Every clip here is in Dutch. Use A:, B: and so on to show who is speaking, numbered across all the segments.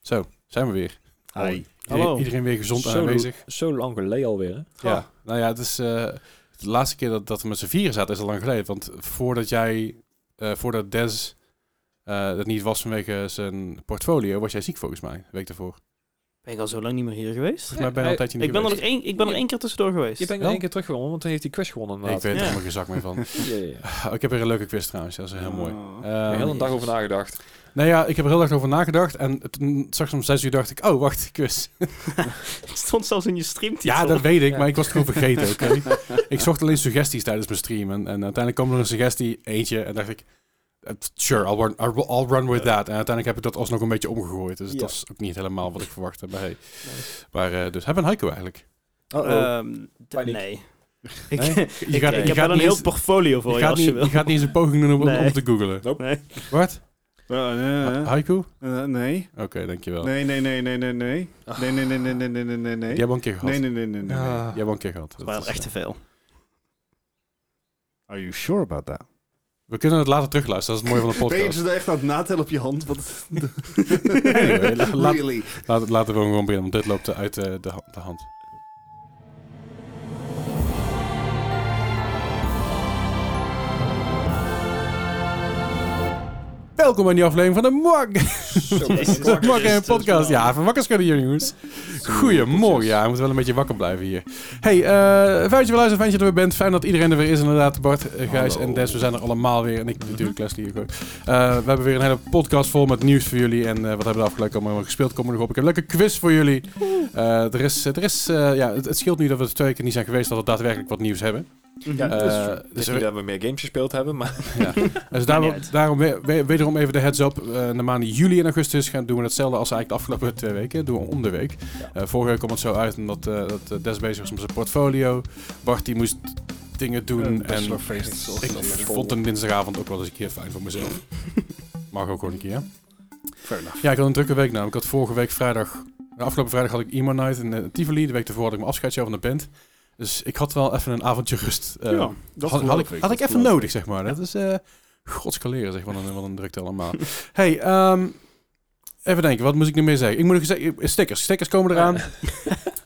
A: Zo, zijn we weer.
B: Hi.
A: Iedereen,
C: Hallo.
A: iedereen weer gezond en
C: Zo-
A: aanwezig.
C: Zo lang geleden alweer, hè?
A: Ja. Nou ja, het is eh, de laatste keer dat, dat we met z'n vieren zaten is al lang geleden. Want voordat jij, eh, voordat Des eh dat niet was vanwege zijn portfolio, was jij ziek volgens mij, de week daarvoor.
B: Ben ik al zo lang niet meer hier geweest?
A: Volgens mij ben je al een tijdje niet
B: Ik ben, er nog
A: geweest.
B: één, ik ben er
C: Je-
B: één keer tussendoor geweest.
C: Je bent
A: Ja.
C: nog één keer teruggekomen, want toen heeft hij quiz gewonnen
A: Ik
C: inderdaad.
A: weet er
B: Ja.
A: helemaal geen zak meer van. Oh,
C: Ja, ja, ja.
A: ik heb weer een leuke quiz trouwens, dat is heel mooi.
B: Oh.
A: Ehm,
C: Een hele dag
B: Jezus.
C: over nagedacht.
A: nou ja, ik heb er heel erg over nagedacht en toen straks om zes uur dacht ik, oh wacht, quiz.
B: Het stond zelfs in je streamtitel.
A: Ja, dat weet ik,
C: Ja.
A: maar ik was het gewoon vergeten, oké? ik zocht alleen suggesties tijdens mijn stream. En, en uiteindelijk kwam er een suggestie, eentje. En dacht ik, eh, sure, I'll run, I'll- I'll run with that. En uiteindelijk heb ik dat alsnog een beetje omgegooid. Dus het
C: Ja.
A: was ook niet helemaal wat ik verwachtte. Maar, hey. maar eh, dus, hebben een haiku eigenlijk? oh. Eh,
B: Ehm, d-
C: Paniek.
B: nee.
A: Nee?
B: Ik, ik,
A: Je gaat,
B: ik heb wel een
A: niet
B: heel
A: eens-
B: portfolio voor
A: je
B: je,
A: gaat
B: als
A: niet,
B: je wil.
A: je gaat niet eens een poging doen om,
B: Nee.
A: om te googlen.
B: Nee.
A: Wat?
D: Eh, eh, eh.
A: Haiku? Oké,
D: Eh, nee.
A: Oh. dankjewel.
D: Nee, nee, nee, nee, nee, nee. Nee, nee, nee, nee, nee, nee, nee, nee, nee.
A: Ah. Die hebben we een keer gehad. Ah.
D: Nee, nee, nee, nee, nee, nee.
A: Die hebben we een keer gehad.
B: Het
A: Dat
B: waren
A: is,
B: er echt te veel.
D: Are you sure about that?
A: eh, we kunnen het later terugluisteren. Dat is het mooie van de
D: Ben je
A: podcast.
D: ze daar echt aan het natellen op je hand? Wat...
A: Anyway, la- laat-
D: really?
A: Laat- Laten we gewoon beginnen, want dit loopt eh, uit eh, de, ha- de hand. Welkom bij die aflevering van de Morgen.
B: Jezus.
C: Zo,
B: Wakker
A: Morgen
B: is,
A: podcast.
B: dus wel.
A: Ja, van wakker schudden jullie jongens. Goedemorgen. Ja, we moeten wel een beetje wakker blijven hier. Hey, eh fijn dat je weer luistert, fijn dat je er weer bent. Fijn dat iedereen er weer is inderdaad. Bart, eh, Gijs
C: Hallo.
A: en Des, we zijn er allemaal weer. En ik natuurlijk, Leslie hier ook. Eh, we hebben weer een hele podcast vol met nieuws voor jullie. En eh, wat hebben we de afgelopen allemaal gespeeld? Komen we nog op. Ik heb een leuke quiz voor jullie. Eh, er is, er is eh, ja, het, het scheelt nu dat we er twee keer niet zijn geweest, dat we daadwerkelijk wat nieuws hebben.
C: Ja,
A: Eh,
C: dat is waar. Het
A: dus
C: is
A: we-
C: niet dat we meer games gespeeld hebben, maar
A: Dus
B: Maakt niet
A: daarom,
B: uit.
A: daarom we- we- wederom even de heads up. Eh, de maanden juli en augustus gaan doen we hetzelfde als eigenlijk de afgelopen twee weken. Doen we om de week.
C: Ja.
A: Eh, vorige week kwam het zo uit omdat eh, dat eh, Des bezig was met zijn portfolio. Bart die moest dingen doen. en ik vond een dinsdagavond ook wel eens een keer fijn voor mezelf. Mag ook gewoon een keer. hè?
D: Fair enough.
A: Ja, ik had een drukke week namelijk. Ik had vorige week vrijdag... de Afgelopen vrijdag had ik Emo Night in eh, Tivoli. De week daarvoor had ik mijn afscheidshow van de band. Dus ik had wel even een avondje rust. eh,
D: Ja,
A: had,
D: dat
A: had
D: geloof
A: ik, had
D: dat
A: ik even
D: geloof
A: nodig, zeg maar. Dat is eh godskaleren, zeg maar. Wat een, wat een drukte allemaal. hey, ehm, even denken. Wat moet ik nu meer zeggen? Ik moet nog zeggen, eh, stickers. Stickers komen eraan.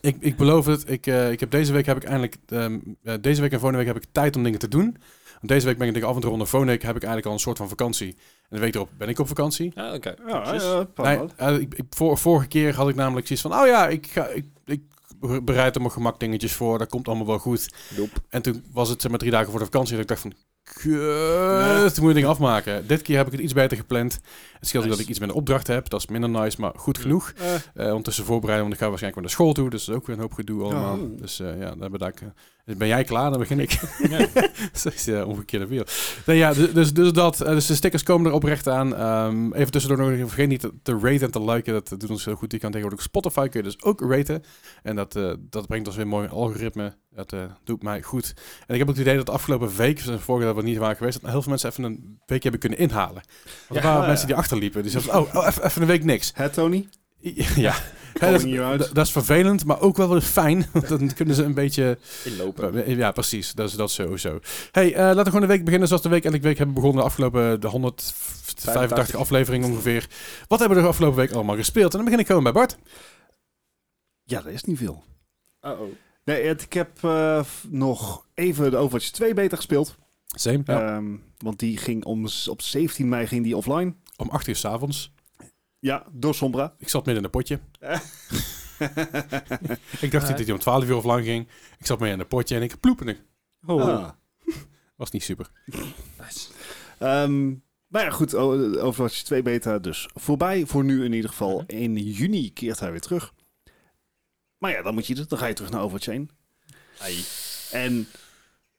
A: ik, ik beloof het. Ik, eh, ik heb deze week heb ik eindelijk... ehm, eh, deze week en volgende week heb ik tijd om dingen te doen. Want Deze week ben ik denk ik af en toe onder. Volgende week heb ik eigenlijk al een soort van vakantie. En de week erop ben ik op vakantie.
C: ja, oké.
D: Ja,
C: Dus-
D: ja, pas
A: Nee,
D: wel.
A: eh, ik, ik- vor- vorige keer had ik namelijk zoiets van... Oh ja, ik, ga, ik, ik bereid er mijn gemak dingetjes voor. Dat komt allemaal wel goed.
C: Doep.
A: En toen was het zeg maar drie dagen voor de vakantie dat ik dacht van... Kut, toen moet je dingen afmaken. Dit keer heb ik het iets beter gepland. Het scheelt ook dat ik iets minder opdrachten heb. Dat is minder nice, maar goed genoeg.
D: Eh,
A: Eh ondertussen voorbereiden, want ik ga waarschijnlijk weer naar school toe. Dus dat is ook weer een hoop gedoe allemaal.
D: Oh.
A: Dus eh, ja, daar ben ik... eh, ben jij klaar? Dan begin ik.
C: Ja.
A: dat is eh, omgekeerde wereld. Nee, ja, dus, dus, dus dat. eh, Dus de stickers komen er oprecht aan. Ehm, even tussendoor nog even, vergeet niet te, te raten en te liken. Dat doet ons heel goed. Die kan tegenwoordig op Spotify kun je dus ook raten. En dat, eh, dat brengt ons weer mooi een algoritme. Dat eh, doet mij goed. En ik heb ook het idee dat de afgelopen week, sinds vorige dat we niet waren geweest, dat heel veel mensen even een week hebben kunnen inhalen. Want er
C: Ja.
A: waren mensen die achterliepen. Die zeiden, van, oh, oh even, even een week niks.
D: Hè, Tony?
A: ja. Hè, dat,
D: Calling you
A: is-
D: out.
A: dat is vervelend, maar ook wel weer fijn. Want dan kunnen ze een beetje
C: Inlopen.
A: ja, precies. Dat is dat is sowieso. Hey, eh, laten we gewoon de week beginnen zoals de week en ik week hebben begonnen. De afgelopen eh, de 185 afleveringen ongeveer. Wat hebben we de afgelopen week allemaal gespeeld? En dan begin ik gewoon bij Bart.
D: Ja, dat is niet veel.
C: Oh, oh.
D: Nee, het- ik heb eh, f- nog even de Overwatch 2 beter gespeeld.
A: Same.
D: Ehm, want die ging om, s- op 17 mei ging die offline.
A: Om 8 uur s'avonds.
D: Ja, door Sombra.
A: Ik zat midden in een potje. Ik dacht dat hij om 12 uur of lang ging. Ik zat midden in een potje en ik ploepenig.
B: Oh.
D: Ah.
A: Was niet super.
C: Nice.
D: Ehm, maar ja, goed, o- Overwatch 2 beta dus voorbij. Voor nu in ieder geval.
C: Mhm.
D: In juni keert hij weer terug. Maar ja, dan, moet je, dan ga je terug naar Overwatch 1.
C: Ai.
D: En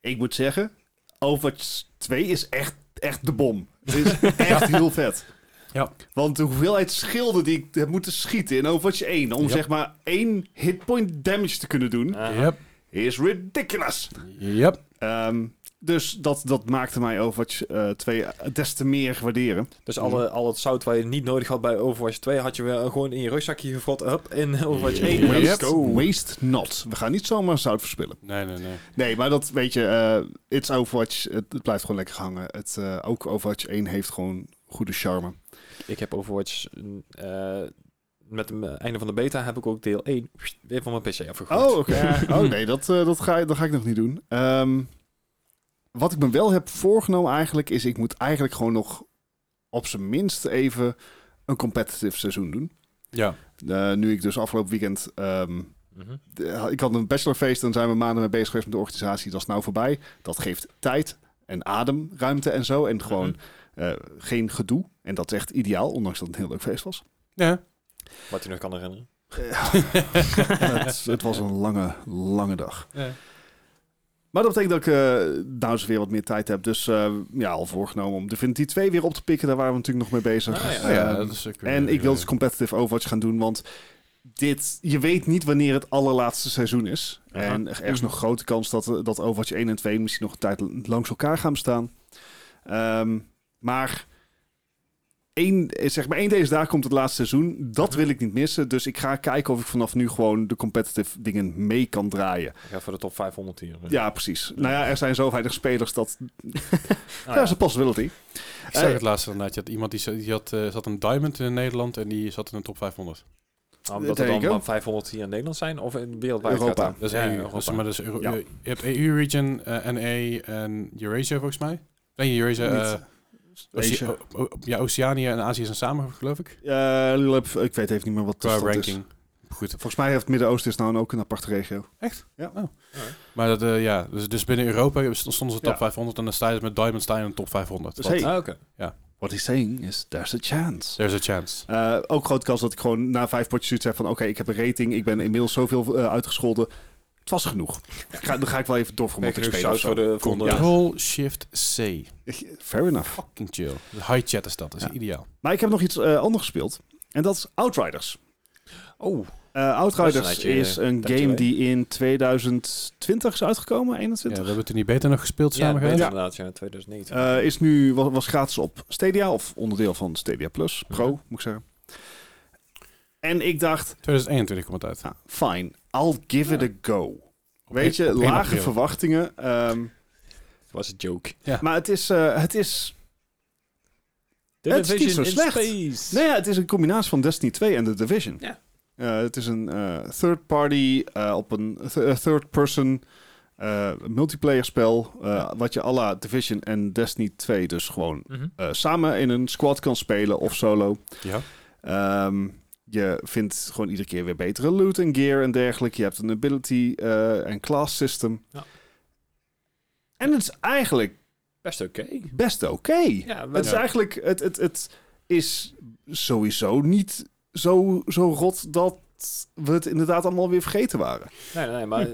D: ik moet zeggen, Overwatch 2 is echt, echt de bom. Het is echt heel vet.
A: Ja.
D: Want de hoeveelheid schilden die ik heb moeten schieten in Overwatch 1... om
A: Ja.
D: zeg maar één hitpoint damage te kunnen doen...
C: Ah.
A: Yep.
D: is ridiculous.
A: Yep.
D: Ehm, dus dat, dat maakte mij Overwatch eh 2 des te meer waarderen.
C: Dus alle, al het zout waar je niet nodig had bij Overwatch 2 had je weer gewoon in je rugzakje gefrot. Hup, in Overwatch 1.
A: Yep.
C: Let's
D: Waste,
C: go.
D: waste not. We gaan niet zomaar zout verspillen.
A: Nee, nee, nee.
D: Nee, maar dat weet je, eh, it's Overwatch. Het, het blijft gewoon lekker hangen. Het, eh, ook Overwatch 1 heeft gewoon goede charme.
C: Ik heb Overwatch eh, met het eh, einde van de beta heb ik ook deel 1 weer van mijn PC afgegooid.
D: Oh, oké. Oh nee, dat, eh, dat, ga, dat ga ik nog niet doen. Ehm, wat ik me wel heb voorgenomen eigenlijk, is ik moet eigenlijk gewoon nog op zijn minst even een competitive seizoen doen.
A: Ja.
D: Eh, nu ik dus afgelopen weekend... ehm,
C: Mhm.
D: de- ik had een bachelorfeest en zijn we maanden mee bezig geweest met de organisatie. Dat is nou voorbij. Dat geeft tijd en ademruimte en zo. En gewoon
C: Mhm.
D: eh, geen gedoe. En dat is echt ideaal, ondanks dat het een heel leuk feest was.
A: Ja.
C: Wat je nog kan herinneren.
D: het, het was een lange, lange dag. Maar dat betekent dat ik eh nou eens weer wat meer tijd heb. Dus eh, ja, al voorgenomen om Divinity 2 weer op te pikken. Daar waren we natuurlijk nog mee bezig.
C: Ah, ja.
A: Oh ja,
D: Ehm,
A: dat is ook weer-
D: en ik wil dus competitive Overwatch gaan doen, want dit, je weet niet wanneer het allerlaatste seizoen is.
C: Aha.
D: En er is nog grote kans dat, eh, dat Overwatch 1 en 2 misschien nog een tijd l- langs elkaar gaan bestaan. Ehm, maar één, eh, zeg maar één deze dag komt het laatste seizoen. Dat wil ik niet missen. Dus ik ga kijken of ik vanaf nu gewoon de competitive dingen mee kan draaien.
C: Ik ga voor de top 500 hier.
D: Ja, precies. Nou ja, er zijn zo weinig spelers dat...
C: Ah,
D: dat
C: ja.
D: is een possibility.
A: Ik zag het laatste inderdaad. Je had iemand die, z- die had, eh, zat een diamond in Nederland en die zat in de top 500.
C: Omdat
D: There
C: er
D: you
C: dan
D: go.
C: maar 500 hier in Nederland zijn of in wereldwijd
D: Europa.
C: gaat het?
A: Dat is
C: Ja,
A: EU.
C: Europa.
A: Dat is- maar dat is Euro-
D: Ja.
A: je, je hebt EU region, eh, NA en Eurasia volgens mij. Nee, Eurasia. eh, Oce-
D: Asia.
A: o- o- ja, Oceanië en Azië zijn samen, geloof ik.
D: Eh, Lulp, ik weet even niet meer wat de
A: Qua
D: stand is.
A: ranking. Goed.
D: Volgens mij heeft het Midden-Oosten is nou ook een aparte regio.
A: Maar dat, eh, ja, dus, dus binnen Europa stonden ze top
D: Ja.
A: 500 en dan sta je dus met Diamond Stein in de top 500.
D: Dus
A: Wat-
D: hey,
C: Ah, oké.
D: what he's saying is, there's a chance.
A: There's a chance.
D: Eh, ook grote kans dat ik gewoon na vijf potjes zoiets heb van... oké, ik heb een rating, ik ben inmiddels zoveel eh, uitgescholden. Het was genoeg. Ik ga, dan ga ik wel even door voor
C: Ben
D: wat
C: je
D: ik
C: genoeg
D: speel of
C: saus voor
D: zo.
C: de volgende...
A: Control Shift C.
D: Fair enough.
A: Fucking chill. High chat is dat, dat is
D: Ja.
A: ideaal.
D: Maar ik heb nog iets eh, anders gespeeld. En dat is Outriders.
C: Oh,
D: Eh,
C: Dat
D: Outriders
C: is
D: is,
C: een uitje, eh,
D: een
C: tijdje
D: game
C: geleden.
D: die in 2020 is uitgekomen,
A: Ja, we
D: 21.
A: hebben het toen niet beter nog gespeeld
C: ja,
A: samen.
C: dat weet ik
A: Gijs?
C: inderdaad. Ja, 2019.
D: Eh, is nu, was, was gratis op Stadia, of onderdeel van Stadia Plus, Pro,
C: Ja.
D: moet ik zeggen. En ik dacht,
A: 2021 komt het uit.
D: ah, fine, I'll give it a go. Weet je,
A: op één
D: lage
A: april.
D: verwachtingen. ehm,
C: Het was een joke.
D: Maar het is, eh, het is... niet zo
C: in
D: slecht.
C: Space.
D: Nou ja, het is een combinatie van Destiny 2 en The Division.
C: Ja.
D: Eh, het is een third-party op een eh, third-person eh, multiplayer spel... eh, wat je à la Division en Destiny 2 dus gewoon
C: Mhm.
D: eh, samen in een squad kan spelen of solo.
A: Ja.
D: Ehm, je vindt gewoon iedere keer weer betere loot en gear en dergelijke. Je hebt een ability eh, en class system.
C: Ja.
D: En het is eigenlijk
C: Best oké.
D: best oké.
C: Ja,
D: Het is
A: Ja.
D: eigenlijk, het, het, het is sowieso niet zo, zo rot dat we het inderdaad allemaal weer vergeten waren.
C: Nee, nee, maar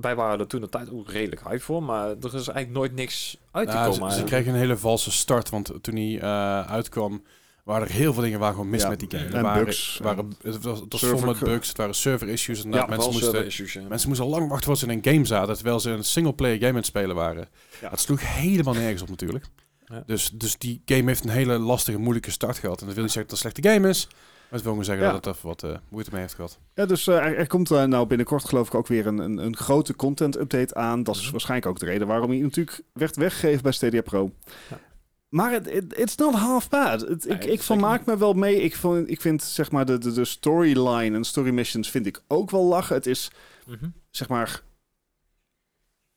C: wij waren er toen de tijd ook redelijk hype voor, maar er is eigenlijk nooit niks uit te
A: Nou,
C: komen.
A: ze, ze
C: eigenlijk.
A: kregen een hele valse start, want toen hij eh, uitkwam, waren er heel veel dingen waar gewoon mis
D: Ja,
A: met die game.
D: en
A: Er waren,
D: bugs.
A: er waren, het was, het was vol
D: Server-
A: met bugs, het waren server issues. En
C: ja,
A: mensen, moesten,
C: issues. Ja.
A: mensen moesten al lang wachten tot ze in een game zaten, terwijl ze een singleplayer game aan het spelen waren.
D: Ja.
A: Het sloeg helemaal nergens op natuurlijk.
C: Ja.
A: Dus, dus die game heeft een hele lastige, moeilijke start gehad. En dat wil niet zeggen dat het een slechte game is, maar het wil gewoon zeggen
D: Ja.
A: dat het even wat eh, moeite mee heeft gehad.
D: Ja, dus eh, er, er komt eh, nou binnenkort geloof ik ook weer een, een, een grote content update aan. Dat is
C: Mhm.
D: waarschijnlijk ook de reden waarom hij natuurlijk werd weggegeven bij Stadia Pro.
C: Ja.
D: Maar het it, it's not half bad. Het-
C: Nee,
D: ik,
C: zeker
D: ik vermaak me wel mee. Ik, vond, ik vind zeg maar de, de, de storyline en story missions vind ik ook wel lachen. Het is
C: Mhm.
D: zeg maar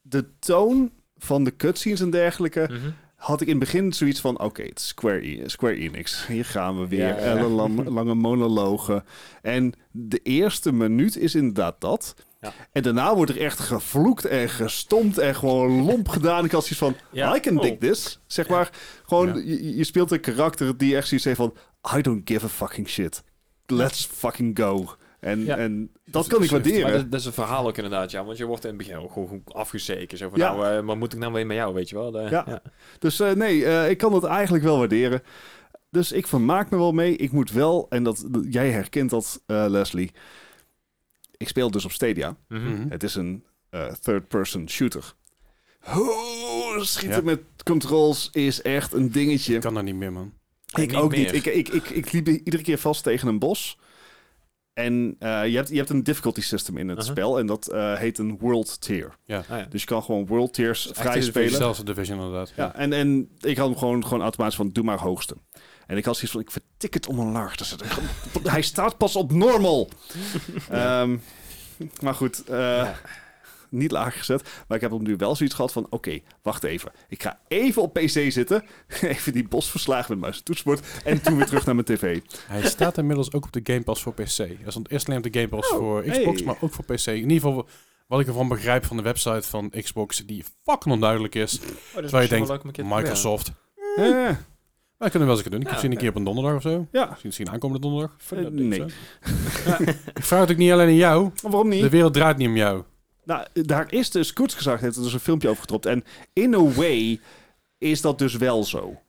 D: de toon van de cutscenes en dergelijke
C: Mhm.
D: had ik in het begin zoiets van... oké, het is Square, E- Square Enix. Hier gaan we weer.
C: Ja, ja, ja.
D: Ellenlang- lange monologen. En de eerste minuut is inderdaad dat.
C: Ja.
D: En daarna wordt er echt gevloekt en gestompt en gewoon lomp gedaan. Ik had zoiets van,
C: Ja.
D: I can dig
C: Oh.
D: this. Zeg
C: Ja.
D: maar, gewoon,
A: Ja.
D: je, je speelt een karakter die echt zoiets heeft van... I don't give a fucking shit. Let's fucking go. En,
C: Ja.
D: en dat kan ik
C: Maar
D: waarderen.
C: dat, dat is een verhaal ook inderdaad, ja, want je wordt in het begin ook gewoon afgezeken. Zo van,
D: Ja.
C: nou, eh, maar moet ik nou weer met jou, weet je wel? De-
D: Ja. Dus eh, nee, eh, ik kan dat eigenlijk wel waarderen. Dus ik vermaak me wel mee. Ik moet wel, en dat, jij herkent dat, eh, Leslie. Ik speel dus op Stadia.
C: Mhm.
A: Mhm.
D: Het is een eh, third-person shooter. Oh, schieten
A: Ja.
D: met controls is echt een dingetje.
A: Ik kan dat niet meer, man.
D: Ik
C: Niet
D: ook
C: meer.
D: niet. Ik, ik, ik, ik liep iedere keer vast tegen een bos. En eh, je, hebt, je hebt een difficulty system in het
C: Aha.
D: spel. En dat eh, heet een world tier.
C: Ah, Uh-huh. ja.
D: Dus je kan gewoon world tiers
C: Echt
D: vrij
C: in de
D: spelen.
A: Zelfs de Division inderdaad.
D: Ja, en, en ik had hem gewoon, gewoon automatisch van doe maar hoogste. En ik had zoiets van, ik vertik het om een laag te zetten. Hij staat pas op normal. Ehm, maar goed, eh, niet laag gezet. Maar ik heb op nu wel zoiets gehad van, oké, wacht even. Ik ga even op PC zitten, even die bos verslagen met muis en toetsenbord en toen weer terug naar mijn tv.
A: Hij staat inmiddels ook op de Game Pass voor PC. Hij stond eerst alleen op de Game Pass
D: Oh,
A: voor Xbox,
D: hey.
A: maar ook voor PC. In ieder geval wat ik ervan begrijp van de website van Xbox, die fucking onduidelijk is.
C: Oh, dat is
A: Terwijl je
C: misschien wel
A: denkt,
C: leuk om een keer te
A: Microsoft.
D: Eh,
A: Maar dat kunnen we wel eens een keer doen. Ik
C: Ja,
A: heb zin een
C: oké.
A: keer op een donderdag of zo.
D: ja,
A: Misschien, misschien aankomende donderdag.
D: Eh, nee.
A: Zo. ik vraag het ook niet alleen aan jou.
D: maar waarom niet?
A: De wereld draait niet om jou.
D: Nou, daar is dus Koets gezegd, heeft er dus een filmpje over getropt. En in a way is dat dus wel zo.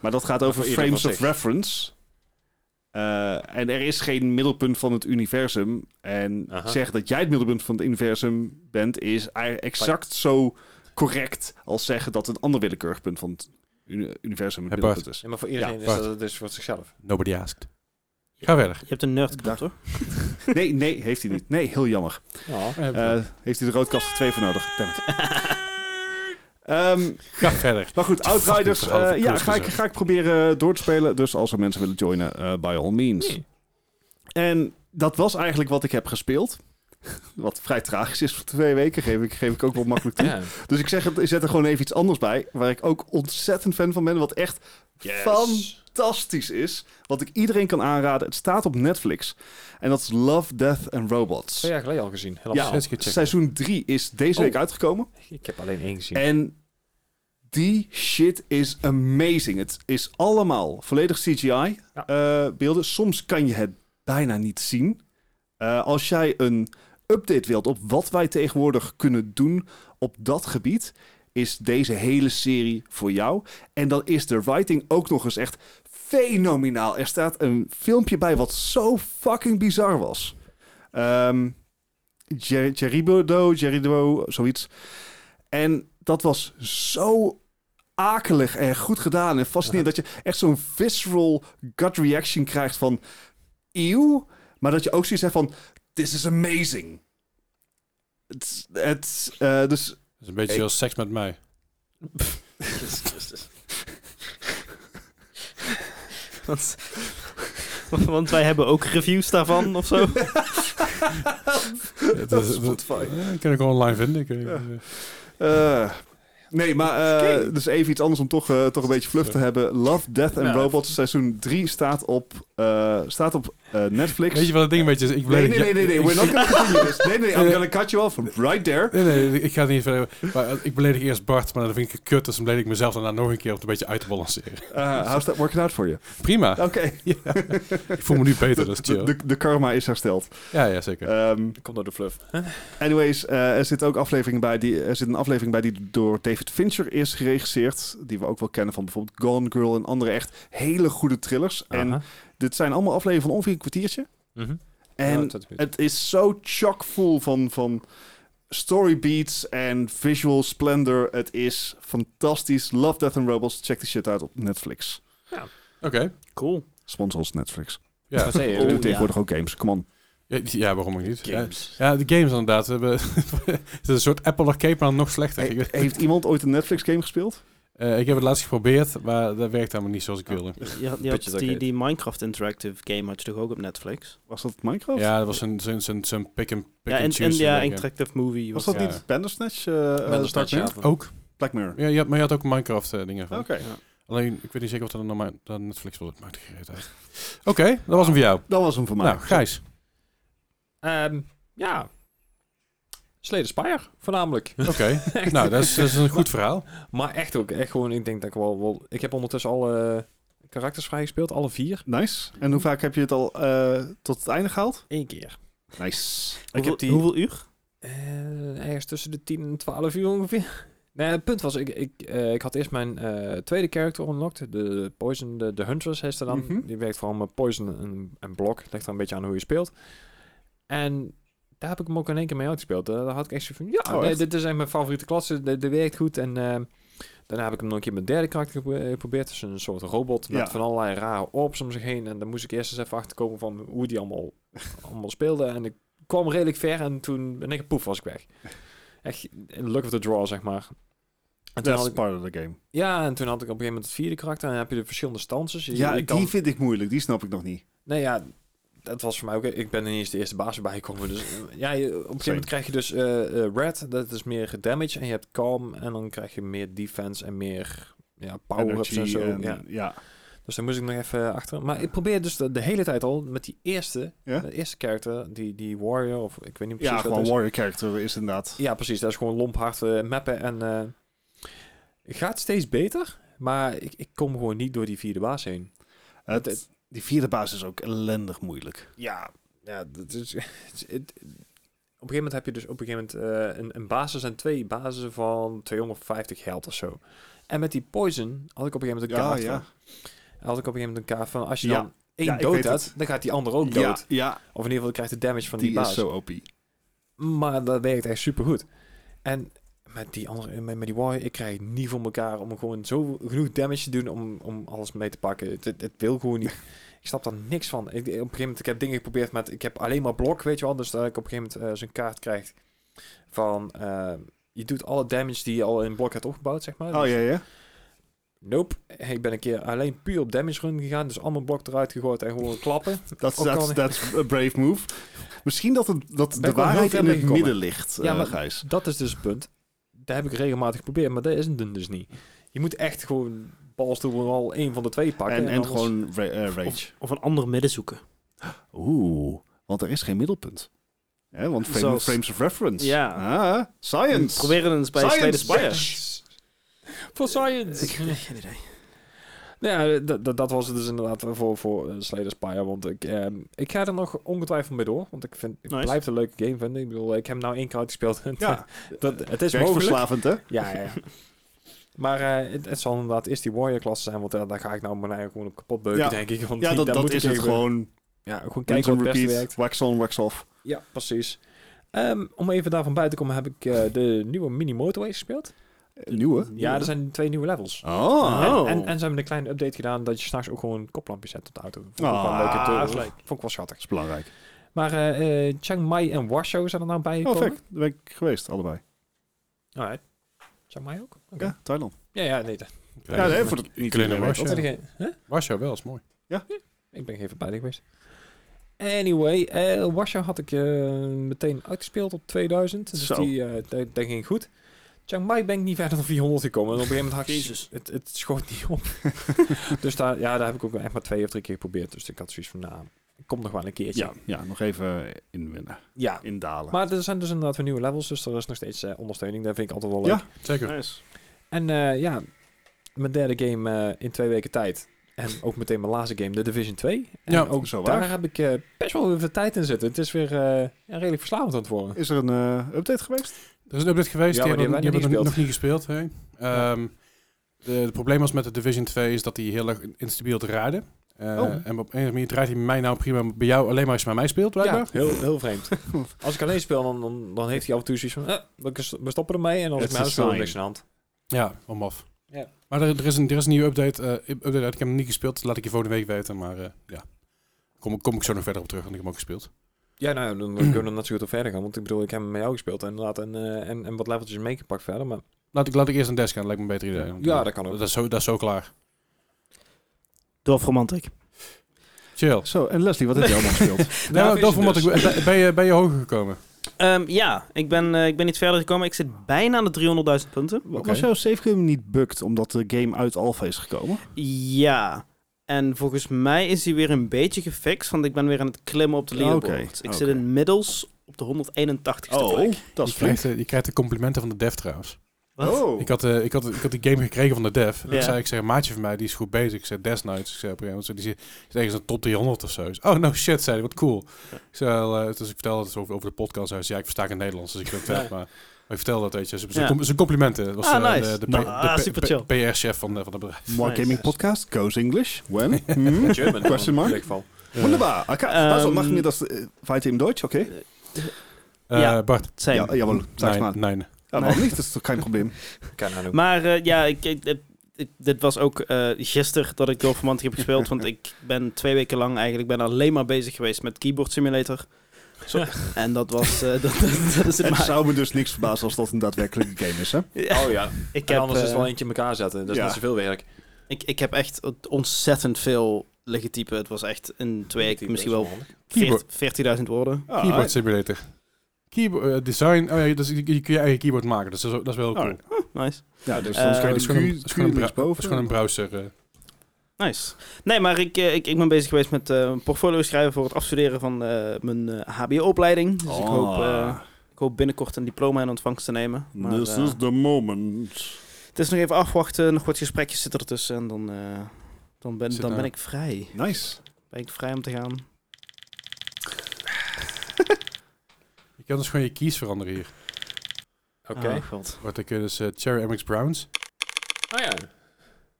D: Maar dat gaat over
C: Voor iedereen
D: frames
C: wat
D: of
C: zegt.
D: reference. Eh, en er is geen middelpunt van het universum. En
C: Aha.
D: zeg dat jij het middelpunt van het universum bent, is ei- exact zo correct als zeggen dat een ander willekeurig punt van het uni- universum het
A: Hey,
D: middelpunt is.
C: Ja, maar voor iedereen is
A: Bart.
C: dat dus voor zichzelf.
A: Nobody asked. Ga verder.
B: Je hebt een nerd hoor.
D: Nee, nee, heeft hij niet. Nee, heel jammer.
C: Ja.
D: Eh, heeft hij de roodkast voor twee voor nodig? Damn it. Ehm,
A: Ga verder.
D: Maar goed, Outriders,
A: Fucking verhaal
D: eh,
A: van
D: ja,
A: Koos
D: ga ik,
A: gezegd.
D: ga ik proberen door te spelen. Dus als er mensen willen joinen, eh, by all means. En dat was eigenlijk wat ik heb gespeeld. Wat vrij tragisch is voor twee weken, geef ik, geef ik ook wel makkelijk toe.
C: Ja.
D: Dus ik zeg, het- ik zet er gewoon even iets anders bij, waar ik ook ontzettend fan van ben, wat echt fantastisch is. Wat ik iedereen kan aanraden, het staat op Netflix. En dat is Love, Death and Robots.
A: Oh
C: Twee jaar geleden al gezien. Helaas.
D: Ja,
A: Zes keer checken.
D: seizoen 3 is deze
C: Oh.
D: week uitgekomen.
C: Ik heb alleen één gezien.
D: En die shit is amazing. Het is allemaal volledig CGI-beelden. eh, Soms kan je het bijna niet zien. Eh, als jij een update wilt op wat wij tegenwoordig kunnen doen op dat gebied, is deze hele serie voor jou. En dan is de writing ook nog eens echt fenomenaal. Er staat een filmpje bij wat zo fucking bizar was. Ehm Jer- Jeribodo, Jerido, zoiets. En dat was zo akelig en goed gedaan en fascinerend... dat je echt zo'n visceral gut reaction krijgt van... eeuw, maar dat je ook zoiets hebt van... this is amazing. Het, het, eh, dus
A: Dat is een beetje
D: Ik-
A: zoals seks met mij.
B: Want, want wij hebben ook reviews daarvan of zo.
A: Dat
D: is Spotify.
A: Ja, dat kan ik wel online vinden. Ik weet niet,
D: Ja.
A: eh.
D: Eh, nee, maar eh, dus even iets anders om toch, eh, toch een beetje fluff te hebben. Love, Death and
C: Nou,
D: Robots seizoen 3 staat op, eh, staat op eh, Netflix.
A: Weet je wat het ding een beetje is? Ik
D: nee,
A: weet
D: nee,
A: dat
D: nee,
A: je-
D: nee, nee,
A: ik-
D: we're not gonna continue this. Nee, nee, I'm
A: Eh,
D: gonna cut you off from right there.
A: Nee, nee, ik ga het niet verder. Maar eh, ik beledig eerst Bart, maar dan vind ik het kut. Dus dan beledig ik mezelf daarna nog een keer om het een beetje uit te balanceren.
D: Eh how's that working out for you?
A: Prima.
D: Oké,
A: Ik voel me nu beter, dat is
D: de,
A: chill.
D: de, de karma is hersteld.
A: Ja, ja, zeker.
D: Ehm,
C: Komt door de fluff.
D: anyways, eh, er zit ook afleveringen bij die, er zit een aflevering bij die door David Fincher is geregisseerd. Die we ook wel kennen van bijvoorbeeld Gone Girl en andere echt hele goede thrillers. En
C: Aha.
D: dit zijn allemaal afleveringen van ongeveer een kwartiertje.
C: Mhm.
D: En
C: Ja, dat weet ik.
D: Het is zo chockvol van, van story beats en visual splendor. Het is fantastisch. Love, Death and Robots. Check die shit uit op Netflix.
A: Oké.
B: Cool.
D: Sponsors Netflix.
A: Ja.
C: Dat zei je,
D: We
C: Oh,
D: doen
C: ja.
D: tegenwoordig ook games. Come on.
A: Ja, ja, waarom ook niet? Ja,
C: Games.
A: ja, de games inderdaad. We hebben, het is een soort Apple Arcade, maar dan nog slechter.
D: He-
A: Ik, weet-
D: heeft iemand ooit een Netflix game gespeeld?
A: eh, ik heb het laatst geprobeerd, maar dat werkt helemaal niet zoals ik wilde.
B: Je had, je had
C: Budget
B: die,
C: arcade.
B: die Minecraft Interactive game had je toch ook op Netflix?
D: Was dat Minecraft?
A: Ja, dat was een, zo'n zo'n zo'n pick and pick
B: ja, en,
A: and
B: en
A: choose.
B: ja,
A: game.
B: Interactive Movie.
D: Was
B: Was,
D: dat
A: Ja.
D: niet Bandersnatch? eh, eh,
C: Bandersnatch,
D: Dark Mirror?
C: ja.
A: Ook.
D: Black Mirror.
A: Ja, je had, maar je had ook Minecraft eh, dingen van.
D: Oké.
A: Alleen, ik weet niet zeker of dat dan naar mijn- naar Netflix was. Het maakt geen reet uit. Oké, dat was hem voor jou.
D: Dat was hem voor mij.
A: Nou, Gijs.
C: Ehm, ja. Sleden Spire, voornamelijk.
A: Oké. nou, dat is, dat is een goed verhaal.
C: Maar echt ook, echt gewoon, ik denk dat ik wel, wel ik heb ondertussen alle karakters vrijgespeeld, alle vier.
D: Nice. En hoe vaak heb je het al eh, tot het einde gehaald?
B: Eén keer.
D: Nice.
B: Hoeveel,
C: heb die-
B: hoeveel uur?
C: Eh, ergens tussen de 10 en 12 uur ongeveer. Nee, het punt was, ik, ik, eh, ik had eerst mijn eh, tweede character unlocked. De Poison, de, de Huntress heet ze dan.
D: Mhm.
C: Die werkt vooral met Poison en, en Blok. Ligt er een beetje aan hoe je speelt. En daar heb ik hem ook in één keer mee uitgespeeld. Eh, Daar had ik echt zo van, ja,
D: Oh,
C: nee,
D: echt?
C: dit is echt mijn favoriete klasse. Dit, dit werkt goed. En eh, daarna heb ik hem nog een keer mijn derde karakter gepro- eh, geprobeerd. Dus een soort robot met
D: Ja.
C: van allerlei rare orbs om zich heen. En dan moest ik eerst eens even achterkomen van hoe die allemaal, allemaal speelde. En ik kwam redelijk ver en toen in één keer poef was ik weg. Echt een luck of the draw, zeg maar. En toen
D: Dat
C: had
D: is
C: ik,
D: part of the game.
C: ja, en toen had ik op een gegeven moment het vierde karakter. En dan heb je de verschillende stances. Je-
D: Ja,
C: dus je
D: die
C: kan-
D: vind ik moeilijk. Die snap ik nog niet.
C: Nee, ja, dat was voor mij ook. Ik ben ineens de eerste baas erbij gekomen. Dus eh, ja, je- op een gegeven
D: Same.
C: moment krijg je dus eh, eh, red, dat is meer damage. En je hebt calm, en dan krijg je meer defense en meer ja, power-ups en
D: Energy
C: zo.
D: en-
C: ja.
D: ja.
C: Dus daar moest ik nog even achter. Maar ik probeer dus de, de hele tijd al met die eerste,
D: Ja?
C: de eerste character, die, die warrior, of ik weet niet precies
D: Ja,
C: wat
D: gewoon
C: het is.
D: warrior character is inderdaad.
C: Ja, precies. Dat is gewoon lomp hard eh, mappen en eh, gaat steeds beter. Maar ik, ik kom gewoon niet door die vierde baas heen.
D: Het- die vierde baas is ook ellendig moeilijk.
C: Ja, ja dat is, het is- het- op een gegeven moment heb je dus op een gegeven moment eh, een, een basis en twee bazen van 250 geld of zo. En met die poison had ik op een gegeven moment een
D: Ja,
C: kaart
D: ja.
C: van. Had ik op een gegeven moment een kaart van als je
D: Ja.
C: dan één
D: Ja, ik weet
C: dood
D: het.
C: hebt, dan gaat die ander ook Oh, dood.
D: Ja, ja
C: Of in ieder geval krijgt de damage van die,
D: die
C: baas. Oh,
D: is zo OP.
C: Maar dat werkt echt supergoed. En met die andere, met, met die warrior, ik krijg het niet voor elkaar om gewoon zo genoeg damage te doen om, om alles mee te pakken. Het, het, het wil gewoon niet. Ik snap daar niks van. Ik, op een gegeven moment, ik heb dingen geprobeerd met, ik heb alleen maar blok, weet je wel. Dus dat ik op een gegeven moment eh, zo'n kaart krijg van, eh, je doet alle damage die je al in blok hebt opgebouwd, zeg maar. Dus
D: Oh ja, ja.
C: Nope. Ik ben een keer alleen puur op damage run gegaan, dus allemaal blok eruit gegooid en gewoon klappen.
D: Dat
C: Ook
D: is
C: al-
D: that's a brave move. Misschien dat, het, dat
C: ik wel
D: de
C: heel
D: waarheid
C: ver
D: in het
C: meegekomen.
D: midden ligt,
C: Ja,
D: eh,
C: maar-
D: Gijs.
C: Dat is dus het punt. Daar heb ik regelmatig geprobeerd, maar dat is het dan dus niet. Je moet echt gewoon balstoel al één van de twee pakken.
D: En, en
C: anders-
D: gewoon ra- eh, rage.
B: Of, of een ander midden zoeken.
D: Oeh, want er is geen middelpunt. Hè, want frame-
B: Zoals-
D: frames of reference.
B: Ja.
D: Ah, science.
B: Probeer het eens bij Slay the
D: Science
B: Spire.
C: Voor science!
B: Geen idee.
C: ja, dat- dat- dat was het dus inderdaad voor, voor eh, Slay the Spire. Want ik, ehm, ik ga er nog ongetwijfeld mee door. Want ik, vind, ik
B: Nice.
C: blijf het een leuke game vinden. Ik bedoel, ik heb nou één kaart gespeeld.
D: Ja,
C: dat, het is mogelijk.
D: werkverslavend, hè?
C: Ja, ja, ja. Maar eh, het, het zal inderdaad eerst die warrior-klasse zijn, want eh, daar ga ik nou mijn eigen gewoon op kapot beuken,
D: Ja.
C: denk ik. Want
D: Ja,
C: die-
D: dat,
C: daar
D: dat
C: moet ik
D: is het
C: even-
D: gewoon.
C: Ja, gewoon
D: Kijk,
C: kijken
D: on
C: wat het beste werkt.
D: repeat, wax on, wax off.
C: Ja, precies. Ehm, om even daarvan bij te komen heb ik eh, de nieuwe mini motorway gespeeld.
D: Eh, Nieuwe.
C: Ja, er zijn twee nieuwe levels.
D: Oh.
C: En, en, en ze hebben een kleine update gedaan dat je s'nachts ook gewoon koplampjes hebt op de auto. Vond ik
D: Ah,
C: wel leuk.
D: dat
C: Het,
D: is
C: eh,
B: leuk.
C: Vond ik wel schattig.
D: is belangrijk.
C: Maar eh, eh, Chiang Mai en Warschau zijn er nou bij
D: Oh,
C: gekomen.
D: perfect. Daar ben ik geweest, allebei.
C: Alright. Chiang Mai ook? Oké.
D: Ja, Thailand.
C: Ja, ja, nee. dat-
D: Ja, nee, voor de,
A: Kleine
D: niet iedereen weet
A: Warschau.
C: dat
D: dat.
C: weet ik geen- hè?
A: Warschau wel, is mooi.
C: Ik ben even bij geweest. Anyway, eh Warschau had ik eh, meteen uitgespeeld op 2000. Dus
D: Zo.
C: die, eh dat, dat ging goed. Chiang Mai ben ik niet verder dan 400 gekomen. En op een gegeven moment had ik...
B: Jezus.
C: Het, het schoot niet op. dus daar, ja, daar heb ik ook echt maar twee of drie keer geprobeerd. Dus ik had zoiets van, nou, kom nog wel een keertje.
D: Ja, ja, nog even inwinnen,
C: Ja.
D: indalen.
C: Maar er zijn dus inderdaad weer nieuwe levels. Dus er is nog steeds eh, ondersteuning. Dat vind ik altijd wel leuk.
D: Ja.
A: Zeker.
B: Nice.
C: En eh, ja, mijn derde game eh, in twee weken tijd. En ook meteen mijn laatste game, The Division 2. En
A: Ja,
C: ook
D: zo waar.
C: daar heb ik eh, best wel weer veel tijd in zitten. Het is weer eh, ja, redelijk verslavend aan het worden.
D: Is er een eh, update geweest?
A: Er is een update geweest,
C: Ja,
A: die
C: maar die
A: hebben we
C: hebben wij
A: nog, nog niet gespeeld. Hè? Ehm, de, het probleem was met de Division 2 is dat hij heel erg instabiel draaide. Eh,
D: Oh.
A: En op een of andere manier draait hij bij mij nou prima, maar bij jou alleen maar als je bij mij speelt, blijkbaar.
C: Ja, heel, heel vreemd. als ik alleen speel, dan, dan, dan heeft hij af en toe zoiets van... eh, we kus- we stoppen ermee en als ik
D: It's
C: mij
D: a
C: speel, dan is
D: sign.
C: niks aan de hand.
A: Ja, om af.
C: Ja.
A: Maar er, er is een, er is een nieuwe update, eh, update uit. Ik heb hem niet gespeeld, dus laat ik je volgende week weten. Maar eh, ja, kom, kom ik zo nog verder op terug, want ik heb hem ook gespeeld.
C: Ja, nou, dan kunnen we net zo goed op verder gaan. Want ik bedoel, ik heb hem met jou gespeeld inderdaad. En, eh, en, en wat leveltjes meegepakt verder. Maar
A: Laat ik, laat ik eerst een desk gaan, lijkt me een beter idee. Want,
C: ja,
A: eh,
C: dat kan ook.
A: dat, is zo, dat is zo klaar.
B: Dorf Romantic.
A: Chill.
D: Zo, en Leslie, wat heb je allemaal gespeeld?
A: Nou,
B: is
A: dat vond
B: het
A: ik, ben, ben je, ben je hoger gekomen?
B: Ehm, ja, ik ben, eh, ik ben niet verder gekomen. Ik zit bijna aan de 300.000 punten.
D: Wat Was jouw save game niet bugged omdat de game uit alpha is gekomen?
B: Ja. En volgens mij is die weer een beetje gefixt, want ik ben weer aan het klimmen op de
D: Oké,
B: leaderboard. ik zit
D: oké. Oh.
B: inmiddels op de 181ste plek.
D: dat
A: Je krijgt, eh, je krijgt de complimenten van de dev trouwens.
B: Wat?
D: Oh.
A: Ik had, eh, ik, had, ik had die game gekregen van de dev. En
B: Ja.
A: ik zei, ik zeg, een maatje van mij, die is goed bezig. Ik zei, Death Knights. Ik zei, op een gegeven moment, die zit die is ergens een top 300 of zo. Ik zei, oh, no shit, zei hij, wat cool.
B: Ja.
A: Ik zei, wel, eh, dus ik vertelde het over, over de podcast. Hij zei, ja, ik versta geen Nederlands, dus ik ben vet. Maar, maar ik vertelde dat, weet je. Zijn
B: Ja.
A: com- zijn complimenten. Dat was
B: Ah,
A: eh,
B: nice.
A: de,
D: Nou,
B: ah, super chill.
A: PR-chef van, eh, van het bedrijf.
D: More
B: Nice.
D: Gaming Podcast goes English. When? Hmm? Ah,
C: German,
D: Question
C: in
D: mark?
C: ieder geval.
D: Wunderbar. Okay. also
B: Ähm,
D: machen wir das äh, weiter im Deutsch, okay?
A: Eh,
B: Ja. Ah,
A: Bart,
B: Same.
D: Ja, jawohl, sag's
A: nee,
D: mal.
A: nee.
D: Ja, warum nicht? Das ist doch kein Problem.
C: Keine Ahnung.
B: Maar eh, ja, ik, ik- dit- dit- dit was ook eh gisteren dat ik Dorf Romantic heb gespeeld, want ik ben twee weken lang eigenlijk ben alleen maar bezig geweest met Keyboard Simulator. En dat was... eh, dat, dat, dat is het
D: Het
B: maar.
D: zou me dus niks verbazen als dat een daadwerkelijke game is, hè?
B: Ja,
C: Oh ja.
B: ik,
C: en
B: heb,
C: anders is
B: eh,
C: het wel eentje in elkaar zetten. dus Dat is
D: ja.
C: niet zoveel werk.
B: ik, ik heb echt ontzettend veel liggen typen. Het was echt in twee
C: Die
B: weken misschien
C: best
B: wel
C: handig.
A: Keyboard.
B: 40 40.000 woorden.
D: Ah,
A: Keyboard simulator. Keyboard eh, design. Oh ja, dus je, je kun je eigen keyboard maken. Dus dat is, ook- dat is wel heel cool.
D: Alright.
B: Nice.
D: Ja, dus
B: Eh,
D: dan kan
A: Dat
D: je
A: is gewoon een-
D: de
A: dat is
D: Q, Q
A: gewoon een bra- dat
D: linksboven.
A: is gewoon een browser. eh.
B: Nice. Nee, maar ik, eh, ik, ik ben bezig geweest met eh, een portfolio schrijven voor het afstuderen van eh, mijn eh, HBO-opleiding. Dus
D: Ah.
B: ik, hoop, eh, ik hoop binnenkort een diploma in ontvangst te nemen. Maar,
D: This
B: eh,
D: is the moment.
B: het is nog even afwachten, nog wat gesprekjes zitten ertussen en dan, eh, dan, ben,
A: Zit
B: dan ben
A: nou.
B: ik vrij.
D: Nice.
B: Ben ik vrij om te gaan.
A: Je kan dus gewoon je keys veranderen hier.
C: Oké.
D: Ah.
B: Oh, god.
A: Wat ik dus eh, Cherry MX Browns.
C: Oh ja.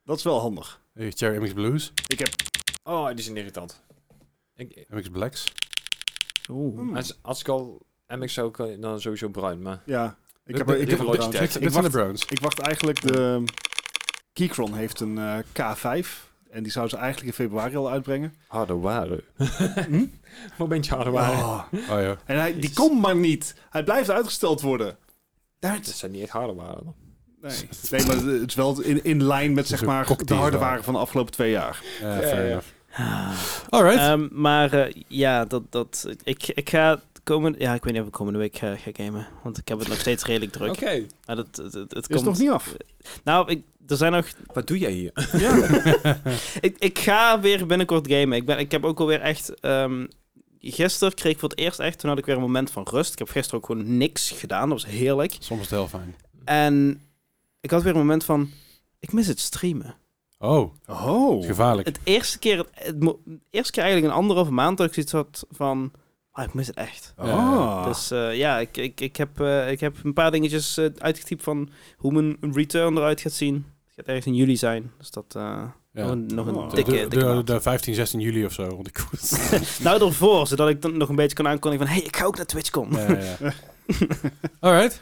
D: Dat is wel handig.
A: eh, Cherry MX Blues.
D: Ik heb...
C: Oh, die zijn irritant. Ik,
A: MX Blacks.
B: Oeh.
D: Hmm.
C: als, als ik al MX zou kunnen, dan sowieso bruin. Maar
D: Ja. Ik heb,
A: Dit-
D: ik
A: dit-
D: heb
C: een
A: dit-
C: rode
A: dit-
C: stack.
A: dit-
D: Ik
A: Dit zijn de
D: wacht-
A: Browns.
D: Ik wacht eigenlijk de... Keychron heeft een eh, K5. En die zou ze eigenlijk in februari al uitbrengen.
C: harde waren.
D: Hm?
C: Momentje harde waren.
D: Oh.
A: Oh ja.
D: En hij, die
C: Jezus.
D: komt maar niet. Hij blijft uitgesteld worden.
C: Dat zijn niet echt harde waren. dan.
D: Nee, nee maar het is wel in, in lijn met
A: is
D: zeg
A: een
D: maar, de
A: cocktail.
D: harde waren van de afgelopen twee jaar.
A: Ja,
C: Ja,
A: fair
C: ja.
A: enough.
B: Ah.
A: Alright.
B: Ehm, maar eh, ja, dat, dat, ik, ik ga komende... Ja, ik weet niet of ik komende week ga, ga gamen. Want ik heb het nog steeds redelijk druk.
C: Oké.
B: Maar dat, het, het, het
D: Is
B: komt...
D: nog niet af.
B: Nou, ik, er zijn nog...
C: Wat doe jij hier?
B: Ik, ik ga weer binnenkort gamen. Ik, ben, ik heb ook alweer echt... ehm, gisteren kreeg ik voor het eerst echt... Toen had ik weer een moment van rust. Ik heb gisteren ook gewoon niks gedaan. Dat was heerlijk.
A: Soms is het heel fijn.
B: En ik had weer een moment van... Ik mis het streamen.
A: Oh,
D: Oh.
A: gevaarlijk.
B: Het eerste keer... Het, mo- eerste keer eigenlijk een anderhalve maand dat ik zoiets had van... Ah, ik mis het echt.
D: Ah.
B: Dus eh, ja, ik, ik, ik, heb, eh, ik heb een paar dingetjes eh, uitgetypt van hoe mijn return eruit gaat zien. Het gaat ergens in juli zijn. Dus dat eh,
A: Ja.
B: nog een, nog een
D: Oh.
A: De-
B: dikke,
A: de,
B: dikke
A: de,
B: maand.
A: de 15, 16 juli of zo. Want ik
B: Nou, ervoor, zodat ik dan nog een beetje kan aankondigen van... hey, ik ga ook naar Twitch komen.
A: ja, ja. ja. Alright.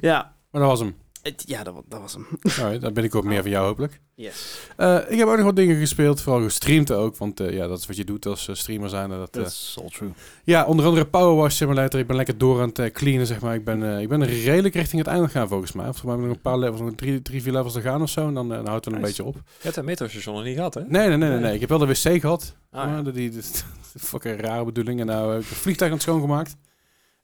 B: Ja,
A: Maar dat was hem.
B: het- ja dat, wa- dat was hem.
A: Alright, dan ben ik ook meer van jou hopelijk.
B: Yes.
A: Eh, ik heb ook nog wat dingen gespeeld, vooral gestreamd ook. Want eh, ja, dat is wat je doet als eh, streamer zijn. en Dat, eh,
D: That's all true.
A: ja, onder andere Power Wash Simulator. Ik ben lekker door aan het eh, cleanen, zeg maar. Ik ben, eh, ik ben redelijk richting het einde gaan, volgens mij. Volgens mij hebben we nog een paar levels, nog drie, drie vier levels te gaan of zo. En dan, eh, dan houdt het wel een
B: Nice.
A: beetje op.
C: Je hebt dat metrostation nog niet gehad, hè?
A: Nee, nee, nee, nee, nee. Ik heb wel de wc gehad.
C: Ah,
A: Maar
C: ja.
A: die, die, die- fucking rare bedoeling. En nou heb ik een vliegtuig aan het schoongemaakt.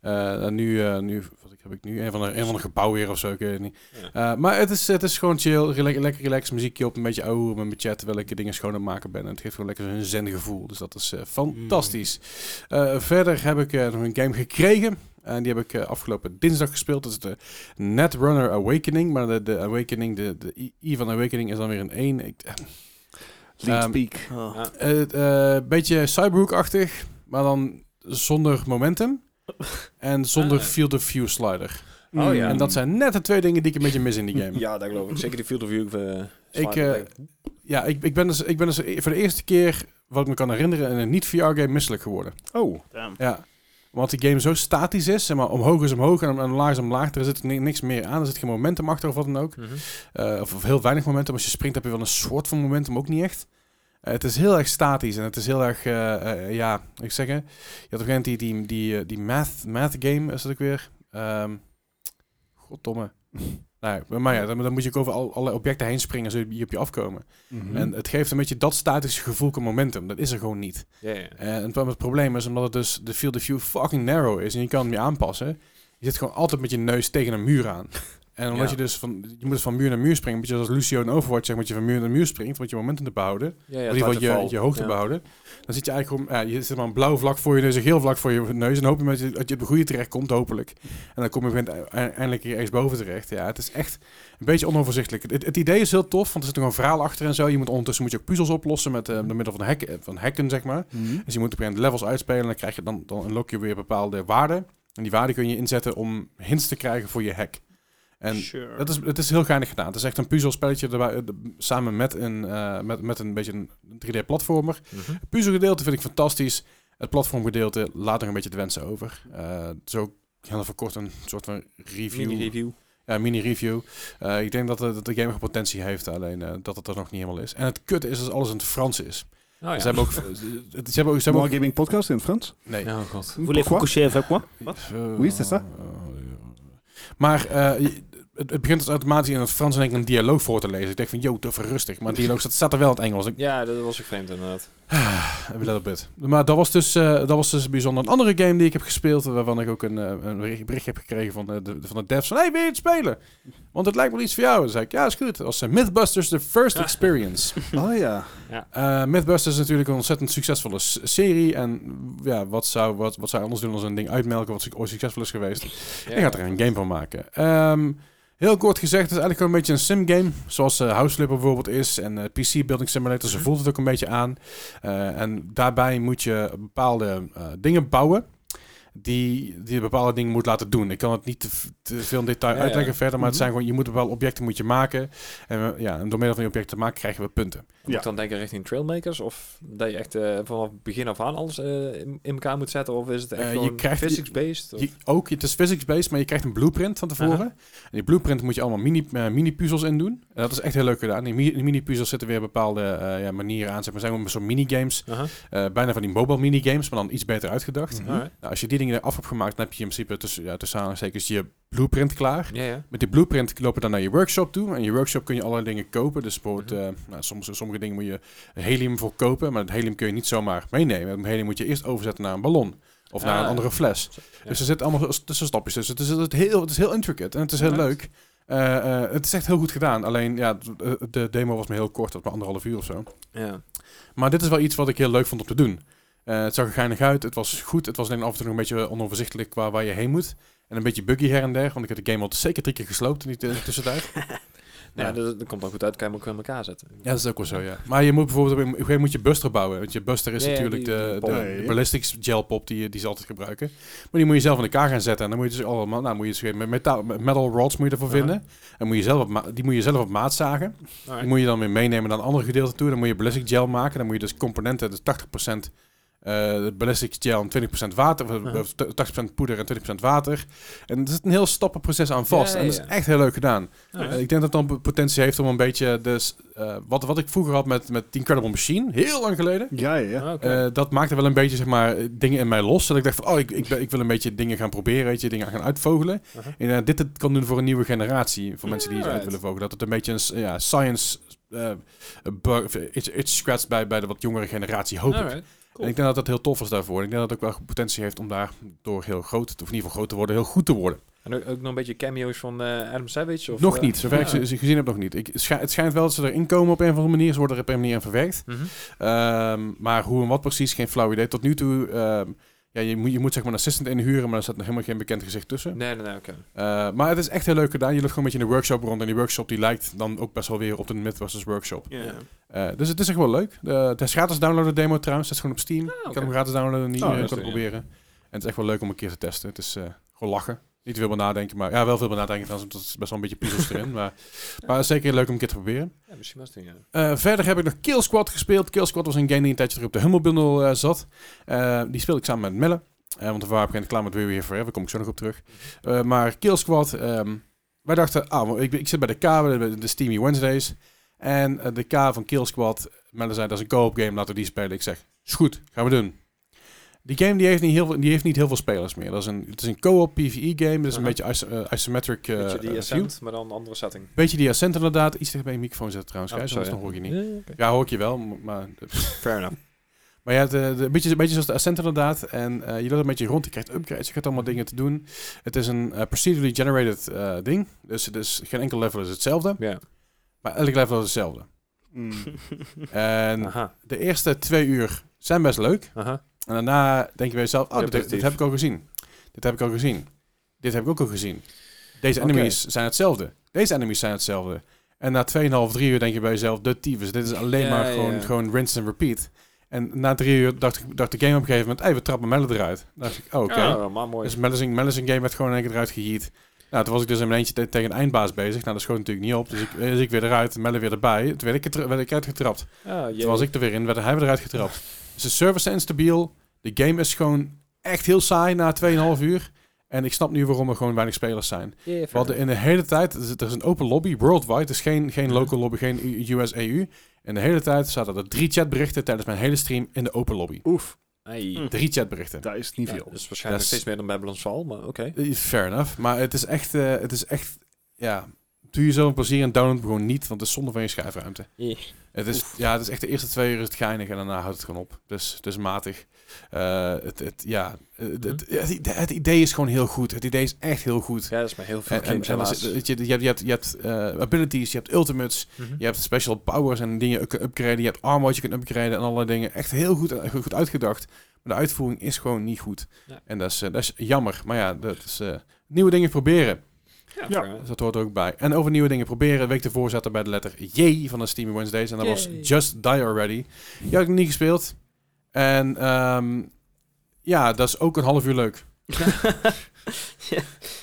A: Eh, en nu, eh, nu wat ik- heb ik nu? Een van de, een van de gebouwen weer of zo, ik weet het niet. Eh, maar het is, het is gewoon chill. Rela- lekker relaxed muziekje op, een beetje ouwe met mijn chat, terwijl ik dingen schoon aan het maken ben. En het geeft gewoon lekker een zen gevoel. Dus dat is eh, fantastisch.
C: Mm.
A: Eh, verder heb ik eh, nog een game gekregen. En die heb ik eh, afgelopen dinsdag gespeeld. Dat is de Netrunner Awakening. Maar de, de Awakening, de, de I- I van Awakening is dan weer een 1. Ik, eh,
D: Lead
A: Ehm,
D: peak.
B: Oh.
C: Ah.
A: eh, een beetje Cyberhook-achtig, maar dan zonder momentum. En zonder
C: Ah.
A: field of view slider.
C: Oh ja.
A: Mm. En dat zijn net de twee dingen die ik een beetje mis in die game.
C: Ja, dat geloof ik. Zeker de Field of View. eh,
A: Ik,
C: zwaar-
A: eh, Ja, ik, ik ben dus, ik ben dus e- voor de eerste keer, wat ik me kan herinneren, in een niet-VR-game misselijk geworden.
D: Oh.
B: Damn.
A: Ja. Want die game zo statisch is, zeg maar omhoog is omhoog en om- en omlaag is omlaag. Er zit ni- niks meer aan, er zit geen momentum achter of wat dan ook.
C: Mhm.
A: Eh, of, of heel weinig momentum. Als je springt heb je wel een soort van momentum, ook niet echt. Eh, het is heel erg statisch en het is heel erg, eh, eh, ja, ik zeg hè. Je had op een gegeven moment die, die, die, eh, die math, math game, is dat ook weer? Ehm goddomme. nou, ja, maar ja, dan, dan moet je ook over al, allerlei objecten heen springen zodat je op je afkomen.
D: Mhm. eh,
A: En het geeft een beetje dat statische gevoel qua momentum. Dat is er gewoon niet.
C: Ja, ja.
A: Eh, En het, het probleem is omdat het dus de field of view fucking narrow is en je kan hem niet aanpassen. Je zit gewoon altijd met je neus tegen een muur aan. En omdat
C: Ja.
A: je dus van, je moet van muur naar muur springen, een beetje zoals Lucio in Overwatch zegt, moet je van muur naar muur springt, want je momentum te behouden,
C: Ja, ja,
A: in ieder geval je,
C: waterval.
A: je hoogte
C: Ja.
A: behouden. Dan zit je eigenlijk gewoon, ja, je zit maar een blauw vlak voor je neus, een geel vlak voor je neus, en hoop je met je- dat je op de goede terecht komt, hopelijk. En dan kom je op een gegeven moment e- eindelijk ergens boven terecht. Ja, het is echt een beetje onoverzichtelijk. Het, het idee is heel tof, want er zit nog een verhaal achter en zo. Je moet ondertussen moet je ook puzzels oplossen met eh, door middel van hekken, van hekken zeg maar. Dus je moet op een gegeven moment levels uitspelen. En dan krijg je dan, dan unlock je weer bepaalde waarden. En die waarden kun je inzetten om hints te krijgen voor je hack. En
B: Sure.
A: dat is, het is heel geinig gedaan. Het is echt een puzzelspelletje erbij, eh, de- samen met een, eh, met, met een beetje een 3D-platformer.
C: Mhm.
A: Het puzzelgedeelte vind ik fantastisch. Het platformgedeelte laat nog een beetje te wensen over. Eh, zo heel even kort een soort van review.
C: Mini review.
A: Ja, mini-review. Eh, ik denk dat, de- dat de game nog potentie heeft, alleen eh, dat het er nog niet helemaal is. En het kutte is dat alles in het Frans is.
C: Oh, ja.
A: Ze hebben ook... Ze ze hebben ook... Ze hebben ook
D: Wargaming podcast in het Frans.
A: nee.
C: Oh god.
B: Voulez-vous
D: Pourquoi?
B: coucher avec moi?
A: Eh,
D: Wie is dat, hè?
A: eh, Maar eh, je- het, het begint dus automatisch in het Frans en ik een dialoog voor te lezen. Ik denk van, yo, te rustig. Maar het dialoog staat, staat er wel in het Engels. Ik, eh,
C: Ja, dat was ook vreemd inderdaad.
A: A little bit. Maar dat was, dus, eh, dat was dus bijzonder. Een andere game die ik heb gespeeld, waarvan ik ook een, eh, een bericht- bericht heb gekregen van eh, de, de- van de devs. Van, hey, wil je het spelen? Want het lijkt wel iets voor jou. Dan zei ik, ja, is goed. Dat was eh, Mythbusters The First Experience.
D: Oh ja.
A: Eh, Mythbusters is natuurlijk een ontzettend succesvolle s- serie. En ja, wat zou, wat, wat zou je anders doen dan een ding uitmelken wat su- ooit succesvol is geweest?
C: Ja.
A: Ik ga er een game van maken. Ehm, heel kort gezegd, het is eigenlijk gewoon een beetje een sim-game. Zoals eh, House Flipper bijvoorbeeld is en eh, PC Building Simulator.
C: Mhm.
A: Ze voelt het ook een beetje aan. Eh, en daarbij moet je bepaalde eh, dingen bouwen. Die, die bepaalde dingen moet laten doen. Ik kan het niet te, v- te veel in detail
C: Ja, ja.
A: uitleggen verder. Maar het
D: Mhm.
A: zijn gewoon, je moet bepaalde objecten moet je maken. En, eh, ja, en door middel van die objecten te maken krijgen we punten.
D: Ja.
C: Moet ik dan denken richting Trailmakers? Of dat je echt eh, vanaf begin af aan alles eh, in, in elkaar moet zetten? Of is het echt
A: Eh, je
C: gewoon
A: krijgt-
C: physics-based? Of-
A: Je- ook, het is physics-based, maar je krijgt een blueprint van tevoren.
C: Aha.
A: En die blueprint moet je allemaal mini, eh, mini-puzzels in doen. En dat is echt heel leuk gedaan. Die mi- die mini-puzzels zitten weer bepaalde eh, ja, manieren aan. Zeg maar zijn gewoon zo'n minigames.
C: Aha.
A: eh bijna van die mobile minigames, maar dan iets beter uitgedacht.
D: Mhm.
C: Alright.
A: Nou, als je die dingen eraf hebt gemaakt, dan heb je in principe tussen, ja, tussen aanhalingstekens je blueprint klaar.
C: Ja, ja.
A: Met die blueprint lopen we dan naar je workshop toe. En in je workshop kun je allerlei dingen kopen. Dus
C: Mhm.
A: bijvoorbeeld, eh, nou, soms, sommige dingen moet je helium voor kopen. Maar het helium kun je niet zomaar meenemen. Het helium moet je eerst overzetten naar een ballon. Of naar
C: Ah,
A: een andere fles.
C: ja.
A: Dus er zitten allemaal s- tussenstapjes tussen. Het is, het, is heel, het is heel intricate en het is heel
C: Nice.
A: leuk. Eh, eh, het is echt heel goed gedaan. Alleen, ja, d- eh, de demo was me heel kort. Dat was maar anderhalf uur of zo.
C: Ja.
A: Maar dit is wel iets wat ik heel leuk vond om te doen. Eh, het zag er geinig uit, het was goed. Het was alleen af en toe nog een beetje onoverzichtelijk qua waar je heen moet. En een beetje buggy her en der, want ik heb de game al zeker drie keer gesloopt in die t- tussentijd.
C: Nou, ja, dat, dat komt dan goed uit. Kan je hem ook weer in elkaar zetten.
A: ja, dat is ook wel zo, ja. Maar je moet bijvoorbeeld op een gegeven moment moet je Buster bouwen. Want je Buster is
C: Ja, ja,
A: natuurlijk
C: die-
A: de,
C: die
A: de,
D: bom.
A: de ballistics gel pop die, je- die ze altijd gebruiken. Maar die moet je zelf in elkaar gaan zetten. En dan moet je dus allemaal, nou moet je dus met metaal, met metal rods moet je ervoor
C: Ja.
A: vinden. En moet je zelf op ma- die moet je zelf op maat zagen. Die moet je dan weer meenemen naar een ander gedeelte toe. Dan moet je ballistic gel maken. Dan moet je dus componenten, dus 80% eh ballistic gel en 20% water. of-
C: Uh-huh.
A: Of 80% poeder en 20% water. En er zit een heel stappenproces aan vast.
C: Ja,
A: En dat
C: ja.
A: is echt heel leuk gedaan.
C: Alright.
A: Eh, ik denk dat het dan potentie heeft om een beetje... Dus, eh, wat, wat ik vroeger had met, met The Incredible Machine, heel lang geleden...
D: Ja, ja, ja.
C: Ah, oké.
A: eh, dat maakte wel een beetje zeg maar, dingen in mij los. Dat ik dacht van, oh, ik, ik, ben- ik wil een beetje dingen gaan proberen, weet je, dingen gaan uitvogelen.
C: Aha.
A: En eh, dit het kan doen voor een nieuwe generatie, voor mensen die iets uit
C: Uh-huh. Alright.
A: willen vogelen. Dat het een beetje een s- ja, science eh bug, of iets, iets scratch bij, bij de wat jongere generatie, hoop ik.
C: Alright. cool.
A: En ik denk dat dat heel tof was daarvoor. En ik denk dat het ook wel potentie heeft om daardoor heel groot, of in ieder geval groot te worden, heel goed te worden.
C: En ook, ook nog een beetje cameo's van eh, Adam Savage? Of,
A: nog
C: eh,
A: niet, zover ik
C: ja.
A: ze- ze gezien heb nog niet. Ik, schi- het schijnt wel dat ze erin komen op een of andere manier. Ze worden er op een manier aan verwerkt.
C: Mhm.
A: Ehm, maar hoe en wat precies, geen flauw idee. Tot nu toe, ehm, ja, je, moet, je moet zeg maar een assistant inhuren, maar er staat nog helemaal geen bekend gezicht tussen.
C: Nee, nee, nee, oké.
A: Eh, maar het is echt heel leuk gedaan. Je loopt gewoon een beetje in de workshop rond en die workshop die lijkt dan ook best wel weer op de Mythbusters workshop.
B: Ja.
C: Ja.
A: Eh, dus het is echt wel leuk. Eh, het is gratis downloaden demo trouwens, dat is gewoon op Steam. Je
C: oké.
A: kan hem gratis downloaden, niet,
D: Oh,
A: je
C: dat
A: kan het
C: is goed, ja.
A: proberen. En het is echt wel leuk om een keer te testen. Het is eh, gewoon lachen. Niet te veel bij nadenken, maar ja, wel veel bij nadenken trouwens, want er is best wel een beetje puzzels erin. Maar, maar zeker leuk om een keer te proberen.
C: Ja, misschien was het ja.
A: Eh, verder heb ik nog Kill Squad gespeeld. Kill Squad was een game die een tijdje terug op de Humble Bundle eh, zat. Eh, die speelde ik samen met Melle. Eh, want we waren op een gegeven moment klaar met We Were Here Forever. Daar kom ik zo nog op terug. Eh, maar Kill Squad... ehm, wij dachten... Ah, maar ik, ik zit bij de K, bij de, de Steamy Wednesdays. En eh, de K van Kill Squad... Melle zei, dat is een co-op game. Laten we die spelen. Ik zeg, is goed. Gaan we doen. Die game die heeft, niet heel, veel- die heeft niet heel veel spelers meer. Dat is een, het is een co-op PvE game. Dat is een
C: Aha.
A: beetje iso- eh, isometric eh,
C: Uh-huh. Beetje
A: eh,
C: die
A: view.
C: Ascent, maar dan een andere setting.
A: Beetje die accent inderdaad. Iets tegen mijn microfoon zetten trouwens.
C: Oh,
A: Gijs, anders
C: sorry.
A: dan hoor ik je niet.
C: Ja, oké.
A: Ja, hoor ik je wel, m- maar...
C: Fair enough.
A: Maar ja, de, de, een, beetje, een beetje zoals de Ascent inderdaad. En eh, je loopt een beetje rond, je krijgt upgrades, je gaat allemaal dingen te doen. Het is een eh, procedurally generated eh, ding. Dus, dus geen enkel level is hetzelfde.
C: Ja.
A: Maar elk level is hetzelfde.
D: Mm.
A: En
C: Aha.
A: de eerste twee uur zijn best leuk.
C: Aha.
A: En daarna denk je bij jezelf, oh,
C: Ja,
A: dit, dit
C: positief.
A: heb ik al gezien. Dit heb ik al gezien. Dit heb ik ook al gezien. Deze enemies zijn hetzelfde. Deze enemies zijn hetzelfde. En na 2,5, 3 uur denk je bij jezelf, de tyfus, dit is alleen
C: Ja,
A: maar
C: ja,
A: gewoon,
C: ja.
A: gewoon rinse and repeat. En na drie uur dacht, ik- dacht de game op een gegeven moment, hey, we trappen Melle eruit. Dan dacht ik, oh, oké.
C: Oh, maar mooi.
A: Dus Melle's Melle's game werd gewoon in één keer eruit geheat. Nou, toen was ik dus in mijn eentje te- tegen een eindbaas bezig. Nou, dat schoot natuurlijk niet op. Dus ik, dus ik weer eruit, Melle weer erbij. Toen werd ik, er- werd ik uitgetrapt.
C: Ah, jee.
A: Toen was ik er weer in, werd hij weer eruit getrapt. Dus de servers zijn instabiel. De game is gewoon echt heel saai na 2,5 uur. En ik snap nu waarom er gewoon weinig spelers zijn.
C: Ja, fair
A: We hadden in de hele tijd, er is- er is een open lobby, worldwide. Dus geen, geen local lobby, geen U- US-EU. En de hele tijd zaten er drie chatberichten tijdens mijn hele stream in de open lobby.
D: Oef,
C: Hey.
B: Hm.
A: Drie chatberichten.
D: daar is niet
C: Ja,
D: veel.
C: dus
A: Dat
C: waarschijnlijk
A: is-
C: steeds meer dan Babylon's Fall, maar oké.
A: Eh, Fair enough. Maar het is echt, eh, het is echt ja, doe jezelf een plezier en download hem gewoon niet, want het is zonde van je schijfruimte.
C: Yeah.
A: Het is, ja, het is echt de eerste twee uur is het geinig en daarna houdt het gewoon op. Dus, dus matig. Eh, het, het, ja, het, het, het- het idee is gewoon heel goed. Het idee is echt heel goed.
C: Ja, dat is maar heel veel
A: En, en,
C: games
A: en dan
C: helaas.
A: zit- weet je, je hebt, je hebt, je hebt eh, abilities, je hebt ultimates,
C: Mhm.
A: je hebt special powers en dingen kun upgraden. Je hebt armor wat je kunt upgraden en allerlei dingen. Echt heel goed, eh, goed uitgedacht. Maar de uitvoering is gewoon niet goed.
C: Ja.
A: En dat is, eh, dat is jammer. Maar ja, dat is eh, nieuwe dingen proberen.
C: Ja,
D: Ja.
C: fair.
A: Dus dat hoort er ook bij. En over nieuwe dingen proberen. De week ervoor zaten we bij de letter J van de Steamy Wednesdays. En dat was
C: Yay.
A: Just Die Already. Die had ik nog niet gespeeld. En ehm, ja, dat is ook een half uur leuk.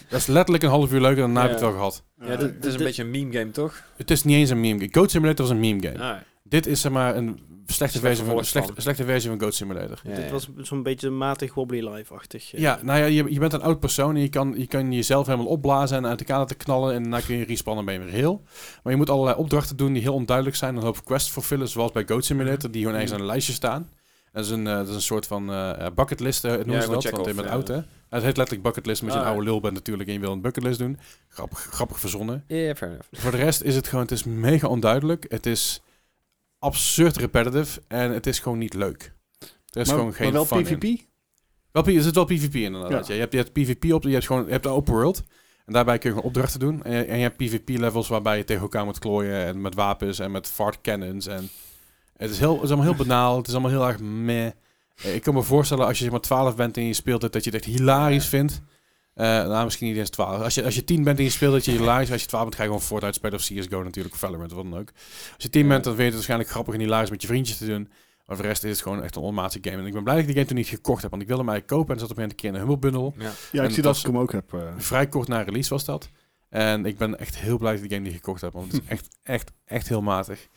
A: Dat is letterlijk een half uur leuk en daarna heb ik het
C: Ja.
A: wel gehad.
C: Ja, dit, dit is een
B: Dit-
C: beetje een meme game, toch? Ah,
A: Het is niet eens een meme game. Goat Simulator was een meme game.
C: Ja.
A: Dit is zeg maar een slechte,
C: Slecht
A: versie van,
C: vervolg
A: slechte,
C: van.
A: slechte versie van Goat Simulator.
C: Ja,
B: Dit was zo'n beetje matig wobbly life-achtig. eh.
A: Ja, nou ja, je, je bent een oud persoon en je kan, je kan jezelf helemaal opblazen en uit de kader te knallen en daarna kun je respannen en ben je weer heel. Maar je moet allerlei opdrachten doen die heel onduidelijk zijn. Een hoop quests vervullen, zoals bij Goat Simulator, die gewoon
C: Mm.
A: ergens aan een lijstje staan. Dat is een, eh, dat is een soort van eh bucketlist, eh, noemen
C: Ja,
A: ze
C: gewoon
A: dat, want je
C: check-off,
A: bent
C: ja.
A: oud hè. Het heet letterlijk bucketlist, omdat je een
C: Ah, ja.
A: oude lul bent natuurlijk en je wil een bucketlist doen. Grappig, grappig verzonnen.
C: Ja, fair enough.
A: Voor de rest is het gewoon, het is mega onduidelijk. Het is absurd repetitive en het is gewoon niet leuk. Er is
D: maar,
A: gewoon geen
D: maar
A: fun
D: wel
A: in.
D: PvP?
A: Wel, P- er zit wel PvP in, inderdaad.
D: Ja.
A: Ja. Je, hebt, je hebt PvP op, je hebt gewoon je hebt de open world. En daarbij kun je gewoon opdrachten doen. En je, en je hebt PvP-levels waarbij je tegen elkaar moet klooien. En met wapens en met fart cannons. En het, is heel, het is allemaal heel banaal. Het is allemaal heel erg meh. Eh, Ik kan me voorstellen als je zeg maar 12 bent en je speelt het, dat je het echt hilarisch vindt. Eh, nou, misschien niet eens 12. Als je, als je 10 bent en je speelt het, je hilarisch. Als je 12 bent, ga je gewoon Fortnite spelen of CSGO natuurlijk. Of Valorant of wat dan ook. Als je 10 bent, dan vind je het waarschijnlijk grappig en hilarisch met je vriendjes te doen. Maar voor de rest is het gewoon echt een onmatige game. En ik ben blij dat ik die game toen niet gekocht heb. Want ik wilde hem eigenlijk kopen en zat op een keer in een Humble Bundle.
C: Ja.
D: Ja, ik
A: En
D: zie
A: dat
D: dat ik hem ook heb. eh.
A: Vrij kort na release was dat. En ik ben echt heel blij dat ik die game niet gekocht heb. Want het is echt, echt, echt heel matig.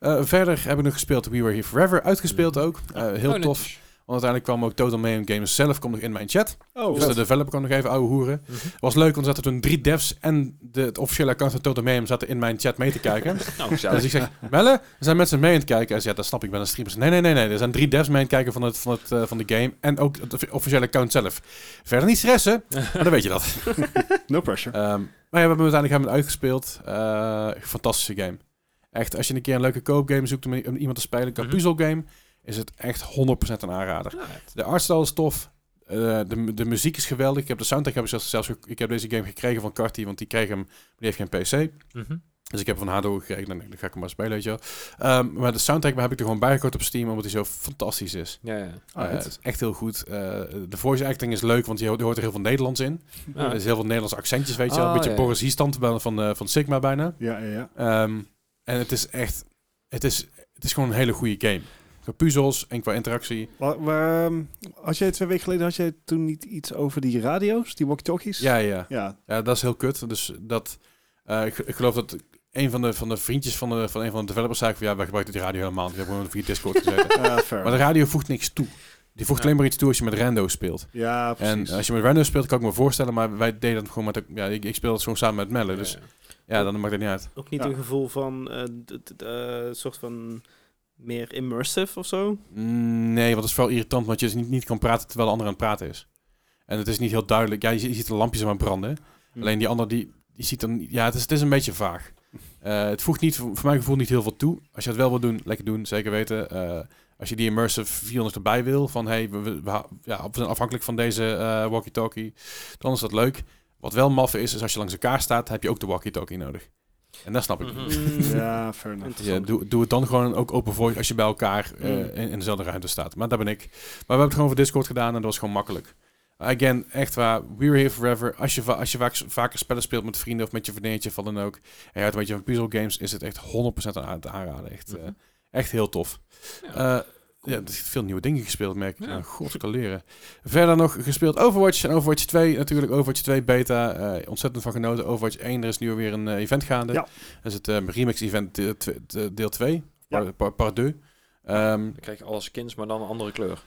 A: Eh, verder heb ik nog gespeeld We Were Here Forever. Uitgespeeld ook. Eh, heel
C: Oh,
A: tof.
C: netjes.
A: Want uiteindelijk kwam ook Total Mayhem Games zelf komt nog in mijn chat.
D: Oh,
A: dus de developer kon nog even ouwe hoeren.
C: Mhm.
A: Was leuk, want er zaten toen drie devs en de, het officiële account van Total Mayhem zaten in mijn chat mee te kijken.
C: Nou,
A: Dus
C: gezellig.
A: ik zeg, Melle, er zijn mensen mee aan het kijken. Hij zei, ja, dat snap ik, ik ben een streamer. Ik zei, Nee, nee, nee, nee. Er zijn drie devs mee aan het kijken van, het, van, het, eh, van de game. En ook het offi- officiële account zelf. Verder niet stressen, maar dan weet je dat.
D: no pressure.
A: Ehm, maar ja, we hebben hem uiteindelijk hebben we hem uitgespeeld. Eh, fantastische game. Echt, als je een keer een leuke koopgame zoekt om, om iemand te spelen, een
C: Mhm.
A: puzzelgame, is het echt 100% een aanrader. De artstyle is tof. Eh, de, de muziek is geweldig. Ik heb de soundtrack heb ik zelfs, zelfs ge- ik heb deze game gekregen van Carty, want die kreeg hem, die heeft geen PC.
C: Mhm.
A: Dus ik heb van haar doorgekregen. Dan, dan ga ik hem maar spelen, weet je wel. Ehm, maar de soundtrack heb ik er gewoon bijgekort op Steam, omdat hij zo fantastisch is.
C: Ja, ja.
D: Ah,
A: Eh, het is echt heel goed. Eh, de voice acting is leuk, want je ho- je hoort er heel veel Nederlands in.
C: Ah.
A: Er is heel veel Nederlandse accentjes, weet je wel. Een
C: Oh,
A: beetje
C: ja.
A: Boris Hiestand van, van, eh, van Sigma bijna.
D: Ja, ja, ja.
A: Ehm, en het is echt... Het is, het is gewoon een hele goede game. Qua puzzels en qua interactie.
D: Wa- wa- ehm, had jij twee weken geleden had jij toen niet iets over die radio's, die walkie-talkies?
A: Ja, ja.
D: Ja,
A: Ja, dat is heel kut. Dus dat... eh, ik, ik geloof dat een van de, van de vriendjes van, de, van een van de developers zei van... Ja, wij gebruiken die radio helemaal niet. We hebben gewoon via Discord gezeten.
D: eh, fair.
A: Maar de radio voegt niks toe. Die voegt
C: Ja.
A: alleen maar iets toe als je met rando speelt.
D: ja,
A: En
D: precies.
A: als je met rando speelt, kan ik me voorstellen, maar wij deden dat gewoon met... de- Ja, ik, ik speel dat gewoon samen met Melle, dus
C: Ja, ja.
A: ja, dan maakt het niet uit.
B: Ook niet
D: Ja.
B: een gevoel van eh, d- d- eh, soort van meer immersive of zo.
A: Mm, Nee, want het is vooral irritant, want je dus niet, niet kan praten terwijl de ander aan het praten is. En het is niet heel duidelijk. Ja, je, zie- je ziet de lampjes aan branden.
B: Hm.
A: Alleen die ander, die, die ziet dan... Ja, het is, het is een beetje vaag. Eh, het voegt niet, voor voor mijn gevoel niet heel veel toe. Als je het wel wil doen, lekker doen, zeker weten. Eh, als je die immersive 400 erbij wil, van hey, we, we- we ha- ja, we zijn afhankelijk van deze eh, walkie-talkie, dan is dat leuk. Wat wel maf is, is als je langs elkaar staat, heb je ook de walkie-talkie nodig. En dat snap ik.
C: Mhm.
A: niet.
B: Mm,
D: ja, fair enough.
A: Ja, doe, doe het dan gewoon ook open voice als je bij elkaar eh,
D: Mm.
A: in, in dezelfde ruimte staat. Maar daar ben ik. Maar we hebben het gewoon voor Discord gedaan en dat was gewoon makkelijk. Again, echt waar. We Were Here Forever. Als je, va- als je vaak, vaker spellen speelt met vrienden of met je vriendinnetje, of wat dan ook. En je houdt een beetje van puzzelgames, is het echt 100% aan aan te aanraden. Echt, eh,
C: Mhm.
A: echt heel tof. Eh,
C: Ja.
A: Ja. er zitten veel nieuwe dingen gespeeld, merk ik.
C: Ja.
A: Nou, god, ik kan leren. Verder nog gespeeld Overwatch en Overwatch 2. Natuurlijk Overwatch 2 beta. Eh, ontzettend van genoten. Overwatch 1, er is nu weer een eh, event gaande.
D: Ja.
A: Er zit een eh, remix event deel tw- de- deel 2.
D: Ja.
A: Par, par, part 2. Ehm,
C: Dan krijg je alle skins, maar dan een andere kleur.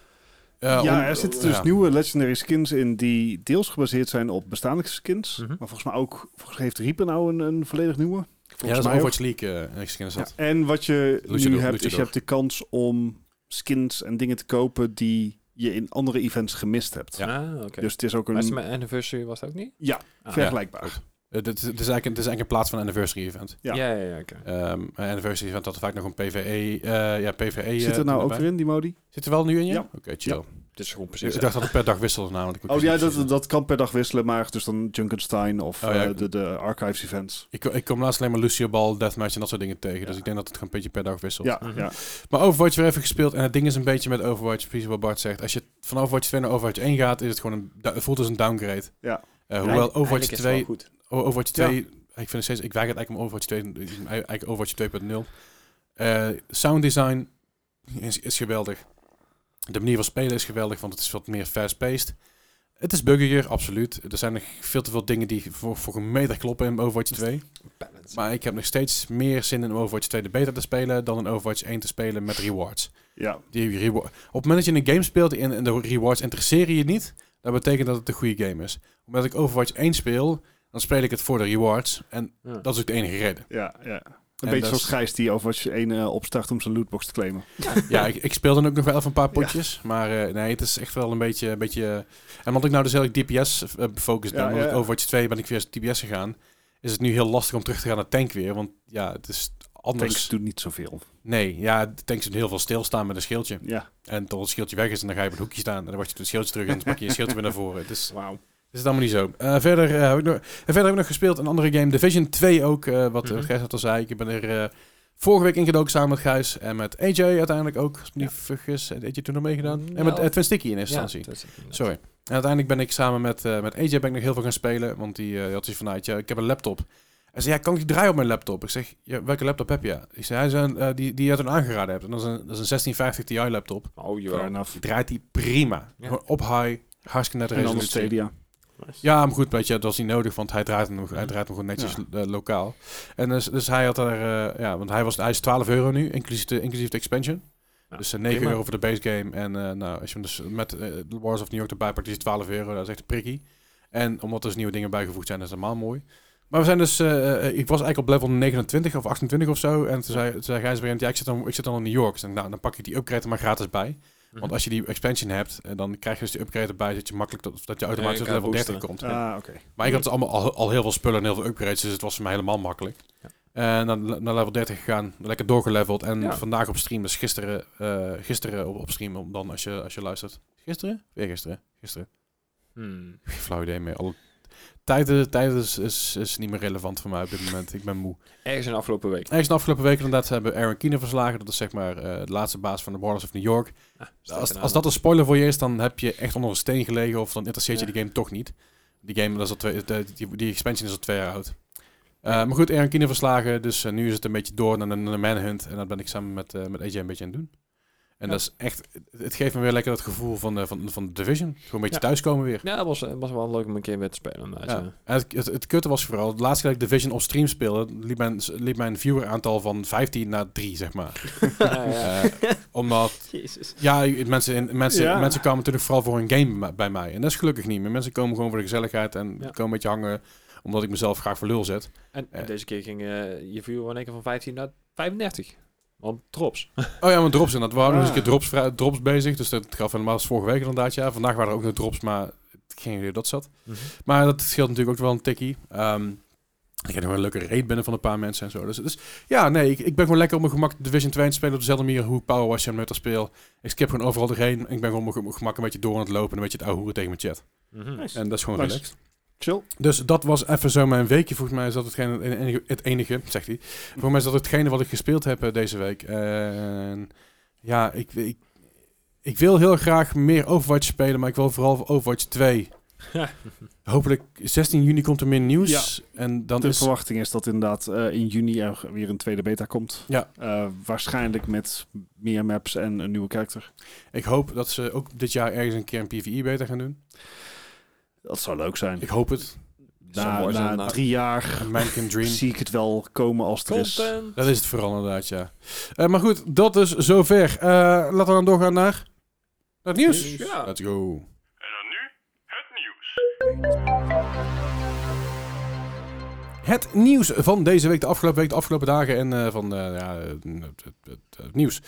A: eh, om-
D: ja, er zitten dus
A: ja.
D: nieuwe legendary skins in die deels gebaseerd zijn op bestaande skins.
C: Mhm.
D: Maar volgens mij ook, volgens mij heeft Reaper nou een, een volledig nieuwe.
C: Volgens
A: Ja, dat
D: volgens
A: is
D: mij ook.
A: Overwatch League eh, en skins dat.
D: Ja, en wat je nu
A: Luchador,
D: hebt, is je
A: luchador.
D: hebt de kans om skins en dingen te kopen die je in andere events gemist hebt.
A: Ja.
C: Ah, oké.
D: Dus het is ook een
C: Was het mijn anniversary was dat ook niet?
D: Ja,
C: Ah,
D: vergelijkbaar.
A: Eh, dit is- Het is eigenlijk het is eigenlijk in plaats van een anniversary event.
D: ja.
C: Ja, ja, ja, oké.
A: Ehm, een anniversary event had vaak nog een PvE. eh, ja, PvE.
D: Zit er
A: eh,
D: nou ook
A: erbij.
D: weer in, die modi?
A: Zit er wel nu in je?
D: Ja.
A: Oké, chill.
C: Het is gewoon
A: Ik
C: precies.
A: dacht dat het per dag wisselde namelijk. Ik
D: Oh
A: wist
D: ja,
A: niet precies.
D: dat, dat kan per dag wisselen, maar dus dan Junkenstein of
A: Oh ja,
D: eh,
A: ik-
D: de, de Archives events.
A: Ik, ik kom laatst alleen maar Lucio Ball, Deathmatch en dat soort dingen tegen. Dus ik denk dat het gewoon een beetje per dag wisselt.
D: Ja,
C: Mhm.
D: ja.
A: Maar Overwatch weer even gespeeld. En het ding is een beetje met Overwatch, precies wat Bart zegt. Als je van Overwatch 2 naar Overwatch 1 gaat, is het gewoon een, da- het voelt als een downgrade.
D: Ja.
A: Eh, hoewel Overwatch 2,
C: goed.
A: O- Overwatch 2, ik vind het steeds, ik weig het eigenlijk om Overwatch 2, eh, eigenlijk Overwatch 2.0. Eh sound design is, is geweldig. De manier van spelen is geweldig, want het is wat meer fast-paced. Het is buggier, absoluut. Er zijn nog veel te veel dingen die voor, voor een meter kloppen in Overwatch 2.
C: Balance.
A: Maar ik heb nog steeds meer zin in Overwatch 2 de beta te spelen dan in Overwatch 1 te spelen met rewards.
D: ja.
A: Die rewa- op het moment dat je een game speelt en, en de rewards interesseren je niet, dat betekent dat het een goede game is. Omdat ik Overwatch 1 speel, dan speel ik het voor de rewards. En
C: Ja.
A: dat is ook de enige reden.
D: ja, ja. Een
A: En
D: beetje
A: dat
D: zoals
A: is-
D: Gijs die Overwatch 1 eh, opstart om zijn lootbox te claimen.
A: Ja, ik, ik speel dan ook nog wel even een paar potjes. Maar eh, nee, het is echt wel een beetje... Een beetje eh, en omdat ik nou dus heel erg DPS eh, gefocust ben,
D: Ja,
A: omdat
D: ja.
A: ik Overwatch 2 ben ik weer DPS gegaan, is het nu heel lastig om terug te gaan naar tank weer. Want ja, het is anders.
D: Tanks doet niet zoveel.
A: Nee, ja, de tanks doen heel veel stilstaan met een schildje.
D: Ja,
A: En tot het schildje weg is en dan ga je op het hoekje staan. En dan word je het schildje terug en dan pak je je schildje weer naar voren. Het is,
C: Wauw.
A: is het allemaal niet zo. Eh, verder, eh, heb ik nog, en verder heb ik nog gespeeld een andere game, Division 2 ook. eh, wat
C: Mhm.
A: Gijs net al zei. Ik ben er eh, vorige week ingedoken samen met Gijs en met AJ uiteindelijk ook. Als ik me niet vergis, heeft AJ toen nog meegedaan. En met
C: Nou,
A: uh, Twin Sticky in
C: Ja,
A: instantie.
C: dat is het inderdaad.
A: Sorry. En uiteindelijk ben ik samen met, eh, met AJ ben ik nog heel veel gaan spelen. Want die eh, had zoiets van, nou, weet je, ik heb een laptop. Hij zei, ja, kan ik die draaien op mijn laptop? Ik zeg, ja, welke laptop heb je? Ik zei, hij zei, eh, die, die je toen aangeraden hebt. En dat is een, dat is een 1650 Ti laptop.
C: Oh,
D: fair
C: jawel.
D: enough.
A: Die draait die prima.
C: Ja.
A: Gewoon Op high, hartstikke nette
D: En anders
A: resolutie.
D: Stadia.
C: Dus-
A: Ja, maar goed, weet je, dat was niet nodig, want hij draait hem, nog-
C: Mm.
A: hij draait hem gewoon netjes eh, lokaal. En dus, dus hij had daar, eh, ja, want hij, was, hij is 12 euro nu, inclusief de, inclusief de expansion.
C: Ja,
A: dus eh, 9
C: prima.
A: euro voor de base game. En eh, nou, als je hem dus met eh, Wars of New York erbij pakt, is het 12 euro. Dat is echt een prikkie. En omdat er dus nieuwe dingen bijgevoegd zijn, is dat helemaal mooi. Maar we zijn dus, eh, eh, ik was eigenlijk op level 29 of 28 of zo. En toen zei, toen zei Gijs op een gegeven moment, ja, ik zit, dan, ik zit dan in New York. Ik zei, nou, dan pak ik die upgrade er maar gratis bij.
C: Mhm.
A: Want als je die expansion hebt, eh, dan krijg je dus die upgrade erbij, dat je makkelijk tot, dat je automatisch
C: Ja, je
A: tot level
C: kan
A: 30
C: boosten.
A: komt.
D: Ah, oké.
A: Maar ik had dus allemaal al, al heel veel spullen en heel veel upgrades, dus het was voor mij helemaal makkelijk.
C: Ja.
A: En dan le- naar level 30 gegaan, lekker doorgeleveld. En
C: Ja.
A: vandaag op stream, dus gisteren, eh, gisteren op, op stream, om dan als je, als je luistert. Gisteren? Weer gisteren. Gisteren.
C: Hmm.
A: Geen flauw idee meer. Alle tijden, tijden is, is, is niet meer relevant voor mij op dit moment. Ik ben moe.
C: Ergens in de afgelopen week.
A: Ergens de afgelopen weken inderdaad hebben we Aaron Keener verslagen. Dat is zeg maar eh, de laatste baas van de Warlords of New York.
C: Ah,
A: Als, als dat een spoiler voor je is, dan heb je echt onder een steen gelegen of dan interesseert je
C: Ja.
A: die game toch niet. Die game, dat is al twee, de- die, die expansion is al twee jaar oud. Eh, maar goed, Aaron Keener verslagen, dus eh, nu is het een beetje door naar de, naar de manhunt. En dat ben ik samen met, eh, met AJ een beetje aan het doen. En
C: Ja.
A: dat is echt, het geeft me weer lekker dat gevoel van, eh, van, van de Division. Gewoon een beetje
C: Ja.
A: thuiskomen weer.
C: Ja, dat was, was wel leuk om een keer weer te spelen. inderdaad,
A: Ja.
C: ja.
A: En het, het, het kutte was vooral, de laatste keer dat ik Division op stream speelde, liep mijn, liep mijn viewer aantal van 15 naar 3, zeg maar.
C: Ja, ja.
A: Eh, omdat
B: Jezus.
A: ja, i- mensen, in- mensen,
D: Ja.
A: mensen kwamen natuurlijk vooral voor hun game bij mij- bij mij. En dat is gelukkig niet meer. Mensen komen gewoon voor de gezelligheid en
C: Ja.
A: komen een beetje hangen omdat ik mezelf graag voor lul zet.
C: En
A: Eh.
C: deze keer ging eh, je viewer in één keer van 15 naar 35. Want trops.
A: Oh ja, maar drops en dat waren nog eens dus een
D: Ah.
A: keer drops, vrij- drops bezig. Dus dat gaf helemaal als vorige week inderdaad. Ja, vandaag waren er ook nog drops, maar ik geen idee hoe dat zat.
C: Mhm.
A: Maar dat scheelt natuurlijk ook wel een tikkie. Ehm, ik heb nog wel een leuke raid binnen van een paar mensen en zo. Dus, dus ja, nee, ik, ik ben gewoon lekker op mijn gemak Division 2 aan het spelen. Op dezelfde manier hoe ik Power Wash en Metal speel. Ik skip gewoon overal doorheen. Ik ben gewoon op mijn ge- op mijn gemak een beetje door aan het lopen. En een beetje het ouwe hoeren tegen mijn chat.
C: Mhm.
B: Nice.
A: En dat is gewoon
D: Nice.
A: relaxed.
D: Chill.
A: Dus dat was even zo mijn weekje. Volgens mij is dat hetgeen, het enige, het enige, zegt hij. Volgens mij is dat hetgene wat ik gespeeld heb eh, deze week. En ja, ik, ik, ik wil heel graag meer Overwatch spelen, maar ik wil vooral Overwatch 2. Hopelijk 16 juni komt er meer nieuws. En dan
D: De
A: is...
D: verwachting is dat inderdaad eh, in juni er weer een tweede beta komt.
A: Ja.
D: Eh, waarschijnlijk met meer maps en een nieuwe karakter.
A: Ik hoop dat ze ook dit jaar ergens een keer een PvE beter gaan doen.
D: Dat zou leuk zijn.
A: Ik hoop het.
C: zou
D: Na,
C: mooi zijn,
D: na
C: nou.
D: drie jaar
A: Man can dream.
D: zie ik het wel komen als het er is.
C: Content.
A: Dat is het vooral inderdaad, ja. Eh, maar goed, dat is zover. Eh, laten we dan doorgaan naar... Naar het nieuws.
C: Ja.
A: Let's go.
E: En dan nu het nieuws.
A: Het nieuws van deze week, de afgelopen week, de afgelopen dagen en eh, van eh, ja, eh, het, het- het- het nieuws.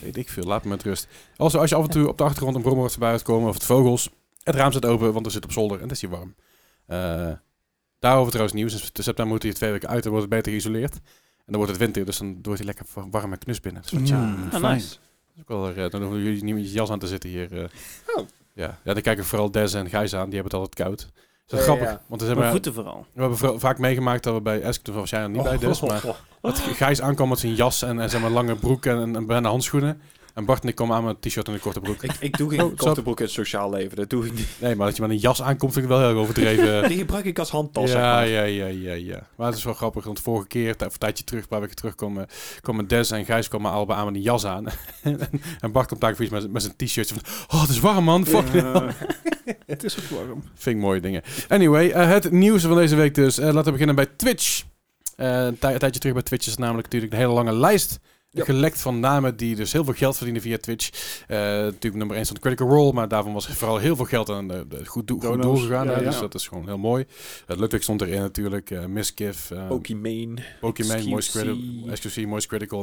A: Weet ik veel, laat me met rust. Also, als je af en toe op de achtergrond een brommer voorbij hoort komen of het vogels, het raam staat open, want er zit op zolder en het is hier warm. Eh, daarover trouwens nieuws. In september moet hij twee weken uit en wordt het beter geïsoleerd. En dan wordt het winter, dus dan wordt hij lekker wa- warm en knus binnen. Dus wat, ja,
D: Mm.
B: Ah,
D: Fijn.
B: nice.
A: dat is ook wel, eh, dan hoeven jullie niet met je jas aan te zitten hier. eh.
C: Oh.
A: Ja. ja, dan kijk ik vooral Des en Gijs aan, die hebben het altijd koud. Dat is wel
C: Ja,
A: grappig,
C: ja.
A: want ze
B: Mijn
A: hebben...
B: voeten vooral.
A: We hebben vro- vaak meegemaakt dat we bij Esk, toen was jij er niet bij dus,
C: Oh.
A: maar dat Gijs aankwam met zijn jas en, en zeg maar lange broek en, en, en bijna handschoenen. En Bart en ik kwamen aan met een t-shirt en een korte broek.
C: Ik, ik doe geen
A: Oh, sorry.
C: korte broek in het sociaal leven. Dat doe ik niet.
A: Nee, maar dat je met een jas aankomt vind ik wel heel erg overdreven.
C: Die gebruik ik als handtas. zeg
A: ja,
C: maar.
A: ja, ja, ja, ja. Maar het is wel grappig, want vorige keer, t- of een tijdje terug, een paar weken terug, kwam, eh, kwamen Des en Gijs kwamen allebei aan met een jas aan. en, en Bart komt daar voor iets met, met zijn t-shirt. Van, Oh, het is warm man, fuck
D: het is ook warm.
A: Vind ik mooie dingen. Anyway, eh, het nieuws van deze week dus. Eh, laten we beginnen bij Twitch. Eh, een, tij- een tijdje terug bij Twitch is namelijk natuurlijk een hele lange lijst
D: Ja.
A: gelekt van namen die dus heel veel geld verdienen via Twitch. Eh, natuurlijk nummer 1 stond Critical Role, maar daarvan was vooral heel veel geld aan eh, de goed, doel- goed
D: Dono's,
A: doel gegaan.
D: ja,
A: hè,
D: ja.
A: Dus dat is gewoon heel mooi. Het Ludwig stond erin natuurlijk. eh Miskiff, eh,
C: Pokimane.
A: Pokémon, Moist
C: SQC.
A: Critical, SQC, Moist Critical.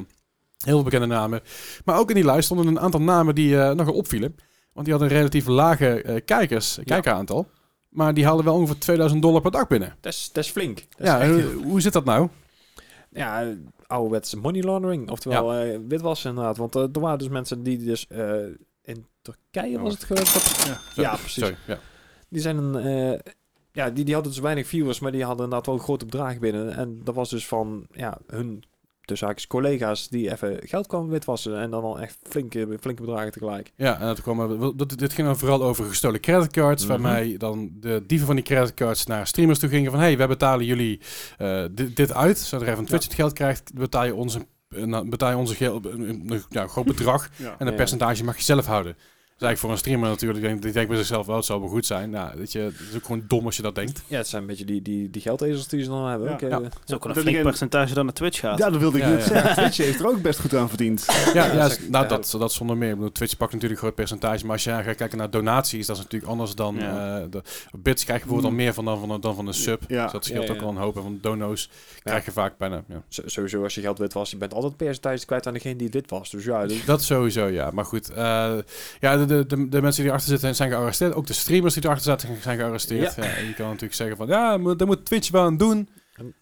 A: Heel veel bekende namen. Maar ook in die lijst stonden een aantal namen die eh nogal opvielen. Want die hadden een relatief lage eh, kijkers, kijkeraantal. Maar die haalden wel ongeveer 2000 dollar per dag binnen.
C: Dat is, dat is flink. Dat is
A: ja,
C: echt
A: en
C: heel-
A: hoe, hoe zit dat nou?
C: ja, ouderwetse money laundering. Oftewel eh, witwassen inderdaad. Want eh, er waren dus mensen die dus eh, in Turkije was het geloof ik.
D: Ja.
C: Ja, precies.
A: Sorry, ja.
C: Die zijn een... eh, ja, die, die hadden dus weinig viewers, maar die hadden inderdaad wel een groot bedrag binnen. En dat was dus van ja, hun tussen haakjes collega's die even geld kwamen witwassen. En dan al echt flinke, flinke bedragen tegelijk.
A: Ja, en dat kwam, er- dat, dit ging dan vooral over gestolen creditcards,
D: Mhm.
A: waarmee dan de dieven van die creditcards naar streamers toe gingen van hey, wij betalen jullie eh, dit, dit uit, zodra je van Twitch het geld krijgt, betaal je ons een, een- betaal je onze geld, eh, een, een- een- ja, een groot bedrag
D: Ja.
A: En een
C: Ja.
A: percentage mag je zelf houden. Dus eigenlijk voor een streamer natuurlijk, denk, die denkt bij zichzelf wel, het zou wel goed zijn. Nou, weet je, het is ook gewoon dom als je dat denkt.
C: Ja, het zijn een beetje die, die, die geldezels die ze dan hebben.
D: Ja.
C: Oké,
A: Ja.
C: eh,
B: Dat is ook wel een
D: Dat
B: flink
D: ik-
B: percentage dat naar Twitch gaat.
D: Ja, dat wilde ik
A: Ja,
D: net
A: ja.
D: zeggen. Twitch heeft er ook best goed aan verdiend.
A: Ja, ja,
C: zeg,
A: nou,
C: ja.
A: dat, dat zonder meer. Ik bedoel, Twitch pakt natuurlijk een groot percentage, maar als je gaat kijken naar donaties, dat is natuurlijk anders dan...
B: Ja.
A: eh, de, bits krijg je bijvoorbeeld
D: Hmm.
A: al meer van dan, van, dan van een sub.
D: Ja.
A: Dus dat scheelt
C: Ja, ja.
A: ook al een hoop. En van dono's krijg je vaak bijna... Ja.
C: zo- sowieso als je geld witwast, je bent altijd een percentage kwijt aan degene die het witwast. Dus ja, dat-
A: Dat sowieso, ja. Maar goed, eh, ja, de, de, de, de mensen die erachter zitten zijn gearresteerd. Ook de streamers die erachter zaten zijn gearresteerd. Ja. en je kan natuurlijk zeggen van, ja, maar daar moet Twitch wel aan doen.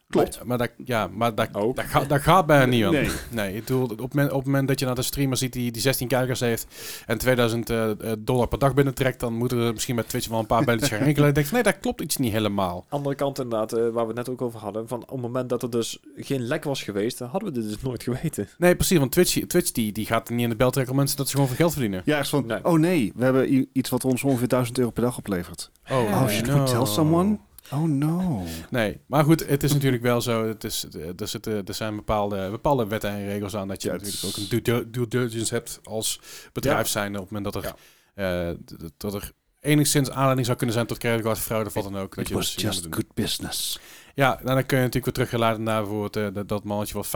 D: Klopt.
A: Maar, maar dat, ja, maar dat,
C: Oh.
A: dat, gaat, dat gaat bijna niet aan.
D: Nee.
A: Nee, ik bedoel, op, het moment- op het moment dat je naar de streamer ziet die, die 16 kijkers heeft en 2000 eh, eh, dollar per dag binnentrekt, dan moeten er misschien met Twitch wel een paar belletjes gaan rinkelen. Ik denk van, nee, dat klopt iets niet helemaal.
C: Andere kant inderdaad, eh, waar we het net ook over hadden, van op het moment dat er dus geen lek was geweest, dan hadden we dit dus nooit geweten.
A: Nee, precies, want Twitch, Twitch die, die gaat niet in de bel trekken om mensen dat ze gewoon veel geld verdienen.
D: Ja, echt van,
C: Nee.
D: oh nee, we hebben i- iets wat ons ongeveer 1000 euro per dag oplevert.
A: Oh,
D: Oh, should we tell someone? Oh no.
A: Nee, maar goed, het is natuurlijk wel zo. Het is, eh, er, zitten, er zijn bepaalde, bepaalde wetten en regels aan dat je
D: Ja, het
A: natuurlijk
D: is-
A: ook een due, dil- due diligence hebt als bedrijf zijnde op het moment dat er, eh, d- d- dat er enigszins aanleiding zou kunnen zijn tot creditcardfraude of wat dan ook. Dat
D: It
A: je
D: was
A: dus iets
D: just
A: moet doen.
D: good business.
A: Ja, nou, dan kun je natuurlijk weer teruggeladen naar bijvoorbeeld eh, dat, dat mannetje wat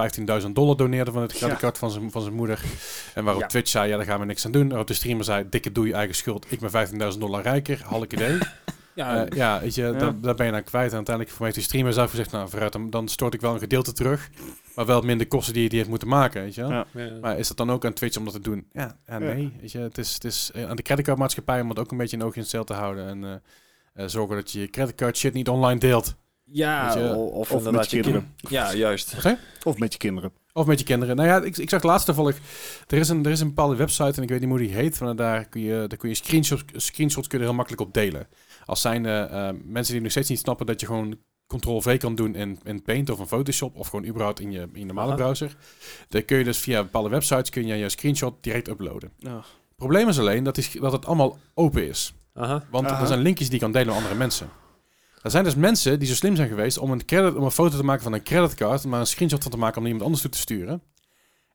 A: 15.000 dollar doneerde van het
D: Ja.
A: creditcard van, zijn, van zijn moeder. En waarop
C: Ja.
A: Twitch zei, ja, daar gaan we niks aan doen. Waarop de streamer zei, dikke doe je eigen schuld. Ik ben 15.000 dollar rijker, halk idee.
C: Ja,
A: Eh, ja, weet je, Daar, daar ben je dan kwijt. En uiteindelijk voor mij heeft die streamer zelf gezegd, nou vooruit, dan, dan stort ik wel een gedeelte terug. Maar wel minder kosten die die heeft moeten maken, weet je wel.
D: Ja.
A: Maar is dat dan ook aan Twitch om dat te doen? Ja, ja
D: Ja.
A: nee. Weet je, het is, het is eh, aan de creditcardmaatschappij om dat ook een beetje een oogje in het zeil te houden. En eh, eh, zorgen dat je je creditcard shit niet online deelt.
C: ja
A: Weet je,
C: o- of,
D: of met
C: inderdaad
D: je kinderen.
C: kind- Ja, juist.
D: Of met je kinderen.
A: Of met je kinderen. Nou ja, ik, ik zag laatst toevallig... Er is, een, er is een bepaalde website, en ik weet niet hoe die heet... maar daar kun je, daar kun je screenshots, screenshots kun je er heel makkelijk op delen. Als zijn eh, mensen die nog steeds niet snappen... dat je gewoon Ctrl-V kan doen in, in Paint of in Photoshop... of gewoon überhaupt in je, in je normale
B: Aha.
A: browser... dan kun je dus via bepaalde websites... kun je je screenshot direct uploaden.
B: Ja.
A: probleem is alleen dat, die, sch- dat het allemaal open is.
C: Aha.
A: Want
D: Aha.
A: er zijn linkjes die je kan delen met andere mensen. Er zijn dus mensen die zo slim zijn geweest om een, credit, om een foto te maken van een creditcard, maar een screenshot van te maken om die iemand anders toe te sturen.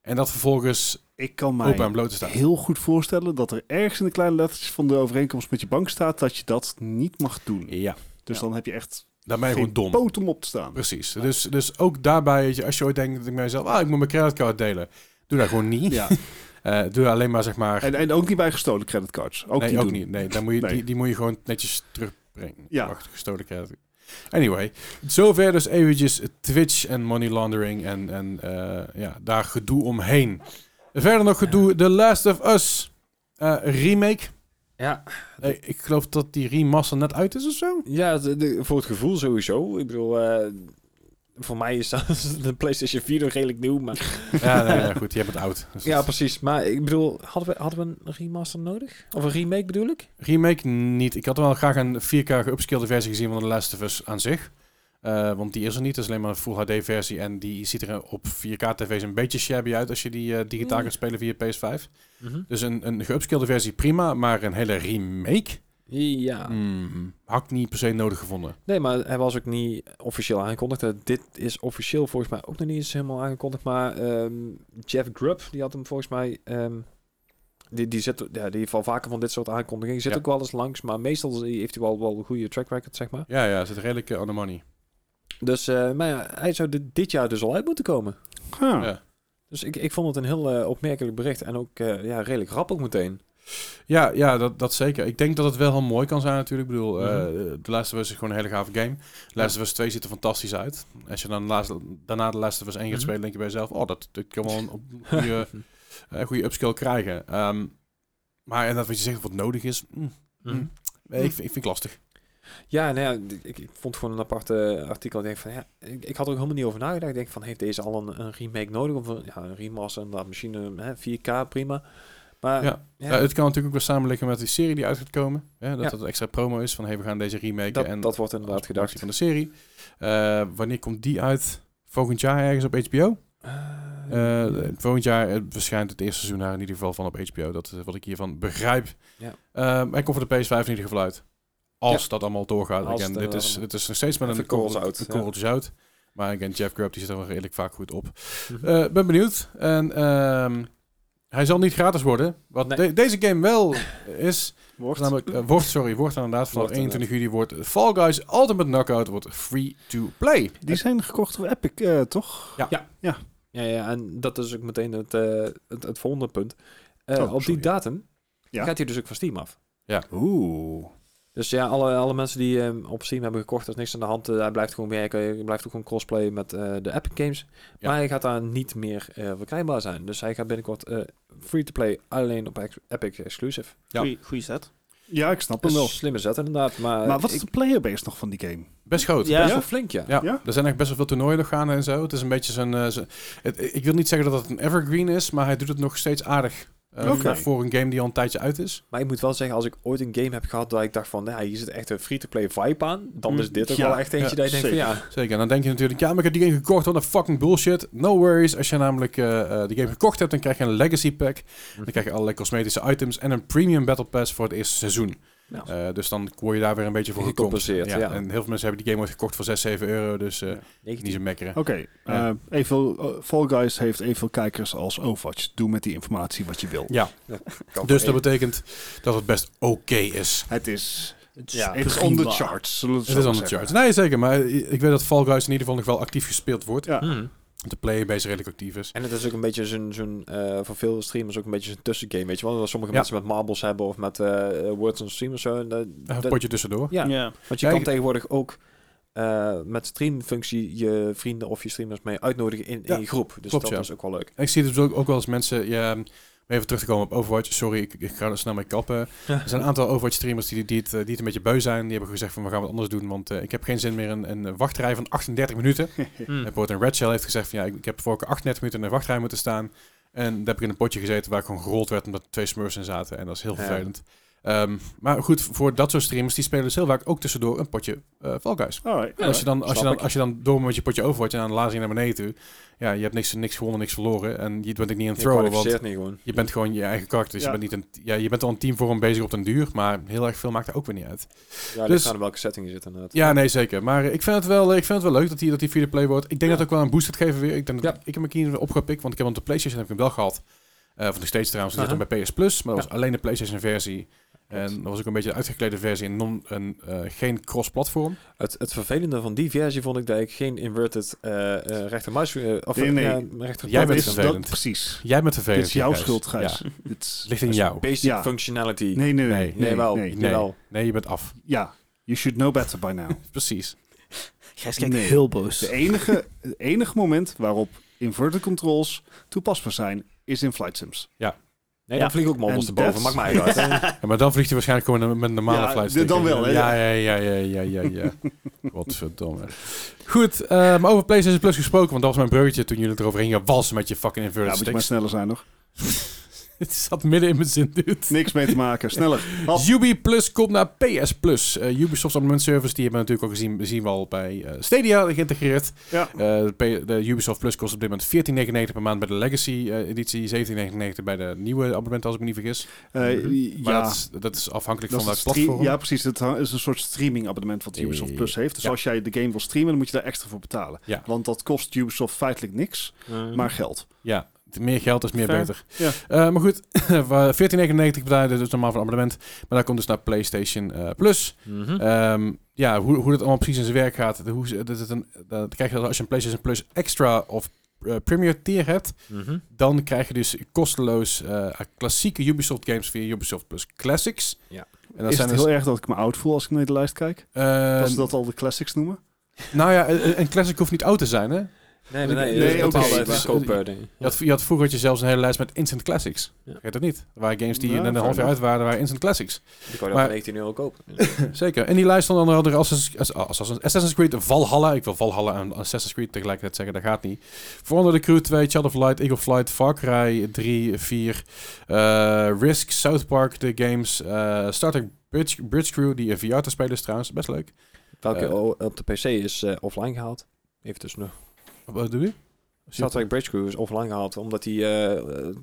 A: En dat vervolgens
D: Ik kan
A: open en
D: mij
A: bloot te staan.
D: heel goed voorstellen dat er ergens in de kleine lettertjes van de overeenkomst met je bank staat dat je dat niet mag doen.
A: Ja,
D: Dus
A: Ja.
D: dan heb je echt
A: daar ben je
D: geen
A: gewoon dom.
D: poot om op te staan.
A: Precies. Dus, dus ook daarbij, weet je, als je ooit denkt dat ik mezelf, ah, ik moet mijn creditcard delen. Doe dat gewoon niet.
D: Ja.
A: Eh, doe dat alleen maar, zeg maar.
D: En, en ook niet bij gestolen creditcards. Ook
A: nee,
D: niet
A: ook
D: doen.
A: niet. Nee, dan moet je,
D: Nee.
A: Die, die moet je gewoon netjes terugbrengen.
D: Ja.
A: Wacht, gestolen credit. Anyway, zover dus eventjes Twitch en money laundering en, en eh, ja, daar gedoe omheen. Verder nog gedoe The Last of Us eh, remake.
C: Ja,
A: Eh, ik geloof dat die remaster net uit is of zo.
C: ja de- de- voor het gevoel sowieso. Ik bedoel, eh, voor mij is dat- de PlayStation 4 nog redelijk nieuw. Maar...
A: ja, nee, ja, goed, je hebt het oud. Dus
C: Ja,
A: dat-
C: precies. Maar ik bedoel, hadden we, hadden we een remaster nodig? Of een remake bedoel ik?
A: Remake niet. Ik had wel graag een 4K geupscaled versie gezien van The Last of Us aan zich. Eh, want die is er niet. Het is alleen maar een Full HD versie. En die ziet er op 4K tv's een beetje shabby uit als je die eh, digitaal
C: Mm.
A: gaat spelen via PS5.
C: Mhm.
A: Dus een, een geupscaled versie prima, maar een hele remake
C: Ja.
A: mm, had ik niet per se nodig gevonden.
C: Nee, maar hij was ook niet officieel aangekondigd. Eh, Dit is officieel volgens mij ook nog niet eens helemaal aangekondigd. Maar ehm, Jeff Grubb, die had hem volgens mij... ehm, die, die, zet, ja, die heeft wel vaker van dit soort aankondigingen. Zit
A: Ja.
C: ook wel eens langs, maar meestal heeft hij wel, wel een goede track record, zeg maar.
A: Ja, ja, zit redelijk eh, on the money.
C: Dus eh, maar ja, hij zou dit, dit jaar dus al uit moeten komen.
D: Ah.
A: Ja.
C: Dus ik, ik vond het een heel eh, opmerkelijk bericht. En ook eh, ja, redelijk grappig meteen.
A: Ja, ja dat, dat zeker. Ik denk dat het wel heel mooi kan zijn natuurlijk. Ik bedoel, eh
C: Mhm.
A: The Last of Us is gewoon een hele gave game. The Last of Us 2 ziet er fantastisch uit. Als je dan laatst, daarna de Last of Us 1 gaat
C: Mhm.
A: spelen, denk je bij jezelf... Oh, dat, dat kan wel een op- goede, eh, goede upskill krijgen. Ehm, maar inderdaad, wat je zegt, wat nodig is... mm,
C: Mhm.
A: nee, ik, vind- ik vind het lastig.
C: Ja, nou ja, ik, ik vond gewoon een aparte eh, artikel. Ik denk van, ja, ik, ik had er ook helemaal niet over nagedacht. Ik denk van, heeft deze al een, een remake nodig? Of een, ja, een remaster, inderdaad, misschien een hè, 4K, prima. Maar
A: Ja.
C: ja,
A: Eh, het kan natuurlijk ook weer samenliggen met die serie die uit gaat komen. Ja, dat
C: Ja.
A: dat een extra promo is van... Hey, we gaan deze remake
C: dat,
A: en
C: dat wordt inderdaad
A: als promotie
C: gedacht.
A: van de serie. Eh, wanneer komt die uit? Volgend jaar ergens op HBO?
C: Eh,
A: Eh, volgend jaar eh, verschijnt het eerste seizoen daar in ieder geval van op HBO. Dat is wat ik hiervan begrijp.
C: Ja.
A: Ehm, en komt voor de PS5 in ieder geval uit. Als
C: Ja.
A: dat allemaal doorgaat.
C: Als
A: Again,
C: het
A: dit, is,
C: inderdaad
A: dit is nog steeds met
C: Even
A: een
C: korrels
A: korrel-
C: zout,
A: een
C: ja.
A: korreltje zout. Maar again, Jeff Grubb die zit er wel redelijk vaak goed op.
C: Mhm.
A: Eh, ben benieuwd. En ehm, hij zal niet gratis worden. Wat
C: Nee.
A: de- deze game wel is...
D: Wordt.
A: Wordt namelijk, eh, wordt, sorry, wordt inderdaad. Vanaf
C: Wordt
A: 21 juli wordt Fall Guys Ultimate Knockout wordt free to play.
D: Die zijn gekocht door Epic, eh, toch?
C: ja, ja, en dat is ook meteen het, eh, het, het volgende punt. Eh,
D: Oh,
C: op die
D: sorry.
C: datum
D: Ja.
C: gaat hij dus ook van Steam af.
D: Oeh.
C: Dus ja, alle, alle mensen die hem op Steam hebben gekocht, er is niks aan de hand. Eh, hij blijft gewoon werken. Hij blijft ook gewoon crossplay met eh, de Epic Games.
A: Ja.
C: Maar hij gaat daar niet meer eh, verkrijgbaar zijn. Dus hij gaat binnenkort eh, free-to-play alleen op ex- Epic exclusive.
A: Ja.
B: Goeie, goeie set.
D: Ja, ik snap
C: Dat
D: hem
C: is
D: wel.
C: een slimme zet inderdaad. Maar,
D: Oh, Maar wat is
C: ik,
D: de playerbase nog van die game?
A: Best groot.
B: Ja.
C: best wel flink, ja.
A: Ja,
D: Ja?
A: er zijn echt best wel veel toernooien nog gaande en zo. Het is een beetje zo'n... eh, zo- het- ik wil niet zeggen dat het een evergreen is, maar hij doet het nog steeds aardig. eh,
D: Oké.
A: voor- Voor een game die al een tijdje uit is.
C: Maar ik moet wel zeggen, als ik ooit een game heb gehad dat ik dacht van, nou, hier zit echt een free-to-play vibe aan, dan
B: Mm,
C: is dit ook
D: ja,
C: wel echt eentje
A: ja,
C: dat je denkt van, ja,
A: Zeker. En dan denk je natuurlijk, ja, maar ik heb die game gekocht. Wat een fucking bullshit. No worries. Als je namelijk eh eh, die game gekocht hebt, dan krijg je een legacy pack. Dan krijg je allerlei cosmetische items en een premium battle pass voor het eerste seizoen.
C: Ja.
A: Eh, dus dan word je daar weer een beetje voor
C: Gecompenseerd,
A: gecompt.
C: ja.
A: En heel veel mensen hebben die game ooit gekocht voor 6, 7 euro. Dus eh, niet
C: 19.
A: zo mekkeren.
D: Oké, eh, evenveel, eh, Fall Guys heeft evenveel kijkers als Overwatch. Doe met die informatie wat je wil.
A: Ja,
C: Kan
A: dus dat
C: wel.
A: betekent dat het best oké is.
D: Het is, het
C: Ja,
D: is
C: prima.
D: on the charts. zullen we
A: Het
D: zo
A: is on the
D: zeggen.
A: charts. Nee, zeker. Maar ik weet dat Fall Guys in ieder geval nog wel actief gespeeld wordt.
D: Ja.
C: Mm.
A: De playerbase redelijk actief is.
C: En het is ook een beetje zo'n, zo'n eh, voor veel streamers ook een beetje zo'n tussengame, weet je wel. Dat sommige
A: Ja.
C: mensen met marbles hebben of met eh, words on stream of zo. En dat-
A: Even
C: dat-
A: Een potje tussendoor.
C: ja,
B: Ja.
C: want je
A: Oh, Ja,
C: kan
A: ik-
C: tegenwoordig ook eh, met streamfunctie je vrienden of je streamers mee uitnodigen in,
A: Ja,
C: in je groep. Dus
A: klopt,
C: dat
A: ja.
C: is ook wel leuk.
A: Ik zie het dus ook, ook wel eens mensen... Ja, om even terug te komen op Overwatch. Sorry, ik, ik ga er snel mee kappen. Er zijn een aantal Overwatch-streamers die, die, het, eh, die het een beetje beu zijn. Die hebben gezegd van, we gaan wat anders doen. Want eh, ik heb geen zin meer in een wachtrij van 38 minuten.
C: Hm.
A: En Bijvoorbeeld een Red Shell heeft gezegd van, ja, ik, ik heb vorige 38 minuten in een wachtrij moeten staan. En daar heb ik in een potje gezeten waar ik gewoon gerold werd omdat er twee smurfs in zaten. En dat is heel
C: Ja.
A: vervelend. Ehm, maar goed, voor dat soort streamers, die spelen dus heel vaak ook tussendoor een potje eh Fall Guys.
D: Alright,
A: En als, je dan, als, je
C: snap
A: dan,
C: ik.
A: als je dan door met je potje over wordt en aan de laatste naar beneden toe. Ja, je hebt niks, niks gewonnen, niks verloren. En je bent ook niet een
C: Je
A: thrower, want
C: kwalificeert niet gewoon.
A: je bent gewoon je eigen karakter. Dus
D: Ja.
A: je, bent niet een, ja, je bent al een team voor hem bezig op den duur, maar heel erg veel maakt er ook weer niet uit.
C: Ja,
A: dus-
C: dus aan welke setting je zit inderdaad.
A: Ja, nee, zeker. Maar eh, ik vind het wel, ik vind het wel leuk dat hij dat die free play wordt. Ik denk
C: Ja.
A: dat het ook wel een boost gaat geven weer. Ik, denk dat,
C: Ja.
A: ik heb hem hier opgepikt, want ik heb hem op de PlayStation heb ik hem wel gehad. Eh of nog steeds trouwens, dat zit
C: Aha.
A: hem bij PS Plus, maar dat
C: Ja.
A: was alleen de PlayStation versie. En dat was ook een beetje een uitgeklede versie en non, en, eh, geen cross-platform.
C: Het, het vervelende van die versie vond ik dat ik geen inverted eh eh rechter muis... eh, of
D: Nee, nee.
C: eh, rechter
A: Jij
D: Dat
A: bent
D: is dat-
A: vervelend.
D: precies.
A: Jij bent vervelend.
D: Dit is jouw
A: Gijs.
D: schuld, Gijs.
A: Ja,
D: Dit is-
A: het ligt in jou.
C: basic
D: Ja.
C: functionality.
D: Nee, nee, nee.
A: Nee,
D: nee,
C: jawel,
D: nee.
A: nee.
C: jawel.
A: Nee, je bent af.
D: Ja, you should know better by now.
A: Precies.
B: Gijs kijkt
D: Nee.
B: heel boos.
D: Het enige, het enige moment waarop inverted controls toepasbaar zijn, is in flight sims.
B: Ja.
C: Nee, dan vlieg ik ook mobiles
D: En
C: erboven. Maakt
D: that's-
C: mij uit.
A: Ja, maar dan vliegt hij waarschijnlijk gewoon met een normale
D: Ja,
A: flightstick.
D: dan wel, hè?
A: Ja, ja, ja, ja, ja, ja. ja. Godverdomme. Goed, eh, maar over PlayStation Plus gesproken, want dat was mijn bruggetje toen jullie het erover gingen walsen met je fucking
D: Ja,
A: inverted
D: moet je maar
A: sticks.
D: sneller zijn nog.
A: Het zat midden in mijn zin, dude.
D: Niks mee te maken. Sneller. Hop.
A: Ubi Plus komt naar PS Plus. Eh, Ubisoft Abonnement Service, die hebben we natuurlijk ook gezien, zien we al bij eh, Stadia geïntegreerd.
D: Ja.
A: Eh, de, P- de Ubisoft Plus kost op dit moment 14,99 per maand bij de Legacy eh, editie, 17,99 bij de nieuwe abonnement als ik me niet vergis.
D: Eh,
A: Maar
D: ja,
A: dat, is, dat is afhankelijk
D: dat
A: van
D: is
A: welk
D: het stre-
A: platform.
D: ja, precies. Het ha- is een soort streaming abonnement wat Ubisoft
A: Eh,
D: Plus heeft. Dus
A: ja.
D: als jij de game wil streamen, dan moet je daar extra voor betalen.
A: Ja. Mhm.
D: Want dat kost Ubisoft feitelijk niks, maar geld.
A: Ja, t- meer geld is meer
B: Fair.
A: beter.
D: Ja.
A: Eh, maar goed, waar 14,99 betalen, dus normaal voor een abonnement. Maar daar komt dus naar PlayStation eh, Plus.
C: Hm.
A: Ehm, ja, hoe, hoe dat allemaal precies in zijn werk gaat. de- Hoe, ze- dat, is een, dat krijg je als je een PlayStation Plus Extra of eh, Premier Tier hebt. Dan krijg je dus kosteloos eh, klassieke Ubisoft games via Ubisoft Plus Classics.
C: Ja.
A: En dat
D: Is
A: zijn
D: het
A: dus...
D: heel erg dat ik me oud voel als ik naar de lijst kijk?
A: eh,
D: Als ze dat al de classics noemen?
A: nou ja, een een classic hoeft niet oud te zijn, hè? Je
C: Nee, nee, nee.
D: Nee,
C: dat is
D: oké,
C: bepaalde
A: dus-
D: maar-
C: scope, eh, ding.
A: had, je had vroeger had je zelfs een hele lijst met instant classics.
C: Ja.
A: Vergeet dat niet. Er waren games die
D: Ja,
A: net een half jaar
D: fair
A: uit waren, waren instant classics.
C: Die kon je
A: Maar-
C: dan 19 euro kopen.
A: Zeker. En die lijst stond onder andere Assassin's, Ass- Assassin's, Assassin's Creed Valhalla. Ik wil Valhalla en Assassin's Creed tegelijkertijd zeggen, dat gaat niet. Voor onder de Crew 2, Child of Light, Eagle Flight, Far Cry 3, 4, eh, Risk, South Park, de games, eh Star Trek Bridge, Bridge Crew, die in VR te spelen is trouwens. Best leuk.
C: Welke
A: Eh.
C: o- op de PC is eh, offline gehaald. Even tussen nog.
A: Wat doe je?
C: Star Trek Bridge Crew is offline gehaald omdat die eh, eh,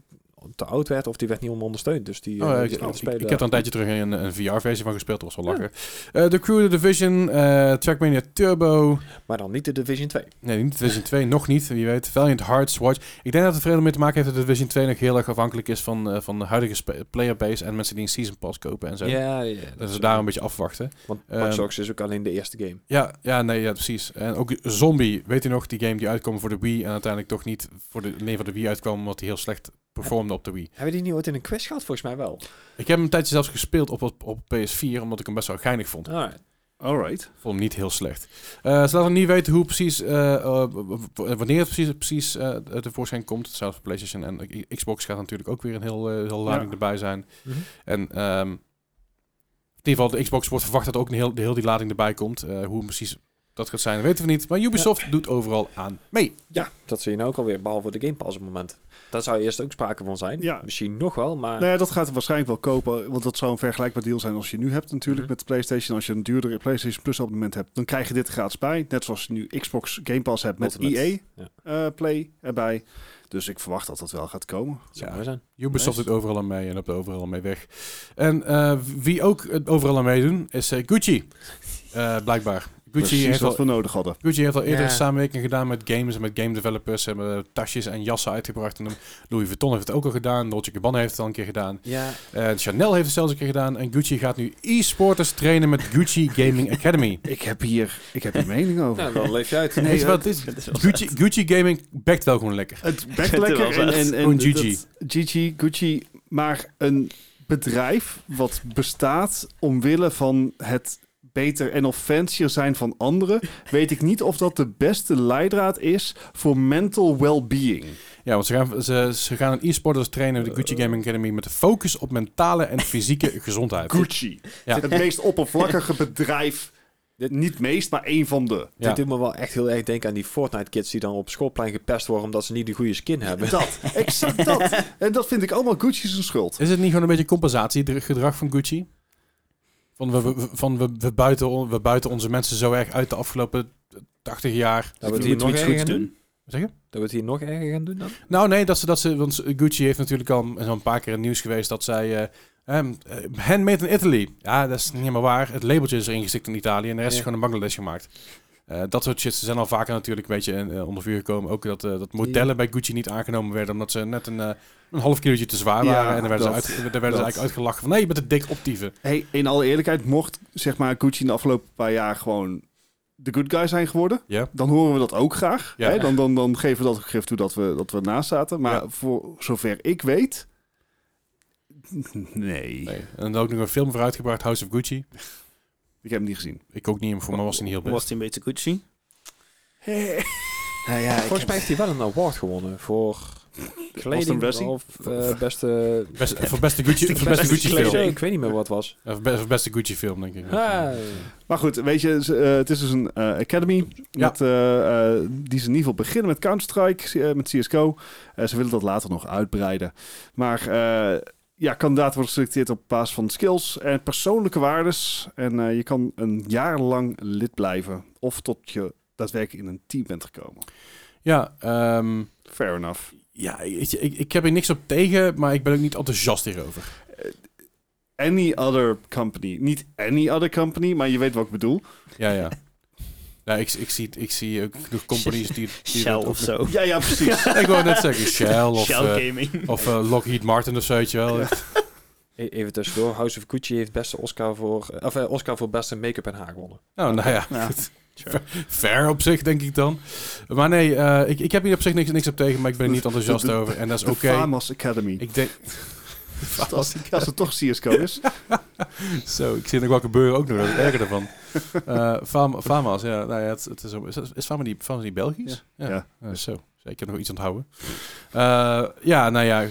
C: te oud werd of die werd niet om ondersteund. Dus die,
A: Oh, ja,
C: eh,
A: ik,
C: die is niet
A: ik-
C: te spelen.
A: ik heb er een tijdje terug een, een VR-versie van gespeeld, dat was wel lachen. Eh, The Crew, The Division, eh, Trackmania Turbo,
C: Maar dan niet de Division 2.
A: Nee, niet Division 2, nog niet, wie weet. Valiant Hearts, Watch. Ik denk dat het er veel mee te maken heeft dat Division 2 nog heel erg afhankelijk is van, eh, van de huidige spe- playerbase en mensen die een season pass kopen en zo.
C: Ja, ja.
A: Dat
C: is
A: ze daar een beetje afwachten.
C: Want
A: eh,
C: Watch Dogs is ook alleen de eerste game.
A: Ja, ja, nee, ja, precies. En ook Zombie, weet je nog, die game die uitkwam voor de Wii en uiteindelijk toch niet voor de, nee, voor de Wii uitkwam omdat hij heel slecht performde op de Wii.
C: Hebben die niet ooit in een quest gehad? Volgens mij wel.
A: Ik heb hem een tijdje zelfs gespeeld op, op, op PS4 omdat ik hem best wel geinig vond.
C: Alright.
D: Alright.
A: vond hem niet heel slecht. Eh, ze laten niet weten hoe precies, eh, eh, w- w- wanneer het precies, precies eh, tevoorschijn komt. Hetzelfde voor PlayStation en I- Xbox gaat natuurlijk ook weer een heel, eh, heel lading
D: Ja.
A: erbij zijn. En ehm, in ieder geval, de Xbox wordt verwacht dat ook een heel, de heel die lading erbij komt. Eh, hoe precies dat gaat zijn, weten we niet. Maar Ubisoft doet overal aan mee.
C: Ja, dat zie je nou ook alweer, behalve de Game Pass op het moment. Daar zou eerst ook sprake van zijn.
D: Ja.
C: Misschien nog wel, maar...
D: Nou ja, dat gaat er waarschijnlijk wel kopen. Want dat zou een vergelijkbaar deal zijn als je nu hebt natuurlijk
C: Mhm.
D: met de PlayStation. Als je een duurdere PlayStation Plus abonnement hebt, dan krijg je dit gratis bij. Net zoals je nu Xbox Game Pass hebt met
C: Ultimate.
D: EA
C: Ja.
D: eh, Play erbij. Dus ik verwacht dat dat wel gaat komen.
C: zou
A: Ja.
C: mooi zijn.
A: Ubisoft
D: Nice.
A: doet overal aan mee en loopt overal mee weg. En eh, wie ook het overal aan meedoen is eh, Gucci. Eh, blijkbaar. Gucci
D: Precies
A: heeft al
D: wat we nodig hadden.
A: Gucci heeft al eerder
C: Ja.
A: samenwerking gedaan met games en met game developers. Ze hebben tasjes en jassen uitgebracht. En Louis Vuitton heeft het ook al gedaan. Dolce Gabbana heeft het al een keer gedaan.
C: Ja,
A: En Chanel heeft het zelfs een keer gedaan. En Gucci gaat nu e-sporters trainen met Gucci Gaming Academy.
D: Ik heb hier, ik heb hier mening over.
C: nou, dan leef je uit.
A: Weet je wat het is?
B: Dat is wel
A: Gucci, Gucci Gaming bekt wel gewoon lekker.
D: Het
B: Ik
D: bekt
B: vind het
D: lekker
B: wel
D: en,
B: vet.
D: en, en
A: Gewoon Gigi.
D: dat- Gigi, Gucci, maar een bedrijf wat bestaat omwille van het beter en of fancier zijn van anderen, weet ik niet of dat de beste leidraad is voor mental well-being.
A: Ja, want ze gaan, ze, ze gaan een e-sporters trainen met de
B: Eh.
A: Gucci Gaming Academy met de focus op mentale en fysieke gezondheid.
D: Gucci,
A: Ja.
D: het meest oppervlakkige bedrijf, niet meest, maar één van de.
A: Ja.
C: Dit doet me wel echt heel erg denken aan die Fortnite-kids die dan op schoolplein gepest worden omdat ze niet de goede skin hebben.
D: Dat, exact dat. En dat vind ik allemaal Gucci zijn schuld.
A: Is het niet gewoon een beetje compensatiegedrag van Gucci? Van, we, we- van we, we, buiten, on- we buiten onze mensen zo erg uit de afgelopen 80 jaar.
C: Dat we het
B: Je
C: hier
B: moet
C: nog
B: iets
C: erger
B: goeds
C: gaan doen?
B: doen.
A: Zeg je?
C: Dat we het hier nog erger gaan doen dan?
A: Nou, nee, dat ze, dat ze, want Gucci heeft natuurlijk al een paar keer in het nieuws geweest dat zij. eh, ehm, eh, handmade in Italy. Ja, dat is niet helemaal waar. Het labeltje is erin gestikt in Italië en de rest is
C: Ja.
A: gewoon in Bangladesh gemaakt. Eh, dat soort shit. Ze zijn al vaker natuurlijk een beetje eh, onder vuur gekomen. Ook dat, eh, dat modellen bij Gucci niet aangenomen werden omdat ze net een, eh, een half kilootje te zwaar
D: Ja,
A: waren. en dan werden,
D: dat-
A: ze, uit, dan werden ze
D: dat.
A: eigenlijk uitgelachen van nee, je bent te dik optieven.
D: Hey, in alle eerlijkheid, mocht zeg maar Gucci in de afgelopen paar jaar gewoon de good guy zijn geworden,
A: Ja.
D: dan horen we dat ook graag.
A: Ja.
D: Hè? Dan, dan, dan geven we dat gegrift toe dat we, dat we naast zaten. Maar
A: Ja.
D: voor zover ik weet, nee.
A: Nee. En dan ook nog een film voor uitgebracht, House of Gucci.
D: Ik heb hem niet gezien.
A: Ik ook niet, maar voor mij was hij niet heel best.
B: Was hij een beetje Gucci?
D: Nou ja,
C: Volgens mij heeft hij wel een award gewonnen voor
D: Austin
C: kleding
D: Bessie?
C: of eh, beste...
A: Best, voor beste Gucci, voor beste
B: beste
A: Gucci
B: kleding.
A: film.
C: Ik weet niet meer wat het was.
A: Eh, Voor be- voor beste Gucci film, denk ik.
C: Ah,
D: Maar goed, weet je, ze- eh, het is dus een eh, academy
A: Ja.
D: met, eh, eh, die ze in ieder geval beginnen met Counter-Strike, c- eh, met CSGO. Eh, ze willen dat later nog uitbreiden. Maar eh, ja, kandidaten worden geselecteerd op basis van skills en persoonlijke waardes. En eh, je kan een jaar lang lid blijven of tot je daadwerkelijk in een team bent gekomen.
A: Ja, ehm,
D: Fair enough.
A: ja weet je, ik, ik heb er niks op tegen, maar ik ben ook niet enthousiast hierover.
D: Any other company. Niet any other company, maar je weet wat ik bedoel.
A: Ja, ja. Nou, ik, ik, zie, ik zie ook genoeg companies die... die
B: Shell
A: dat ook
B: of zo.
D: Ja, ja, precies.
A: nog- Ik wou net zeggen, Shell of,
B: Shell
A: eh,
B: Gaming.
A: of eh, Lockheed Martin of zoiets wel.
C: e- even tussendoor. House of Gucci heeft beste Oscar voor... eh, Of eh, Oscar voor beste make-up en haar gewonnen.
A: Nou, nou ja.
B: Ja.
A: goed. Fair op zich, denk ik dan. Maar nee, eh, ik, ik heb hier op zich niks, niks op tegen, maar ik ben er niet enthousiast
D: De- de-
A: over. En dat is
D: De
A: oké.
D: Famos Academy.
A: Ik denk...
D: als, als het toch CSGO is.
A: Zo, ik zie nog wel gebeuren ook nog, dat is het erger ervan. Eh, Fam- Fama's, ja, nou ja, het, het is, is, is Fama die, Fama die Belgisch? Ja.
D: Ja.
A: Eh, zo, ik heb nog iets onthouden. Eh, ja, nou ja.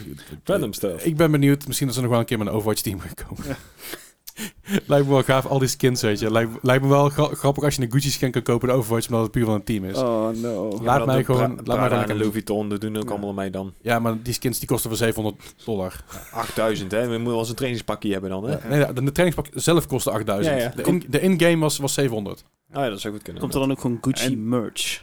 C: Random stuff.
A: Ik ben benieuwd, misschien dat ze nog wel een keer met een Overwatch team gaan komen. lijkt me wel gaaf, al die skins, weet je. Lijkt, lijkt me wel gra- grappig als je een Gucci skin kan kopen in Overwatch, omdat het puur van een team is.
D: Oh no.
A: Laat mij gewoon- laat mij
C: Laat
A: gewoon
C: mij
A: lekker-
C: en Louis Vuitton, dat doen ook
D: Ja.
C: allemaal mij dan.
A: Ja, maar die skins die kosten voor 700 dollar.
C: 8000, hè. We moeten wel eens een trainingspakje hebben dan, hè.
D: Ja.
A: Nee, de, de trainingspak zelf kostte 8000.
C: Ja, ja.
A: De in- De in-game was, was 700.
C: Oh ja, dat zou goed kunnen.
B: Komt er dan ook gewoon Gucci merch?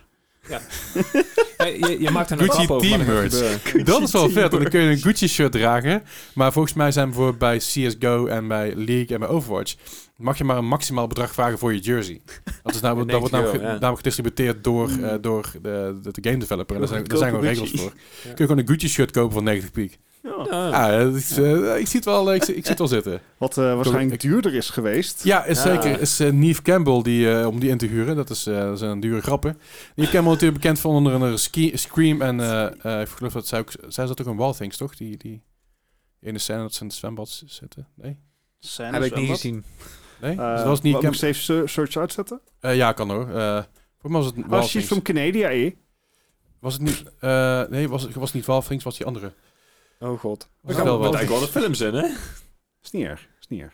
C: Eh, je, je maakt er een
A: Gucci
C: grap over, maar dat gaat
A: teammerch.
C: gebeuren.
A: Dat is wel
B: team,
A: vet, want dan
B: hoor.
A: kun je een Gucci-shirt dragen. Maar volgens mij zijn bijvoorbeeld bij CSGO en bij League en bij Overwatch... mag je maar een maximaal bedrag vragen voor je jersey. Dat, is namelijk, dat wordt
C: 90 euro,
A: namelijk, ge-
C: ja.
A: namelijk gedistributeerd door, eh, door de, de, de game developer. En daar zijn, daar zijn gewoon
B: Goedkope
A: regels voor.
C: Ja. Oh.
A: Kun je gewoon een Gucci-shirt kopen van 90 piek.
B: Ja.
C: Ja.
A: Ah, eh, dat is, eh, ik, zie het wel, eh, ik, zie- ik zie het wel zitten.
D: Wat eh, waarschijnlijk duurder is geweest.
A: Ja, is
C: Ja.
A: zeker. Is eh, Neve Campbell die, eh, om die in te huren. Dat is, eh, dat zijn dure grappen. Neve Campbell natuurlijk bekend van onder andere Ski- Scream en eh, eh, ik geloof dat zij ook, zij zat ook in Wild Things, toch? Die, die ene scène dat ze in het zwembad z- zitten. Nee?
B: Zijn
C: Heb
B: er
C: ik
B: zo
C: niet
B: wat?
C: gezien.
A: Nee?
D: Eh,
A: Dus dat was Neve
D: wat, moet ik
A: Campbell.
D: Safe Ser- Search uitzetten?
A: Eh, ja, kan hoor. Eh voor mij was het
D: Oh,
A: Wild
D: she's
A: Things.
D: from Canada, eh?
A: Was het niet... eh, nee, was, was het niet Wild Things, was die andere.
C: Oh god.
A: We
C: We
A: gaan wel
C: gaan
A: wel.
C: wel de films in, hè?
D: Is niet erg. Is niet erg.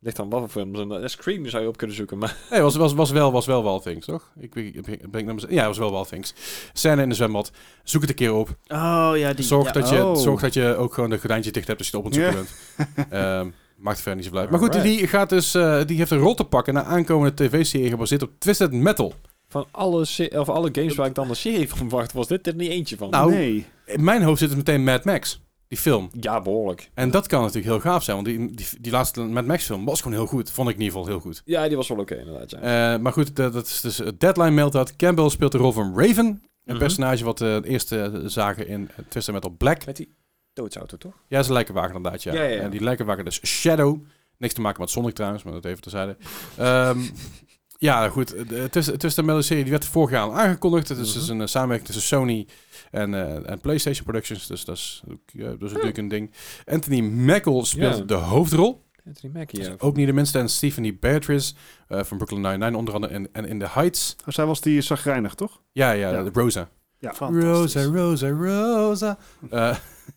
C: Ligt dan wel voor films in. Eh, Scream zou je op kunnen zoeken, maar...
A: Nee, was, was, was, wel, was wel Wild Things, toch? Ik, ik, ik, ik ben ik naar mijn- ja, was wel Wild Things. Scène in de zwembad. Zoek het een keer op.
B: Oh ja, die.
A: Zorg,
B: ja.
A: dat je,
D: oh.
A: zorg dat je ook gewoon de gordijntje dicht hebt als je het op het zoeken bent. Ehm, maakt verder niet zo blij. Maar goed,
C: Alright.
A: die, gaat dus, eh, die heeft een rol te pakken na aankomende tv-serie gebaseerd op Twisted Metal.
C: Van alle, se- of alle games waar ik dan een serie van verwacht, was dit er niet eentje van.
A: Nou.
D: Nee.
A: In mijn hoofd zit het meteen Mad Max, die film.
C: Ja, behoorlijk.
A: En dat kan natuurlijk heel gaaf zijn, want die, die, die laatste Mad Max film was gewoon heel goed. Vond ik in ieder geval heel goed.
C: Ja, die was wel oké, inderdaad, ja.
A: Eh, maar goed, dat, dat is dus het deadline mailt dat. Campbell speelt de rol van Raven. Een
C: Mhm.
A: personage wat eh, het eerste zagen in Twisted Metal Black.
C: Met die doodsauto, toch?
A: Ja, ze lijken wagen inderdaad, ja.
C: Ja, ja, ja.
A: En die lijken wagen dus Shadow. Niks te maken met Sonic trouwens, maar dat even terzijde. Ehm ja, goed. Eh, de- Tussen tussen de serie die werd vorig jaar al aangekondigd. Het is dus
C: Mhm.
A: een eh, samenwerking tussen Sony en, eh, en PlayStation Productions. Dus dat is, ook, eh, dus natuurlijk een ding. Anthony Mackel speelt
C: Hm. Ja.
A: de hoofdrol. Dus
C: Anthony Mackie, ja.
A: Ook niet de minste. En Stephanie Beatrice eh, van Brooklyn Nine-Nine onder andere. En, en In The Heights.
D: Oh, Zij was die zagrijnig, toch?
A: Ja, ja,
D: Ja.
A: de Rosa.
D: Ja.
A: Rosa, Rosa, Rosa. Eh,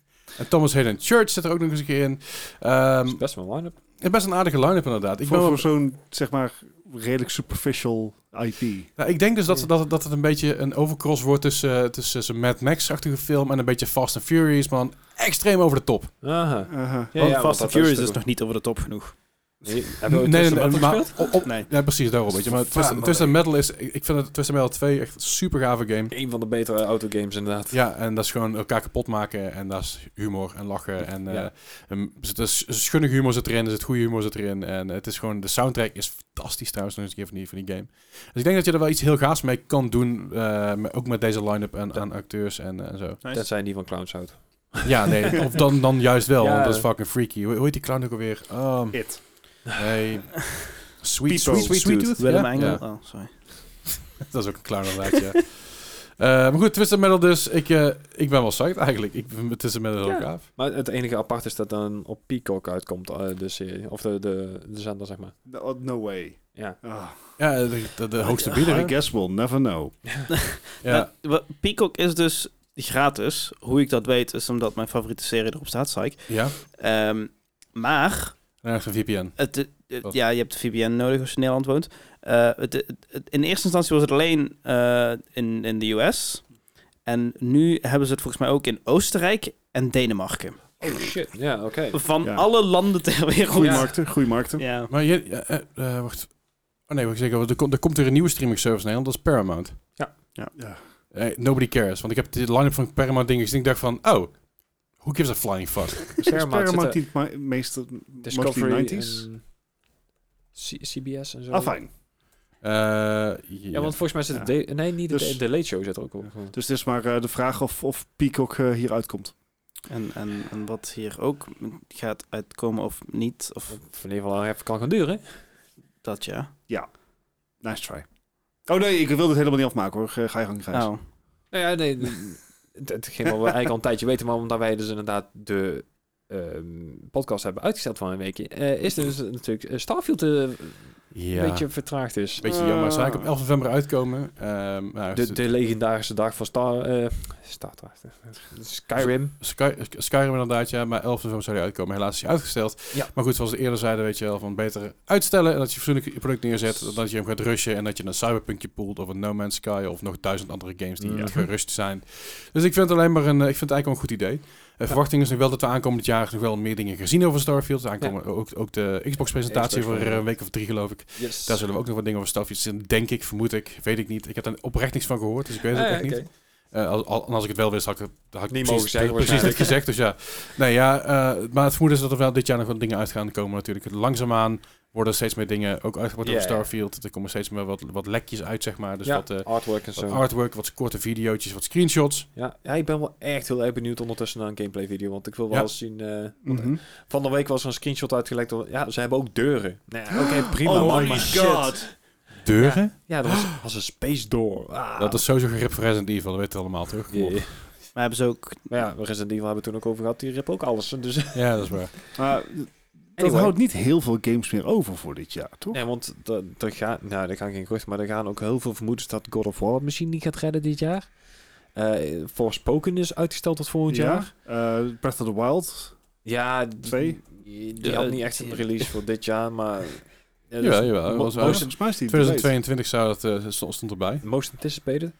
A: en Thomas Hayden Church zit er ook nog eens een keer in. Ehm,
C: Dat is best wel een line-up.
A: het is best een aardige line-up inderdaad. Ik,
D: voor
A: ben wel-
D: voor zo'n, zeg maar, redelijk superficial IP.
A: nou, ik denk dus dat, dat, dat het een beetje een overcross wordt tussen, eh, tussen zo'n Mad Max-achtige film en een beetje Fast and Furious, maar dan extreem over de top.
C: Aha.
D: Aha.
C: Ja,
B: Want
C: ja,
B: Fast
C: want
B: and
C: dat
B: Furious
C: is
B: is nog niet over de top genoeg.
C: Nee, hebben we ook
A: Nee,
C: Twisted
A: nee,
C: Metal
A: maar
C: gespeeld?
A: op, op-
B: Nee.
A: ja, precies, daarom. Weet je. Maar tussen, tussen Metal is, ik ik vind het tussen Metal 2 echt een super gave game.
C: Een van de betere autogames, inderdaad.
A: Ja, en dat is gewoon elkaar kapot maken en dat is humor en lachen. En, eh
C: Ja.
A: en er zit- er is schunnige humor zit erin, er zit goede humor zit erin. En het is gewoon, de soundtrack is fantastisch trouwens, nog eens een keer van die, van die game. Dus ik denk dat je er wel iets heel gaafs mee kan doen, eh, met- ook met deze line-up en, aan acteurs en, eh, en zo.
C: Dat zijn die van Clowns houdt.
A: Ja, nee, of dan, dan juist wel,
C: Ja.
A: want dat is fucking freaky. Hoe, hoe heet die clown ook alweer? Um,
D: It.
A: nee. Sweet,
D: Peepo.
A: sweet, sweet,
D: Sweet
A: Tooth?
B: Willem
A: Ja?
B: Engel.
A: Ja.
B: Oh, sorry.
A: Dat is ook een clown inderdaad, ja. Eh, maar goed, Twisted Metal dus. Ik, eh, ik ben wel psyched eigenlijk. Ik vind Twisted Metal heel
C: Ja.
A: gaaf.
C: Maar het enige apart is dat dan op Peacock uitkomt, eh, de serie. Of de, de, de zender, zeg maar.
D: No, no way.
C: Ja.
D: Ah,
A: Ja, eh, de, de, de hoogste bieder.
D: I
A: hè?
D: guess we'll never know.
A: Ja.
B: Nou, wat- Peacock is dus gratis. Hoe ik dat weet, is omdat mijn favoriete serie erop staat, Psych.
A: ja.
B: Ehm, maar
A: Ja, een VPN.
B: Het, het- het-
A: Wat?
B: ja, je hebt de VPN nodig als je in Nederland woont. Eh, het, het- het- in eerste instantie was het alleen eh, in, in de US. En nu hebben ze het volgens mij ook in Oostenrijk en Denemarken.
C: Oh shit. Ja, oké.
B: Van
D: Ja.
B: alle landen ter wereld.
D: Goeie
B: Ja.
D: markten, goeie markten.
B: Ja.
A: Maar je, ja, eh, eh, wacht. Oh nee, wacht zeker. Er, komt- er komt weer een nieuwe streaming service in Nederland. Dat is Paramount.
C: Ja.
D: Ja. Ja.
A: Eh, nobody cares. Want ik heb de line-up van Paramount dingen gezien. Ik dacht van, oh, who gives a flying fuck?
D: Is
C: Paramount
D: Paramount
C: zit
D: die het ma- meeste
C: eh, Discovery
D: mostly 90s?
C: en C- CBS en zo.
D: Ah, fijn.
A: Eh,
C: Ja, want volgens mij zit het... de- nee, niet
D: Dus-
C: de, de Late Show zit er ook op.
D: Dus het is maar eh, de vraag of, of Peacock eh, hier uitkomt.
B: En, en, en wat hier ook gaat uitkomen of niet, of
C: Van ieder geval even kan gaan duren.
B: dat ja.
D: Nice try. Oh nee, ik wil dit helemaal niet afmaken hoor. Ga ga je gang, Gijs.
B: Nou,
C: Nou ja, nee. het, het ging wel eigenlijk al een tijdje weten, maar omdat wij dus inderdaad de ehm, podcast hebben uitgesteld van een weekje, eh, is er dus natuurlijk eh, Starfield eh,
A: ja.
C: een beetje vertraagd is.
A: beetje jammer. Zou ik op 11 november uitkomen? Ehm, nou,
C: De, de legendarische dag van Star, eh, Star Trek. Skyrim.
A: Sky, Skyrim inderdaad, ja. Maar 11 november zou die uitkomen. Helaas is die uitgesteld.
C: Ja.
A: Maar goed, zoals we eerder zeiden, weet je wel, van beter uitstellen. En dat je fatsoenlijk je product neerzet. dan Dat je hem gaat rushen. En dat je een cyberpunkje poelt. Of een No Man's Sky. Of nog duizend andere games die
D: Ja.
A: gerust zijn. Dus ik vind het alleen maar een, eh, ik vind het eigenlijk wel een goed idee. Eh, Verwachting is nog wel dat we aankomend jaar nog wel meer dingen gezien over Starfield. Aankomen, ook, ook de Xbox-presentatie
C: Xbox,
A: voor
C: ja.
A: eh, een week of drie, geloof ik.
C: Yes.
A: Daar zullen we ook nog wat dingen over Starfield zien. Denk ik, vermoed ik, weet ik niet. Ik heb daar oprecht niks van gehoord, dus ik weet
D: Ah,
C: Ah,
A: het ook echt niet. Eh, al, al- en als ik het wel wist, had ik, het- had ik
C: Niet
A: precies,
C: mogen zeggen,
A: precies dit gezegd.
C: waarschijnlijk.
A: Dus ja, nee, ja eh, maar het vermoeden is dat er wel dit jaar nog wat dingen uit gaan komen natuurlijk. Langzaamaan worden er steeds meer dingen ook uitgebracht
C: Ja,
A: over
C: ja.
A: Starfield. Er komen steeds meer wat, wat lekjes uit, zeg maar. Dus
C: ja,
A: wat, eh,
C: artwork en zo.
A: wat artwork, wat korte videootjes, wat screenshots.
C: ja. ja, ik ben wel echt heel erg benieuwd ondertussen naar een gameplay video, want ik wil wel
A: Ja.
C: eens zien... eh, want
D: Mhm.
C: Van de week was er een screenshot uitgelekt. door- Ja, ze hebben ook deuren. Nou ja, Oké, prima.
D: Oh
C: man,
D: my
C: maar-
D: god.
A: Deuren?
C: Ja, dat was, was een space door. Ah.
A: Dat is sowieso gerip voor Resident Evil, dat weten we allemaal, toch? Kom op.
C: Ja.
B: maar hebben ze ook...
C: Maar ja, Resident Evil hebben we toen ook over gehad. Die rip ook alles. Dus,
A: Ja, dat is waar.
D: Maar eh, dat
C: Anyway.
D: houdt niet heel veel games meer over voor dit jaar, toch?
C: nee, want er er gaan, nou, er gaan geen geruchten, maar er gaan ook heel veel vermoedens dat God of War het misschien niet gaat redden dit jaar. Eh Forspoken is uitgesteld tot volgend jaar.
D: Ja, eh, Breath of the Wild.
C: Ja, d-
D: Twee?
C: Die, die had niet echt een release voor dit jaar, maar... Ja, dus
A: Jawel, jawel. dat was wel-
D: Most- Volgens Oh, mij is die
A: 2022 zou dat, eh, stond stond erbij.
C: Most anticipated.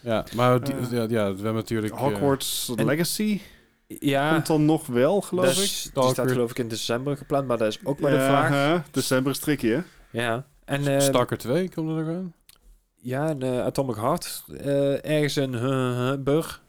A: Ja, maar die-
D: Eh.
A: ja, ja, we hebben natuurlijk... eh,
D: Hogwarts
C: En- Ah.
D: Legacy
C: Ja,
D: komt dan nog wel, geloof
C: dat
D: ik.
C: is- die staat
A: Stalker.
C: geloof ik in december gepland, maar dat is ook maar de
D: Ja,
C: vraag.
D: hè, december is tricky, hè?
C: Ja. En eh,
A: Stalker 2 komt er nog aan.
C: Ja, een eh, Atomic Heart. eh, ergens in Burg.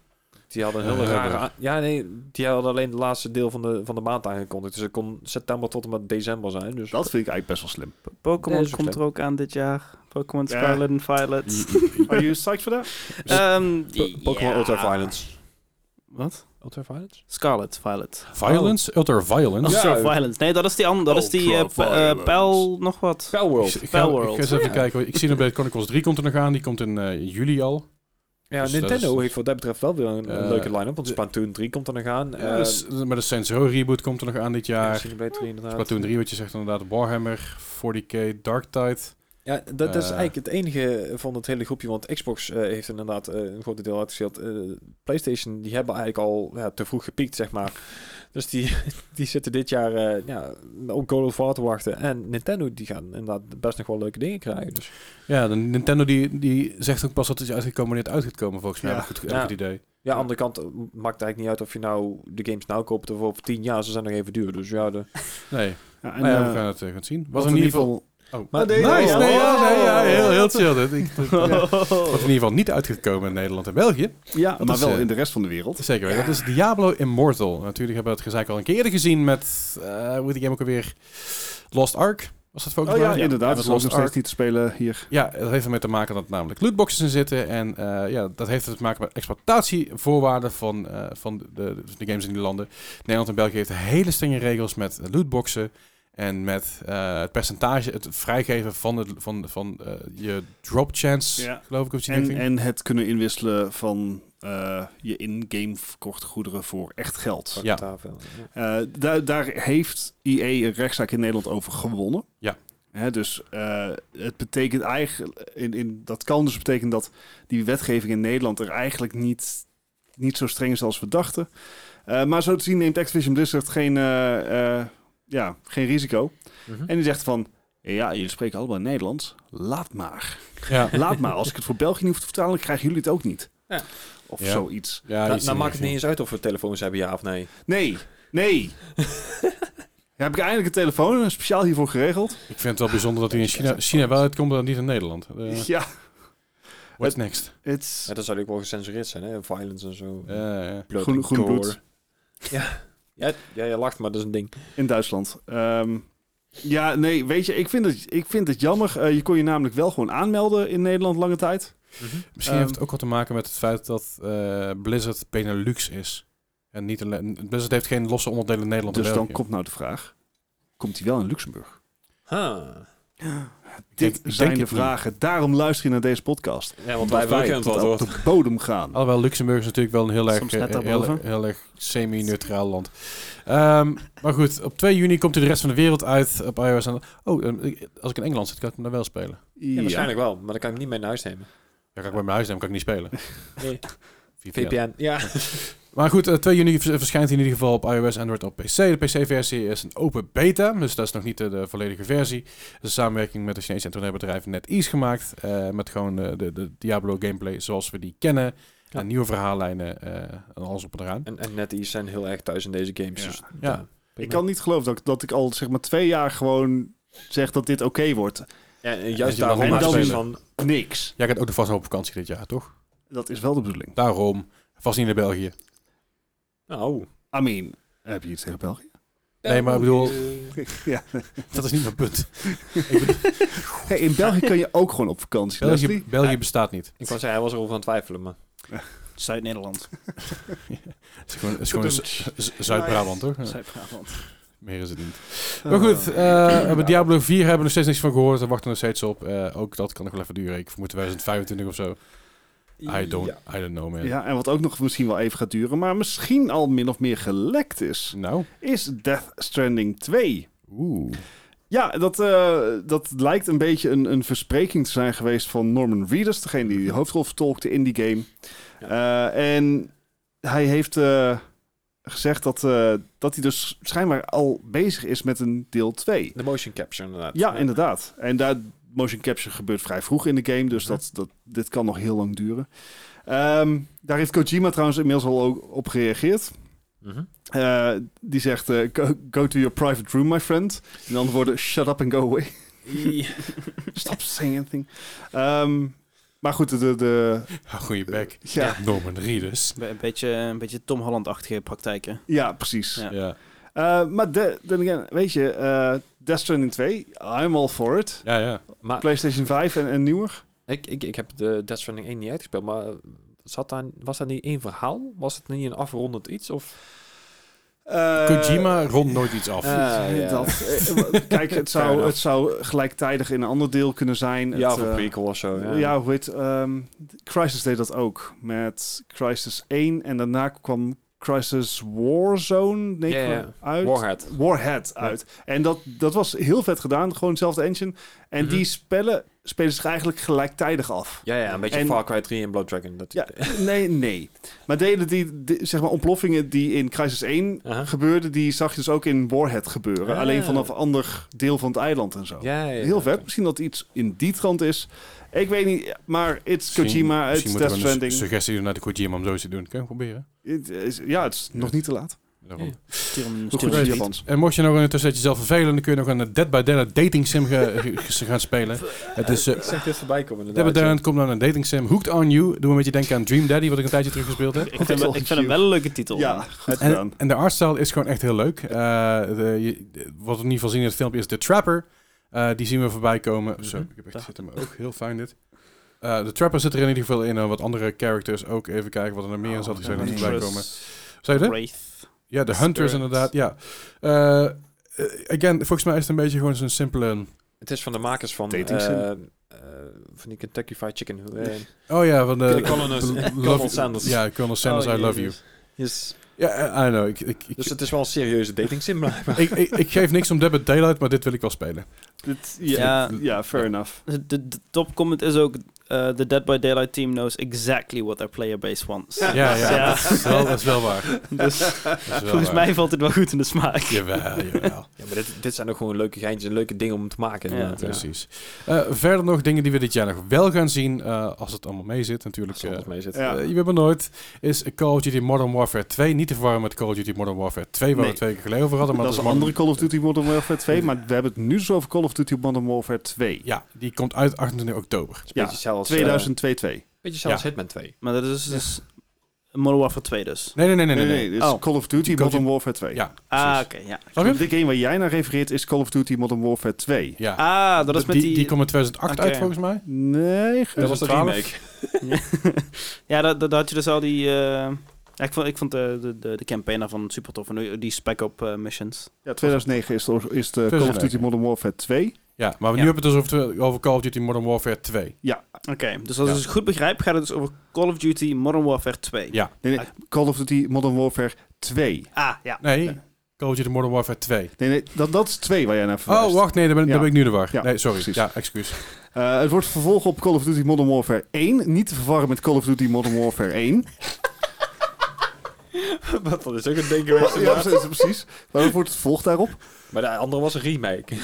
C: Die hadden een hele
A: Eh,
C: rare...
A: Hamburg.
C: a- Ja, nee, die hadden alleen het laatste deel van de, van de maand aangekondigd. Dus het kon september tot en met december zijn. Dus
D: Dat vind ik eigenlijk best wel slim.
B: Pokémon
C: Nee, dat is ook
B: komt er
C: slim.
B: ook aan dit jaar. Pokémon
D: Ja.
B: Scarlet en Violet.
D: Are you psyched for that?
B: Ehm,
C: Po- Pokémon
B: ja.
C: Ultra Violence.
B: Wat?
C: Ultra Violence?
B: Scarlet Violet.
A: Violence? Ultra Violence?
B: Oh,
C: Ja.
B: Ultra Violence. Nee, dat is die andere. Dat is die eh, p- eh,
D: Ultra-violence.
B: pijl nog wat.
A: Ik,
C: Spellworld.
A: ik ga, ik ga
B: Palworld.
A: eens even
C: Ja.
A: kijken. hoor. Ik zie nog bij Chronicles 3 komt er nog aan. Die komt in eh, juli al.
C: Ja,
A: Dus dat
C: Nintendo
A: is-
C: heeft wat dat betreft wel weer een, een
A: Eh,
C: leuke line-up. Want
A: de-
C: Splatoon 3 komt er nog aan.
A: Eh,
C: eh,
A: s- maar de Saints Row reboot komt er nog aan dit
C: ja,
A: jaar.
C: Xenoblade 3 inderdaad.
A: Splatoon 3, wat je zegt inderdaad. Warhammer, 40k, Dark Tide.
C: Ja, dat, dat is
A: Eh.
C: eigenlijk het enige van het hele groepje. Want Xbox eh, heeft inderdaad eh, een groot deel uitgesteld. Eh, PlayStation, die hebben eigenlijk al ja, te vroeg gepiekt, zeg maar. Dus die, die zitten dit jaar eh, ja, op God of War te wachten. En Nintendo, die gaan inderdaad best nog wel leuke dingen krijgen. Dus.
A: Ja, de Nintendo die, die zegt ook pas dat het is uitgekomen wanneer het uit gaat komen volgens mij.
D: Ja.
A: Heb ik goed, heb
C: Ja.
A: ik het idee.
C: Ja, aan de andere kant eh, maakt het eigenlijk niet uit of je nou de games nou koopt of over tien jaar. Ze zijn nog even duur. Dus ja, de...
A: Nee,
D: Ja, en,
C: Ah
A: maar ja,
D: eh,
A: we gaan het eh, gaan zien. Wat
D: wat
A: in ieder geval... Oh.
C: Maar-
A: nice,
C: nee,
A: nee,
C: oh.
A: ja, nee, ja, heel, heel chill. dit. Ik-
B: Oh.
A: Wat in ieder geval niet uitgekomen in Nederland en België.
D: Ja,
A: Dat
D: maar
A: is,
D: wel
A: eh,
D: in de rest van de wereld.
A: Zeker weten. Dat is Diablo Immortal. Natuurlijk hebben we het gezeik al een keer eerder gezien met... eh hoe heet die game ook alweer? Lost Ark. Was dat volgens
D: Oh ja,
A: mij?
D: inderdaad.
A: dat
D: Dat
A: is
D: is nog
A: Lost
D: steeds
A: Ark.
D: niet te spelen hier.
A: Ja, dat heeft ermee te maken dat namelijk lootboxes in zitten. En eh, ja, dat heeft te maken met exploitatievoorwaarden van, eh, van de, de, de games in die landen. Nederland en België heeft hele strenge regels met lootboxen. En met eh, het percentage, het vrijgeven van, het, van, van eh, je drop chance,
D: Ja.
A: geloof ik. Of iets in die
D: En,
A: richting.
D: en het kunnen inwisselen van eh, je in-game verkochte goederen voor echt geld.
A: Ja.
C: Tafel, ja.
D: E Eh, daar, daar heeft EA een rechtszaak in Nederland over gewonnen.
A: Ja.
D: Eh, Hè, dus eh, het betekent eigenlijk, in, in, dat kan dus betekenen dat die wetgeving in Nederland er eigenlijk niet, niet zo streng is als we dachten. Eh, maar zo te zien neemt Activision Blizzard geen, eh, eh, ja, geen risico.
C: Mhm.
D: En die zegt van, ja, jullie spreken allemaal Nederlands, laat maar.
A: Ja.
D: Laat maar, als ik het voor België niet hoef te vertalen, krijgen jullie het ook niet.
C: Ja.
D: Of
A: Ja.
D: zoiets.
A: Ja,
C: nou,
A: iets
C: nou
A: in
C: maakt het
A: die
C: niet eens uit of we telefoons hebben, ja of nee.
D: Nee, nee. Ja, heb ik eindelijk een telefoon eh, speciaal hiervoor geregeld?
A: richting. Ik vind het wel bijzonder dat hij in China, China wel uitkomt, maar niet in Nederland. Eh,
D: ja,
A: what's next?
D: het
C: Ja, dan zou ik wel gecensureerd zijn, hè? Violence en zo.
A: Eh, ja.
C: Blood
D: groen,
C: and
D: groen
C: gore.
D: bloed
C: Ja, ja, je lacht, maar dat is een ding.
D: in Duitsland. Ehm, ja, nee, weet je, ik vind het, ik vind het jammer. Eh, je kon je namelijk wel gewoon aanmelden in Nederland lange tijd.
A: Misschien
D: Ehm,
A: heeft het ook wat te maken met het feit dat eh, Blizzard Benelux is. En niet alleen, Blizzard heeft geen losse onderdelen in Nederland en
D: Dus dan
A: België.
D: komt nou de vraag, komt hij wel in Luxemburg?
C: Ha.
A: denk-
D: Dit
A: ik denk
D: zijn de
A: het niet.
D: vragen. Daarom luister je naar deze podcast.
C: Ja, want wij Oh, werken
D: Dat wij
C: het
D: tot
C: wel
D: op
C: door.
D: de bodem gaan.
A: Alhoewel, Luxemburg is natuurlijk wel een heel erg,
D: Soms net
A: eh, heel,
D: daarboven.
A: heel erg semi-neutraal land. Ehm, maar goed, op 2 juni komt hij de rest van de wereld uit op iOS. En, oh, ehm, ik- als ik in Engeland zit, kan ik hem dan wel spelen.
C: Ja,
D: Ja,
C: waarschijnlijk wel, maar dan kan ik hem niet mee naar huis nemen.
A: Ja, kan ik bij mijn huis nemen, kan ik niet spelen.
C: Nee.
A: VPN.
C: VPN, ja.
A: Maar goed, eh, 2 juni vers- verschijnt hij in ieder geval op iOS, Android op PC. De PC-versie is een open beta, dus dat is nog niet eh, de volledige versie. Het is een samenwerking met de Chinese internetbedrijf NetEase gemaakt. eh, met gewoon eh, de, de Diablo-gameplay zoals we die kennen.
C: Ja.
A: En nieuwe verhaallijnen eh, en alles op en eraan.
C: En, en net die zijn heel erg thuis in deze games.
D: Ja.
C: Dus,
A: Ja.
D: Ik kan niet geloven dat, ik- dat ik al zeg maar twee jaar gewoon zeg dat dit oké wordt.
C: Ja, en
A: Dat je
C: juist daarom
D: maar
C: is
D: gewoon
C: het
A: gaat
C: van...
D: Niks.
A: Jij gaat ook nog vast nog op vakantie dit jaar, toch?
D: Dat is wel de bedoeling.
A: Daarom. Vast niet naar België.
C: Nou,
D: I mean, heb je iets tegen België?
A: Nee, maar ik bedoel-
C: eh,
D: Ja.
A: Dat is niet mijn punt.
D: Hey, in België kan je ook gewoon op vakantie.
A: België,
D: Leslie.
A: België bestaat niet.
C: Ik wou zeggen, hij was erover aan het twijfelen, maar...
B: Zuid-Nederland.
A: Het is gewoon, het is gewoon Z- Z- Zuid-Brabant, hoor. Ja,
B: Zuid-Brabant.
A: Meer is het niet. Maar goed, eh, bij Diablo 4 hebben we nog steeds niks van gehoord. Daar wachten we nog steeds op. Eh, ook dat kan nog wel even duren. Ik vermoed 2025 of zo. I don't,
C: Ja.
A: I don't know, man.
D: Ja, en wat ook nog misschien wel even gaat duren, maar misschien al min of meer gelekt is,
A: Nou.
D: is Death Stranding 2.
A: Oeh.
D: Ja, dat, eh, dat lijkt een beetje een, een verspreking te zijn geweest van Norman Reedus, degene die de hoofdrol vertolkte in die game. Eh, en hij heeft eh, gezegd dat, eh, dat hij dus schijnbaar al bezig is met een deel 2.
C: De motion capture, inderdaad.
D: Ja, inderdaad. En daar motion capture gebeurt vrij vroeg in de game, dus dat, dat, dit kan nog heel lang duren. Ehm, daar heeft Kojima trouwens inmiddels al ook op gereageerd.
C: Mhm.
D: Eh, die zegt, eh, go, go to your private room, my friend. In andere woorden, shut up and go away. Stop saying anything. Ehm, maar goed, de, de, de-
A: Ah, Goeie bek.
D: ja,
A: Norman Reedus.
B: Be- Een beetje, een beetje Tom Holland-achtige praktijken.
D: ja, precies.
B: Ja.
A: Ja.
D: Eh, maar de, then again, weet je, eh Death Stranding 2, I'm all for it.
A: Ja, ja.
C: Maar
D: PlayStation 5 en, en nieuwer.
C: ik, ik, ik heb de Death Stranding 1 niet uitgespeeld, maar zat daar, was dat niet één verhaal? Was het niet een afrondend iets? Of...
D: Eh,
A: Kojima rond nooit iets af.
C: Ah, ja.
D: Dat, eh, w- kijk,
C: Fair
D: het zou,
C: enough.
D: het zou gelijktijdig in een ander deel kunnen zijn.
C: Ja,
D: het,
C: of een
D: eh,
C: prequel of zo. Ja,
D: ja, hoe heet... ehm, Crisis deed dat ook. Met Crisis 1 en daarna kwam Crisis Warzone denk ik,
C: Ja, ja.
D: uit.
C: Warhead.
D: Warhead uit. En dat, dat was heel vet gedaan. Gewoon dezelfde engine. En
C: Mhm.
D: die spellen spelen zich eigenlijk gelijktijdig af.
C: Ja, ja, een beetje
D: En-
C: Far Cry 3 en Blood Dragon. Dat...
D: Ja, nee, nee. Maar delen die, die- zeg maar, ontploffingen die in Crisis 1
C: Aha.
D: gebeurden, die zag je dus ook in Warhead gebeuren.
C: Ah.
D: Alleen vanaf een ander deel van het eiland en zo.
C: Ja, ja, ja.
D: Heel vet. Misschien dat iets in die trant is. Ik weet niet, maar it's
A: Misschien-
D: Kojima,
A: misschien
D: it's
A: moeten
D: Death
A: we
D: Stranding.
A: Een su- suggestie doen naar de Kojima om zo iets te doen. Kun je proberen?
D: Het is- ja, het is nog niet te laat.
A: Daarom.
C: Ja.
B: Stuur hem,
D: Hoe
B: stuur
D: goed
B: hem
D: is
B: een
D: het
B: tweet.
D: Japans?
A: En mocht je nog een tussentijd jezelf vervelen, dan kun je nog een Dead by Daylight dating sim ge- ge- ge- gaan spelen. Het is... eh,
C: Ik zag dit voorbij komen
A: Dead by
C: inderdaad.
A: Daylight komt dan een dating sim. Hooked on You. Doe me een beetje denken aan Dream Daddy, wat ik een tijdje terug gespeeld heb.
B: Ik vind, hem- ik vind hem wel een leuke titel.
D: Ja, goed gedaan.
A: En, en de artstyle is gewoon echt heel leuk. Eh, de- je- de- wat we in ieder geval zien in het filmpje is de Trapper. Eh, die zien we voorbij komen. Zo, ik heb echt zit hem ook. Heel fijn dit. Eh, de Trapper zit er in ieder geval in. En wat andere characters ook. Even kijken wat er nog meer in zat. Die
B: Oh,
A: zijn er niet
D: Huntress.
A: voorbij komen. Zou je dat?
B: Wraith.
A: Ja, de Hunters
B: Spirit.
A: inderdaad. Ja. Eh, eh, again, volgens mij is het een beetje gewoon zo'n simpele...
C: Het is van de makers van,
D: Dating sim.
C: eh, eh, van die Kentucky Fried Chicken. Eh,
A: Oh ja, van de...
C: Colonel- Colonel
A: Love-
C: Sanders.
A: Ja, Colonel Sanders, I love you.
C: Yes.
A: Ja, eh, I know. Ik, ik, ik,
C: Dus het is wel een serieuze dating sim. blijkbaar.
A: ik, ik, ik geef niks om Dead by Daylight, maar dit wil ik wel spelen.
D: Dit- ja,
B: Ja.
D: ja, fair enough.
B: De, de- de top comment is ook... eh the Dead by Daylight team knows exactly what their player base wants.
A: Ja,
B: Dus
A: ja, Dat, is wel, dat is wel waar.
B: dus
A: Dat is wel
B: volgens
A: waar.
B: mij valt het wel goed in de smaak.
A: Jawel, jawel.
C: Ja, maar dit, dit zijn ook gewoon leuke geintjes en leuke dingen om te maken.
B: Ja,
C: inderdaad.
A: Precies. Eh, verder nog dingen die we dit jaar nog wel gaan zien, eh, als het allemaal mee zit natuurlijk.
C: Als er
A: eh,
C: wat mee zit.
D: Ja.
A: eh, je weet maar nooit, is Call of Duty Modern Warfare 2 niet te verwarren met Call of Duty Modern Warfare 2, waar
D: Nee.
A: we twee keer geleden over hadden. Maar
D: dat is een
A: Modern-
D: andere Call of Duty Modern Warfare 2, maar we hebben het nu dus over Call of Duty Modern Warfare 2.
A: Ja, die komt uit 28 oktober.
C: Het is een
D: Ja,
C: beetje zelfs, eh,
D: 2002.
C: beetje zelfs
A: Ja.
C: Hitman 2.
B: Maar dat is dus... dus Modern Warfare 2 dus.
A: Nee, nee, nee, nee.
D: Nee,
A: nee,
D: nee, dit is
B: Oh.
D: Call of Duty
A: Call of
D: Modern Warfare 2.
A: Ja, precies.
B: Ah, oké, ja.
A: Snap je?
D: Dit game waar jij naar refereert is Call of Duty Modern Warfare 2.
A: Ja.
B: Ah, dat is met
A: die,
B: die...
A: die kwam in 2008
B: Oké.
A: uit volgens mij.
D: Nee, ge-
A: Dat was de
C: 2012.
A: remake.
B: ja, dat, dat, dat had je dus al die... eh, ja, ik vond, ik vond de, de, de, de campaigner van super tof. En die- die spec-up eh, missions.
D: ja, 2009 is de, is de Call of Duty
A: 2009.
D: Modern Warfare 2.
A: Ja, maar we nu
B: Ja.
A: hebben we het dus over, over Call of Duty Modern Warfare 2.
B: Oké, dus als
A: Ja.
B: ik het goed begrijp, gaat het dus over Call of Duty Modern Warfare 2.
A: Ja.
D: Nee, nee, Call of Duty Modern Warfare 2.
B: Ah, ja.
A: Nee,
D: Nee.
A: Call of Duty Modern Warfare 2.
D: Nee, nee, dat, dat is 2 waar jij naar verwijst.
A: Oh, wacht, nee, daar ben, daar
D: Ja.
A: ben ik nu de war.
D: Ja,
A: nee, sorry.
D: precies.
A: Ja, excuus.
D: Eh, het wordt vervolg op Call of Duty Modern Warfare 1. Niet te verwarren met Call of Duty Modern Warfare 1.
C: Wat dat is ook een ding
D: ja, precies, precies. Maar het wordt het vervolg daarop.
C: Maar de andere was een remake.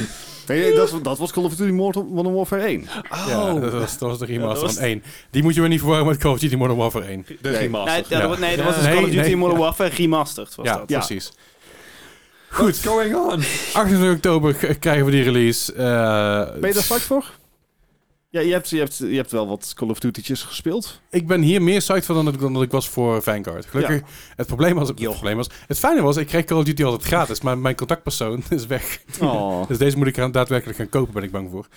D: Nee, nee, dat, dat was Call of Duty Modern Modern Warfare 1.
A: Ja, dat was, dat was de remaster
B: dat was-
A: van 1. Die moet je weer niet verwarren met Call of Duty Modern Warfare 1.
C: De remaster.
B: Nee, ja,
A: Ja.
B: dat- nee, dat was dus
A: Nee,
B: Call of Duty
A: nee,
B: Modern
A: ja.
B: Warfare remastered. Was
A: Ja,
B: dat.
D: Ja.
A: precies. Goed,
C: going on?
A: 28 oktober k- krijgen we die release. Eh,
D: Ben je daar straks voor? Ja, je hebt, je, hebt, je hebt wel wat Call of Duty'tjes gespeeld.
A: Ik ben hier meer psyched voor dan dat ik, dan dat ik was voor Vanguard. Gelukkig, het, probleem was, het,
B: Joh.
A: probleem was... Het fijne was, ik kreeg Call of Duty altijd gratis, maar mijn contactpersoon is weg.
D: Oh.
A: Dus deze moet ik gaan, daadwerkelijk gaan kopen, ben ik bang voor.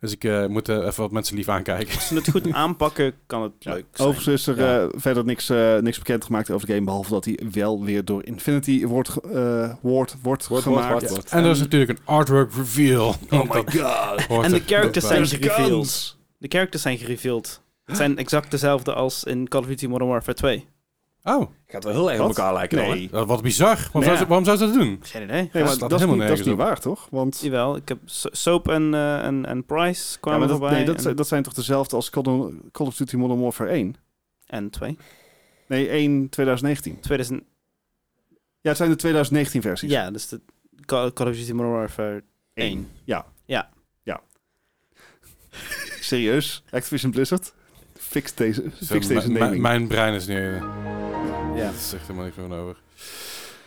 A: Dus ik eh, moet eh, even wat mensen lief aankijken.
B: Als ze het goed aanpakken, kan het leuk zijn.
D: Overigens is er
A: Ja.
D: eh, verder niks, eh niks bekend gemaakt over de game, behalve dat hij wel weer door Infinity wordt, ge- eh, wordt, wordt
C: Wordt-
D: gemaakt.
C: wordt- wordt.
A: En er is natuurlijk een artwork reveal.
D: Oh my god.
A: Hoort
B: En de
A: er
B: characters
A: bij.
B: zijn
D: There's
B: gereveeld.
D: guns.
B: De characters zijn gereveeld. Het zijn exact dezelfde als in Call of Duty Modern Warfare 2.
A: Oh,
C: Gaat wel heel erg op
D: Wat?
C: elkaar lijken.
D: Nee.
C: hoor.
A: dat- wat bizar. Waarom, zou ze,
B: ja.
A: waarom zou ze dat doen?
B: Geen idee.
D: Nee,
A: Dat
D: maar
A: slaat
D: dat, is
A: helemaal
D: niet, dat
A: nergens
D: is
A: op.
D: niet waar, toch? Want
B: Jawel, ik heb So- Soap en, eh, en, en Price
D: ja,
B: kwamen eh.
D: maar dat,
B: voorbij.
D: nee, dat,
B: en,
D: zijn- dat zijn toch dezelfde als Call of, Call of Duty Modern Warfare 1?
B: en 2.
D: Nee, 1 2019.
B: 2000,
D: Ja, het zijn de 2019 versies.
B: ja, dus de Call Call of Duty Modern Warfare 1.
D: Ja.
B: Ja.
D: Ja. Serieus? Activision Blizzard? Fix deze, fix
A: Zo,
D: deze
A: m- m-
D: naming.
A: Mijn brein is nu...
B: Ja.
A: Dat is echt helemaal niks meer van over.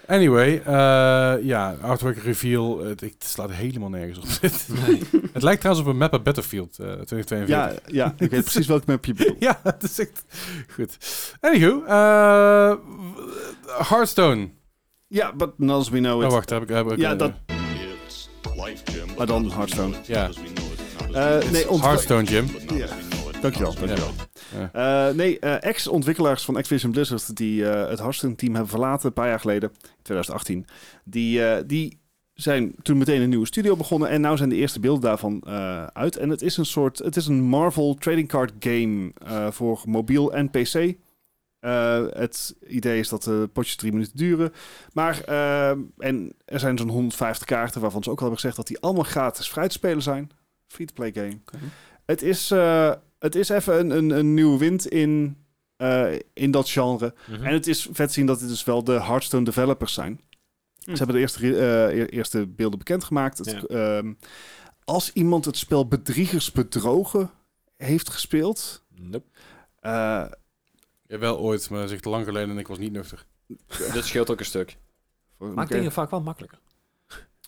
A: Anyway, eh, ja, artwork reveal. Het, ik- het slaat helemaal nergens op. Dit. het lijkt trouwens op een map uit Battlefield eh, 2042.
D: Ja, ja, ik weet precies welk map je bedoelt.
A: Ja, het is echt... Goed. Anywho, eh, Hearthstone.
D: Ja, but not as we know
A: Oh,
D: it.
A: wacht, daar heb ik... daar Heb ik
D: Ja,
A: eh,
D: dat-
E: Maar dan Hearthstone.
D: Oh,
A: Ja.
D: Eh, nee, ont-
A: Hearthstone, Jim.
D: Ja. Dankjewel, dankjewel. Eh, nee, eh, ex-ontwikkelaars van Activision Blizzard die eh, het Hearthstone-team hebben verlaten een paar jaar geleden, 2018, die, eh, die zijn toen meteen een nieuwe studio begonnen en nou zijn de eerste beelden daarvan eh, uit. En het is een soort, het is een Marvel trading card game eh, voor mobiel en PC. Eh, het idee is dat de potjes drie minuten duren. Maar, eh, en er zijn zo'n 150 kaarten waarvan ze ook al hebben gezegd dat die allemaal gratis vrij te spelen zijn. Free-to-play game. Het is, eh, het is even een, een, een nieuwe wind in, eh, in dat genre.
C: Mhm. Hm.
D: En het is vet zien dat het dus wel de Hearthstone developers zijn.
B: Hm.
D: Ze hebben de eerste, re- eh, e- eerste beelden bekendgemaakt. Het,
C: Ja.
D: ehm, als iemand het spel Bedriegers Bedrogen heeft gespeeld...
C: Nope.
D: eh,
A: Ja, wel ooit, maar dat is echt lang geleden en ik was niet nuchter.
C: Dat scheelt ook een stuk.
D: voor-
C: Maakt dingen vaak wel makkelijker.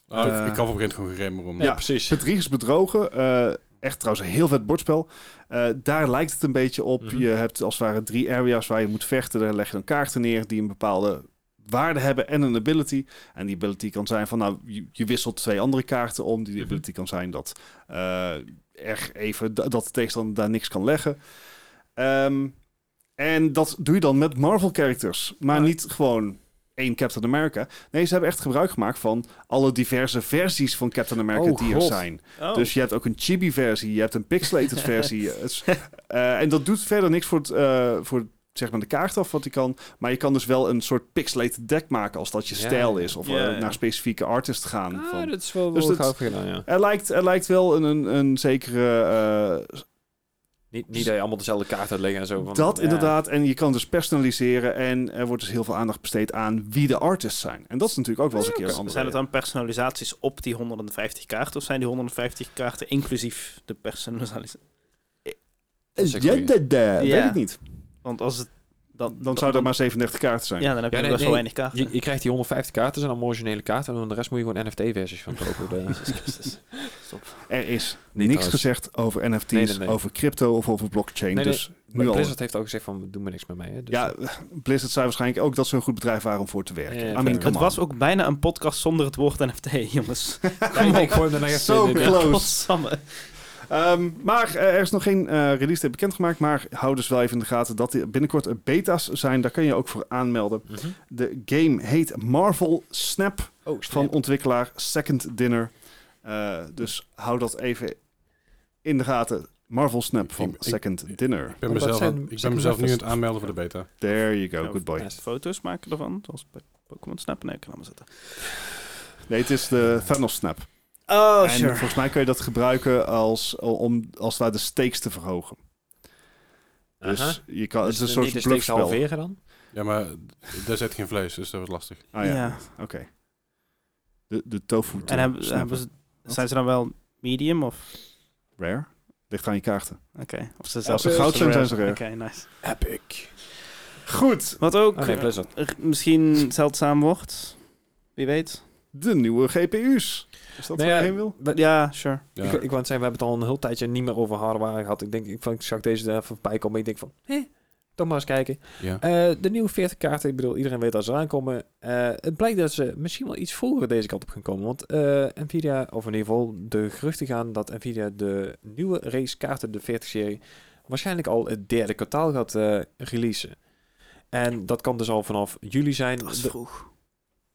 A: Oh, ik-
D: Eh.
A: ik kan op een gegeven moment gewoon geremmer om.
D: Ja.
C: precies.
D: Bedriegers bedrogen. eh, echt trouwens een heel vet bordspel. Eh, daar lijkt het een beetje op.
C: Mhm.
D: Je hebt als het ware drie areas waar je moet vechten. Daar leg je dan kaarten neer die een bepaalde waarde hebben en een ability. En die ability kan zijn van, nou, je, je wisselt twee andere kaarten om. Die
C: Mhm.
D: ability kan zijn dat eh, er even da- dat de tegenstander daar niks kan leggen. Ehm, en dat doe je dan met Marvel-characters. Maar
B: Ja.
D: niet gewoon één Captain America. Nee, ze hebben echt gebruik gemaakt van alle diverse versies van Captain America
C: Oh,
D: die er
C: God.
D: zijn.
B: Oh.
D: Dus je hebt ook een chibi-versie, je hebt een pixelated versie. Het is- eh, en dat doet verder niks voor het, eh, voor zeg maar de kaart af wat hij kan. Maar je kan dus wel een soort pixelated deck maken als dat je
C: Ja.
D: stijl is. Of
B: Ja,
D: eh,
B: ja.
D: naar specifieke artists gaan.
C: Ah,
D: van.
C: dat is wel,
D: Dus
C: wel
D: dat-
C: gauw gedaan, ja.
D: Er, lijkt, er lijkt wel een, een, een zekere eh,
C: Niet, niet dat je allemaal dezelfde kaart uit leggen en zo. Van,
D: Dat
C: ja.
D: inderdaad. En je kan dus personaliseren. En er wordt dus heel veel aandacht besteed aan wie de artists zijn. En dat is natuurlijk ook wel eens een keer een andere.
B: Zijn het dan personalisaties op die 150 kaarten? Of zijn die 150 kaarten inclusief de personalisaties?
C: Dat is een
D: Ja,
C: goeie.
D: dat eh,
B: Ja.
D: weet ik niet.
B: Want als het... Dan,
D: Dan zou er maar 37 kaarten zijn.
B: Ja, dan heb je
C: Ja,
B: nog
C: nee,
B: best wel weinig
C: nee.
B: kaarten.
C: Je, je krijgt die 150 kaarten, zijn allemaal originele kaarten. En dan de rest moet je gewoon NFT-versies van kopen. De-
D: Er is
C: Niet
D: niks
C: trouwens.
D: gezegd over NFT's,
C: Nee, nee, nee.
D: over crypto of over blockchain.
C: Nee, nee.
D: Dus
C: Maar
D: nu al.
C: Blizzard heeft ook gezegd van, we doen maar niks meer mee. Hè? Dus
D: Ja, Blizzard zei waarschijnlijk ook dat ze een goed bedrijf waren om voor te werken.
C: Ja, ja,
D: I mean,
C: fair.
D: come
B: Het
D: on.
B: was ook bijna een podcast zonder het woord NFT, jongens.
C: Ja, ik- ik gooi hem daarna even
D: Zo
C: in de-
D: Close.
B: Godsamme.
D: Ehm, maar eh, er is nog geen eh, release date bekendgemaakt. Maar hou dus wel even in de gaten dat er binnenkort eh, beta's zijn. Daar kan je ook voor aanmelden.
C: Mhm.
D: De game heet Marvel Snap.
C: Oh,
D: van
C: snap.
D: ontwikkelaar Second Dinner. Eh, dus hou dat even in de gaten. Marvel Snap van
A: Ik- ik-
D: Second Dinner.
A: Ik ben
C: Wat
A: mezelf,
C: Oh, zijn-
A: aan- ik ben
C: zijn
A: mezelf nu aan
C: nuffels?
A: het aanmelden voor de beta.
D: There you go,
B: Ja,
D: good boy.
C: nice.
B: Foto's maken ervan, zoals bij Pokémon Snap. Nee, ik kan allemaal zetten.
D: Nee, het is de Thanos Snap.
B: Oh,
D: en volgens mij kun je dat gebruiken als, om, als daar de stakes te verhogen. Dus
C: Aha.
D: je kan,
C: Dus
D: het is een
C: niet de
D: soort
C: steeks
D: bluffspel. Ah
C: halveren dan?
A: Ja, maar d- daar zit geen vlees, dus dat wordt lastig.
D: Ah, ja, oké. De, de tofu
B: En hebben,
D: snappen.
B: hebben ze, zijn ze dan wel medium of...
D: Rare? Ligt aan je kaarten.
B: Oké. Of ze
D: Als ze goud zijn, zijn ze rare.
B: Oké, nice.
C: Epic.
D: Goed,
B: Wat ook
C: Oh nee, Blizzard.
B: er misschien zeldzaam wordt. Wie weet.
D: de nieuwe GPU's. Is dat
C: Nou
D: waar
C: ja,
D: je heen wil?
C: we-
B: Ja, sure.
A: Ja.
C: Ik, ik wou net zeggen, we hebben het al een heel tijdje niet meer over hardware gehad. Ik denk, ik, van, ik zag deze er even voorbij komen. Ik denk van, hé, toch maar eens kijken.
A: Ja.
C: Eh, de nieuwe 40 kaarten, ik bedoel, iedereen weet dat ze eraan komen. Eh, het blijkt dat ze misschien wel iets vroeger deze kant op gaan komen. Want eh, Nvidia, of in ieder geval de geruchten gaan dat Nvidia de nieuwe race kaarten, de 40-serie, waarschijnlijk al het derde kwartaal gaat eh, releasen. En dat kan dus al vanaf juli zijn. De-
B: vroeg.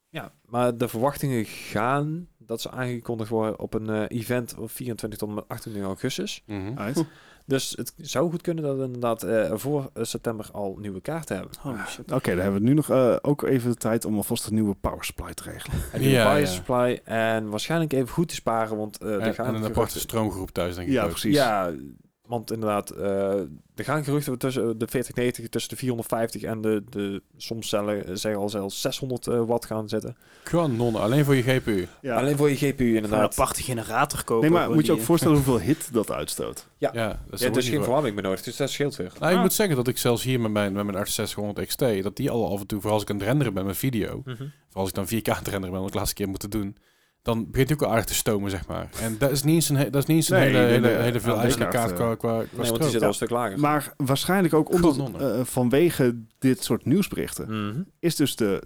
C: ja, maar de verwachtingen gaan dat ze aangekondigd worden op een eh, event op 24 tot en met 28 augustus.
A: Mhm.
D: Uit.
C: Dus het zou goed kunnen dat we inderdaad eh, voor eh, september al nieuwe kaarten hebben.
B: Holy Oh, shit.
D: Oké, dan hebben we nu nog eh, ook even de tijd om alvast een nieuwe power supply te regelen.
C: En nieuwe
A: Ja,
C: power
A: ja.
C: supply en waarschijnlijk even goed te sparen, want eh er
A: En,
C: gaan
A: en een aparte
C: geruchten-
A: stroomgroep thuis, denk ik. ook.
D: precies.
C: Ja, want inderdaad, eh, er gaan geruchten tussen eh, de 4090, tussen de 450 en de, de soms cellen, eh, zeggen al zelfs 600 eh, watt gaan zitten.
A: Kanonnen, alleen voor je GPU.
D: Ja.
C: Alleen voor je GPU
B: Gewoon Een
C: inderdaad.
B: aparte generator kopen.
D: nee, maar
B: gewoon
D: moet je ook
B: die-
D: voorstellen hoeveel hit dat uitstoot?
A: Ja,
C: Ja.
A: dat is
C: Ja,
A: er ook
C: dus
A: niet
C: geen
A: voor.
C: verwarming meer nodig, dus dat scheelt weer.
A: Nou, ik
B: Ah.
A: moet zeggen dat ik zelfs hier met mijn, met mijn RTX 600 XT, dat die al af en toe, vooral als ik aan het renderen ben met video, vooral als ik dan 4K aan het renderen ben, wat ik de laatste keer moet doen, dan begint die ook al aardig te stomen, zeg maar. En dat is niet eens een, he- dat is niet eens een
D: Nee,
A: hele,
D: nee,
A: hele,
D: nee.
A: hele veel
D: Ah,
A: eisende
D: kaart,
A: kaart qua, qua, qua
C: Nee, want die
A: stroom.
C: zit al een stuk lager.
D: Maar waarschijnlijk ook omdat,
A: Kanonnen.
D: eh, vanwege dit soort nieuwsberichten
C: Mhm.
D: is dus de,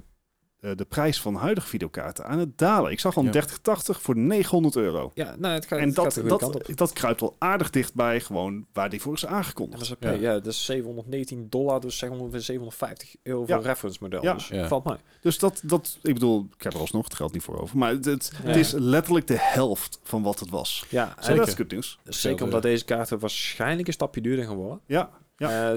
D: eh, de prijs van huidige videokaarten aan het dalen. Ik zag al een
A: Ja.
D: 3080 voor 900 euro.
C: Ja, nou, het gaat,
D: en
C: het gaat
D: dat,
C: de goede kant
D: dat,
C: op.
D: dat kruipt al aardig dicht bij gewoon waar die voor is aangekondigd.
C: MSRP,
A: Ja.
C: ja. dat is 719 dollar, dus zeg ongeveer 750 euro voor
D: Ja.
C: een reference model.
D: Ja.
C: Dus
A: Ja.
C: valt mij.
D: Dus dat, dat, ik bedoel, ik heb er alsnog het geld niet voor over. Maar het, het,
C: Ja.
D: het is letterlijk de helft van wat het was.
C: Ja, en
D: En dat is
A: Zeker.
D: goed nieuws.
C: zeker omdat deze kaarten waarschijnlijk een stapje duurder gaan worden.
D: Ja,
C: Eh,
A: Ja.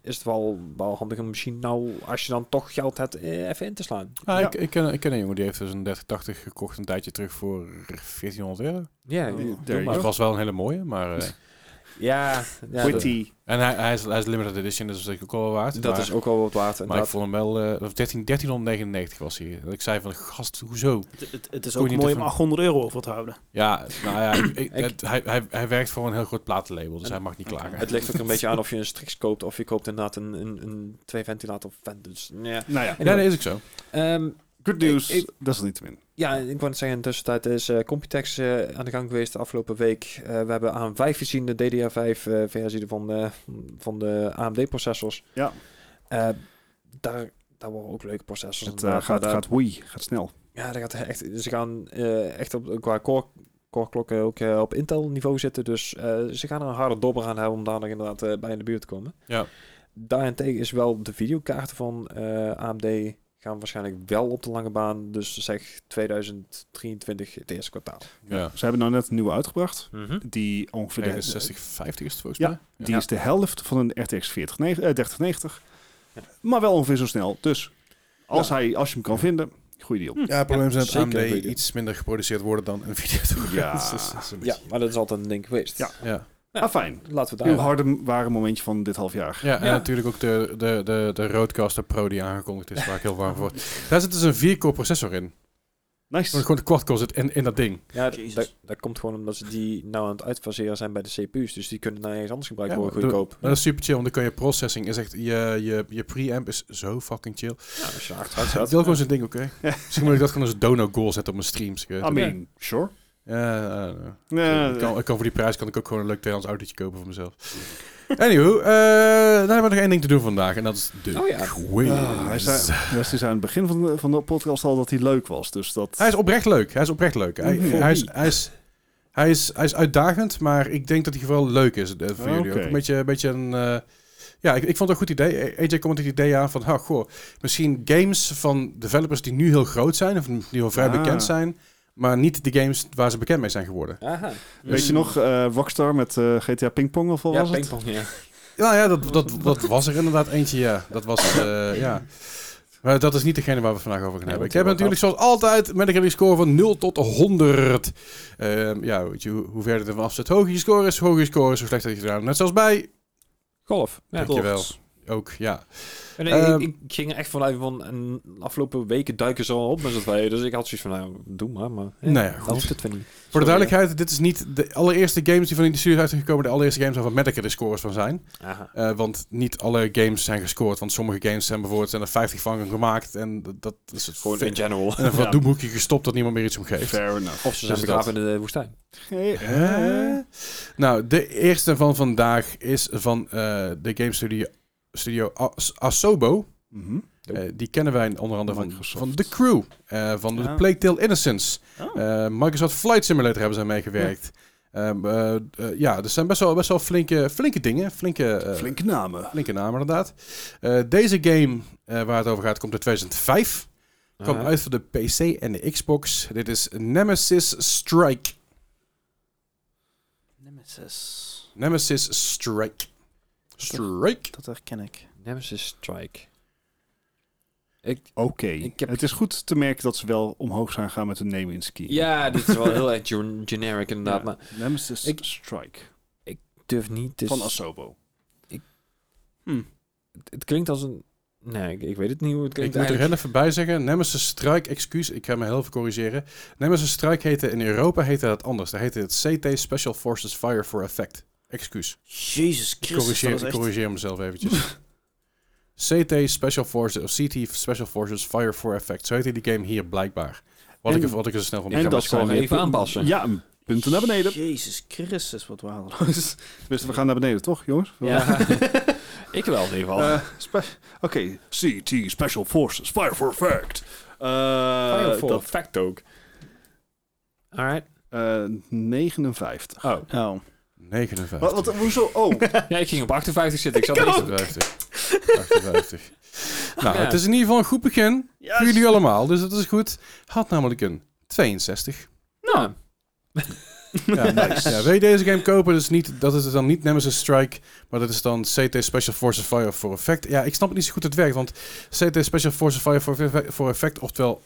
C: Is het wel, wel handig om misschien nou, als je dan toch geld hebt, eh, even in te slaan.
A: Ah,
D: Ja.
A: ik, ik, ken, ik ken een jongen die heeft dus een 3080 gekocht een tijdje terug voor 1400 euro.
C: Ja, doe
D: Oh, there you
A: Maar
C: maar.
A: het was wel een hele mooie, maar... eh,
C: ja, ja dat,
D: witty.
A: en hij, hij, is, hij is limited edition, dus dat is ook wel waard.
C: dat
A: maar-
C: is ook wel wat waard.
A: Maar ik
C: inderdaad.
A: vond hem wel... eh, of 13, 1399 was hij. En ik zei van, gast, hoezo?
B: eh, Het, het, het is
A: Kon
B: ook
A: je
B: mooi
A: niet
B: om
A: even-
B: 800 euro over te houden.
A: Ja, nou ja, ik- ik-
C: Ik-
A: het- hij, hij, hij werkt voor een heel groot platenlabel, dus
C: En-
A: hij mag niet klagen.
C: Het ligt ook een beetje aan of je een Strix koopt of je koopt inderdaad een, een, een twee ventilator vent. Dus, ja.
D: Nou ja,
A: Ja, dat is ook zo.
C: Ehm,
D: good news.
C: Ik- ik-
D: dat is niet te min.
C: Ja, ik wou net zeggen, in de tussentijd is eh, Computex eh, aan de gang geweest de afgelopen week. Eh, we hebben AM5 gezien, de DDR5-versie eh, van, de- van de AMD-processors.
D: Ja.
C: Eh, daar, daar worden ook leuke processors.
D: Het eh,
C: inderdaad,
D: gaat,
C: maar daar-
D: gaat woei, gaat snel.
C: Ja, daar gaat echt, ze gaan eh, echt op, qua core, core klokken ook eh, op Intel-niveau zitten. Dus eh, ze gaan er een harde dobber aan hebben om daar nog inderdaad eh, bij in de buurt te komen.
A: Ja.
C: Daarentegen is wel de videokaarten van eh, AMD gaan waarschijnlijk wel op de lange baan. Dus zeg 2023 het eerste kwartaal.
A: Ja.
D: Ze hebben nou net een nieuwe uitgebracht.
C: Mhm.
D: Die ongeveer de,
A: 60, 50 is het volgens
D: Ja,
A: mij.
D: die is de helft van een RTX 40, eh, 3090. Maar wel ongeveer zo snel. Dus als, hij, als je hem kan vinden, goede deal.
A: Ja, het probleem is dat
C: zeker
A: AMD
C: een goeie deal.
A: iets minder geproduceerd worden dan Nvidia. toch?
D: Ja.
A: Dus dat is- dat is een
C: Ja,
A: beetje-
C: maar dat is altijd een ding geweest.
D: Ja.
A: ja.
D: Ah, fijn.
C: Laten we
D: Uw
C: daar...
D: harde ware momentje van dit half jaar.
A: Ja, en natuurlijk ook de, de, de, de Rodecaster Pro die aangekondigd is, waar ik heel warm voor word. Daar zit dus een 4-core processor in.
D: Nice.
A: Gewoon de quad-core zit in, in dat ding.
C: Ja, d-
B: Jezus.
C: dat, dat komt gewoon omdat ze die nou aan het uitfaseren zijn bij de CPU's. Dus die kunnen nou eens anders gebruiken
A: Ja,
C: worden
A: maar
C: goedkoop.
A: Maar dat is super chill, want dan kan je processing is echt... Je, je, je preamp is zo fucking chill.
C: Ja, als je achteruit
A: Ik
C: gaat.
A: wil gewoon zo'n ding, oké? Misschien moet ik dat gewoon als dono-goal zetten op mijn streams. ik weet
D: I
A: het niet.
D: mean, sure. Eh, ah,
A: Ja, I don't know.
D: Nee,
A: ik, kan, ik kan voor die prijs kan ik ook gewoon een leuk tweedehands autootje kopen voor mezelf. Anywho, eh dan hebben we nog één ding te doen vandaag. En dat is de
C: Oh ja.
A: quiz.
D: Ah, hij zei, Wes is aan het begin van de, van de podcast al dat hij leuk was. Dus dat...
A: Hij is oprecht leuk. Hij is oprecht leuk. Hij,
D: Mhm.
A: hij, is, hij, is, hij, is, hij is uitdagend, maar ik denk dat hij vooral leuk is eh, voor
D: Oké.
A: jullie. Ook een beetje, een, beetje een... eh, ja, ik, ik vond het een goed idee. AJ kwam met het idee aan van... ha, goh, misschien games van developers die nu heel groot zijn... of die al vrij
D: Ah.
A: bekend zijn... maar niet de games waar ze bekend mee zijn geworden.
C: Aha.
D: Weet je nog, eh, Rockstar met eh, GTA Pingpong of wat
C: Ja,
D: was het?
C: pingpong, ja.
A: Ja, ja dat, dat, dat was er inderdaad eentje, ja. Dat was, eh, ja. Maar dat is niet degene waar we het vandaag over gaan
C: Nee,
A: hebben. Ik
C: want
A: heb
C: wat
A: natuurlijk zoals altijd met een score van 0 tot 100. Ehm, ja, weet je, hoe, hoe verder het vanaf zit. Hoger je score is, hoger je score is, hoe slechter je het gedaan. Net zoals bij
C: Golf. Ja,
A: Dankjewel.
C: golf.
A: ook, ja.
C: En ik-
A: Ehm.
C: ik, ik ging er echt vanuit van, en afgelopen weken duiken ze al op met z'n tweeën. Dus ik had zoiets van, nou, doe maar. maar ja,
A: Nou ja,
C: dat
A: goed.
C: hoeft het weer niet.
A: Voor de
C: Sorry,
A: duidelijkheid, dit is niet de allereerste games die van die studio zijn gekomen. De allereerste games waar Metacritic scores van zijn.
C: hè. Aha.
A: Eh, want niet alle games zijn gescoord. Want sommige games zijn bijvoorbeeld zijn er 50 van gemaakt. En dat- dat is het
C: Gewoon
A: vet-
C: in general.
A: En een
D: Ja.
A: verdoemhoekje gestopt dat niemand meer iets om geeft.
D: Fair enough.
C: Of ze
A: Dus
C: zijn begraven in de woestijn.
A: Hè? Nou, de eerste van vandaag is van eh, de game studio, studio As- Asobo.
D: Mhm.
A: Eh, die kennen wij onder andere van,
D: Microsoft.
A: van The Crew, eh, van de
B: Ah.
A: Plague Tale Innocence.
B: Oh.
A: Eh, Microsoft Flight Simulator hebben zij meegewerkt. Ehm, eh, eh, ja, er zijn best wel, best wel flinke, flinke dingen, flinke, eh,
D: Flinke namen.
A: flinke namen inderdaad. Eh, deze game eh, waar het over gaat komt uit 2005. Kwam
C: Aha.
A: uit voor de PC en de Xbox. Dit is Nemesis Strike.
B: Nemesis.
A: Nemesis Strike. Strike.
B: Dat herken ik.
C: Nemesis Strike. Ik,
D: Oké.
C: Ik heb-
D: Het is goed te merken dat ze wel omhoog zijn gaan met hun name in ski.
C: ja, dit is wel heel erg gen- generic inderdaad. Maar
D: Nemesis
C: Ik-
D: Strike
C: ik durf niet. Dus
D: van Asobo.
B: Hm.
C: het, het klinkt als een... Nee, ik, ik weet het niet hoe het
A: Ik
C: klinkt
A: moet er
C: eigenlijk.
A: heel even bij zeggen, Nemesis Strike, excuus, ik ga me heel even corrigeren. Nemesis Strike heette in Europa heette dat anders. Daar heette het CT Special Forces Fire for Effect. Excuus.
B: Jezus
A: Ik
B: Christus,
A: corrigeer,
B: dat is
A: ik
B: echt...
A: corrigeer mezelf eventjes. CT Special Forces, of CT Special Forces Fire for Effect. Zo heette die game hier blijkbaar. Wat,
D: En-
A: ik, er- wat ik er zo snel van
D: en
A: kan.
D: dat
C: het gewoon
D: zijn
C: even
D: weer-
C: aanpassen.
D: Ja, een punten naar beneden.
B: Jezus Christus, wat waardeloos.
D: Tenminste, dus we gaan naar beneden, toch, jongens?
C: Ja. ik wel in ieder geval.
D: Eh, spe- Oké, CT Special Forces, Fire for Effect. Eh, dat-
C: fact ook. Alright.
D: eh, 59.
C: Oh.
B: Oh.
A: 59.
D: Wat, wat, hoezo? Oh,
C: Ja, ik ging op 58 zitten. Ik zat
B: Ik
C: eerst-
A: 58. 58. Nou,
C: Ja.
A: het is in ieder geval een goed begin.
B: Yes.
A: Voor jullie allemaal, dus dat is goed. Had namelijk een 62.
C: Nou,
A: Ja, nice. ja, wil je deze game kopen? Dus niet, dat is dan niet Nemesis Strike, maar dat is dan CT Special Forces Fire for Effect. Ja, ik snap niet zo goed het werkt, want CT Special Forces Fire for, for Effect, oftewel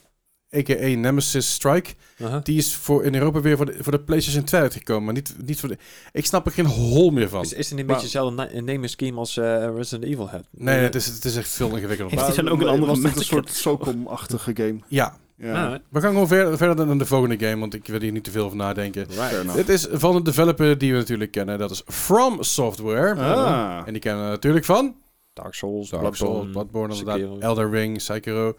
A: a.k.a. Nemesis Strike,
D: Uh-huh.
C: aha.
A: die is voor in Europa weer voor de, voor de PlayStation 2 uitgekomen. Maar niet, niet voor de, ik snap er geen hol meer van.
C: Is, is het een
A: Maar-
C: beetje hetzelfde na- name scheme als eh, Resident Evil had?
A: Nee, nee, het is, het is echt veel ingewikkelder. Maar-
B: Heeft hij dan ook een andere
D: was dit een
B: method?
D: soort Socom-achtige game?
A: Ja,
D: Ja,
C: Alright.
A: we gaan gewoon ver- verder dan de volgende game, want ik wil hier niet te veel over nadenken.
D: fair enough.
C: Nou.
A: Dit is van een developer die we natuurlijk kennen, dat is From Software.
D: Ah.
A: En die kennen we natuurlijk van...
C: Dark Souls,
A: Dark
C: Bloodborne,
A: Souls, Bloodborne inderdaad,
C: Sekiro.
A: Elder Ring, Sekiro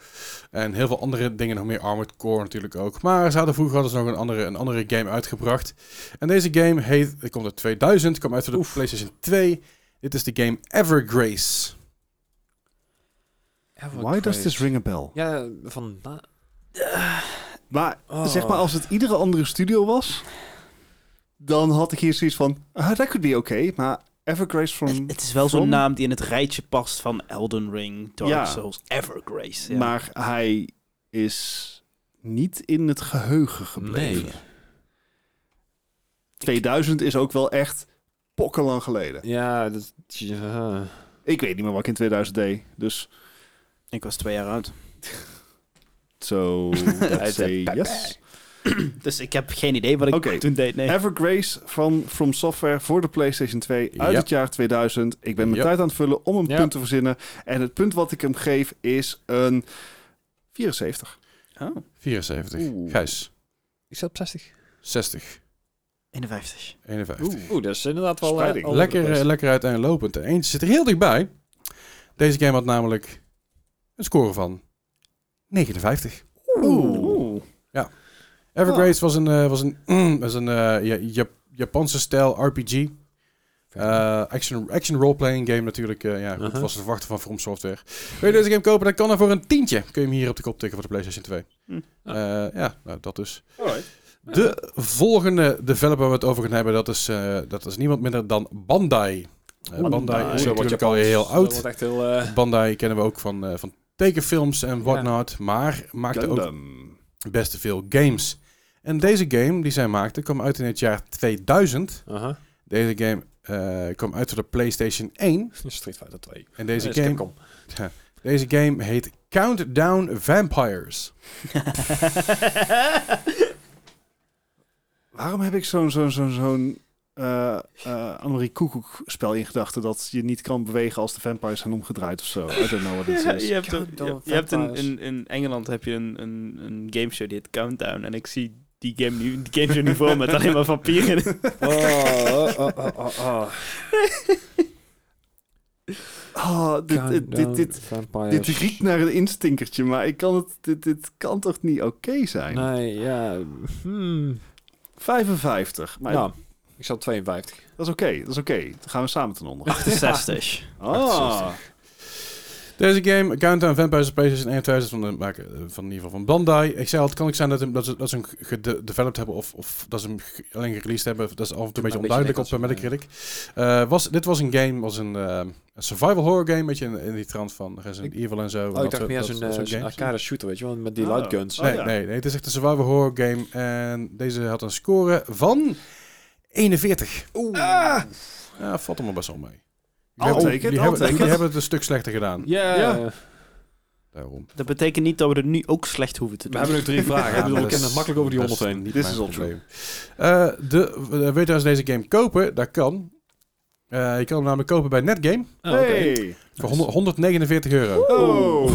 A: en heel veel andere dingen, nog meer Armored Core natuurlijk ook. Maar ze hadden vroeger hadden ze nog een andere, een andere game uitgebracht. En deze game heet, het komt uit 2000, kwam uit voor de PlayStation 2. Dit is de game Evergrace.
D: Why does this ring a bell?
C: Ja, van... na-
D: Maar
C: Oh.
D: zeg maar, als het iedere andere studio was, dan had ik hier zoiets van, ah, dat could be oké, maar Evergrace
B: Het,
D: from...
B: het is wel zo'n
D: From?
B: naam die in het rijtje past van Elden Ring, Dark
D: Ja.
B: Souls, Evergrace. Ja.
D: Maar hij is niet in het geheugen gebleven.
C: Nee.
D: 2000 is ook wel echt pokkenlang geleden.
C: Ja, dat... ja.
D: Ik weet niet meer wat ik in 2000 deed. Dus
B: Ik was twee jaar oud.
D: zo.
C: Hij
D: let's
C: zei,
D: say
C: "Bye,
D: yes.
B: Dus ik heb geen idee wat ik
D: Oké.
B: toen deed. Nee.
D: Evergrace van From Software voor de PlayStation 2 uit
A: Ja.
D: het jaar 2000. Ik ben mijn
A: Ja.
D: tijd aan het vullen om een
C: Ja.
D: punt te verzinnen. En het punt wat ik hem geef is een 74.
B: Oh,
A: 74.
D: Oeh.
A: Gijs,
C: Ik zat op 60.
A: 60.
B: 51.
A: 51.
C: Oeh, dat is inderdaad wel... eh,
D: Spreiding.
C: al
A: Lekker,
C: over de
A: eh,
C: best.
A: lekker uiteenlopend. De Eentje zit er heel dichtbij. Deze game had namelijk een score van 59.
D: Oeh.
A: Evergrace was een, eh, was een, was een eh, Ja- Ja- Japanse stijl RPG.
C: Nou,
A: Eh, action, action role-playing game natuurlijk. eh, ja, goed,
C: Aha.
A: was te verwachten van From Software. Wil je deze game kopen, dan kan er voor een tientje. Kun je hem hier op de kop tikken voor de PlayStation 2.
B: Hm.
A: Eh, ja, nou, dat dus. De volgende developer waar we het over gaan hebben, dat is, eh, dat is niemand minder dan Bandai. Eh, Bandai,
B: Bandai.
A: is
B: Zo
A: natuurlijk al heel oud.
C: Dat wordt echt heel... eh,
A: Bandai kennen we ook van, eh, van tekenfilms en whatnot, maar maakte ook
D: Gundam.
A: best te veel games. En deze game die zij maakte kwam uit in het jaar 2000.
C: aha.
A: Deze game eh, kwam uit voor de PlayStation 1.
C: Street Fighter 2.
A: En deze,
C: Nee, dat is
A: game,
C: Capcom.
A: deze game heet Countdown Vampires.
D: Waarom heb ik zo'n zo'n zo'n zo'n eh eh Annemarie Koekoek spel in gedachten dat je niet kan bewegen als de vampires zijn omgedraaid of zo? I don't know what this
B: Ja,
D: is.
B: je hebt, een-
C: Countdown
B: je- je hebt een,
C: Vampires.
B: in, in Engeland heb je een, een, een gameshow die heet Countdown. En ik zie die game nu, die gameshow nu voor me met alleen maar vampieren.
C: Oh, oh, oh, oh, oh.
D: Ah, dit, dit, dit, dit, dit riekt naar een instinkertje, maar ik kan het, dit, dit kan toch niet oké zijn?
C: Nee, ja. Hmm.
D: 55, maar
C: Nou, ik zat op 52.
D: dat is oké, dat is oké. Dan gaan we samen ten onder.
B: 68.
D: Ah,
A: Deze game, Countdown Vampires op PlayStation 1 2000, van, de maker, eh, van in ieder geval van Bandai. Ik zei al, het kan ook zijn dat, hem- dat, ze, dat ze hem gedeveloped hebben of, of dat ze hem ge- alleen gereleased hebben. Dat is af en toe een beetje
C: een beetje
A: onduidelijk op eh,
C: nek als-
A: Metacritic. Eh, was, dit was een game, was een, eh, een survival horror game, een beetje in, in die trant van Resident Evil en zo. en
C: Oh, ik
A: dat
C: dacht
A: soort-
C: meer
A: dat-
C: zo'n
A: dat
C: eh,
A: soort
C: zo'n
A: games.
C: arcade shooter, weet je wel, met die
D: Oh.
C: light guns.
D: Oh,
A: Nee,
D: ja.
A: nee, nee, het is echt een survival horror game en deze had een score van 41. Oeh.
D: Ah,
A: Ja, valt hem maar best wel mee. Die
D: I'll
A: hebben-
D: take it,
A: die
D: I'll
A: hebben-
D: take
A: die
D: it.
A: hebben het een stuk slechter gedaan.
C: Ja,
D: Ja.
A: Daarom.
B: Dat betekent niet dat we er nu ook slecht hoeven te
C: we
B: doen.
C: hebben nog drie vragen.
A: Ja,
C: ik bedoel,
A: maar
C: we
A: dat
C: kunnen het makkelijk over die
A: dat is
C: 100 heen.
A: niet
D: This
A: mijn
D: is all true.
A: probleem. Eh, de, eh, wil je trouwens deze game kopen? Dat kan. Eh, je kan hem namelijk kopen bij Netgame
C: Oh, oké.
D: hey.
A: voor 100 149 euro.
D: Oh.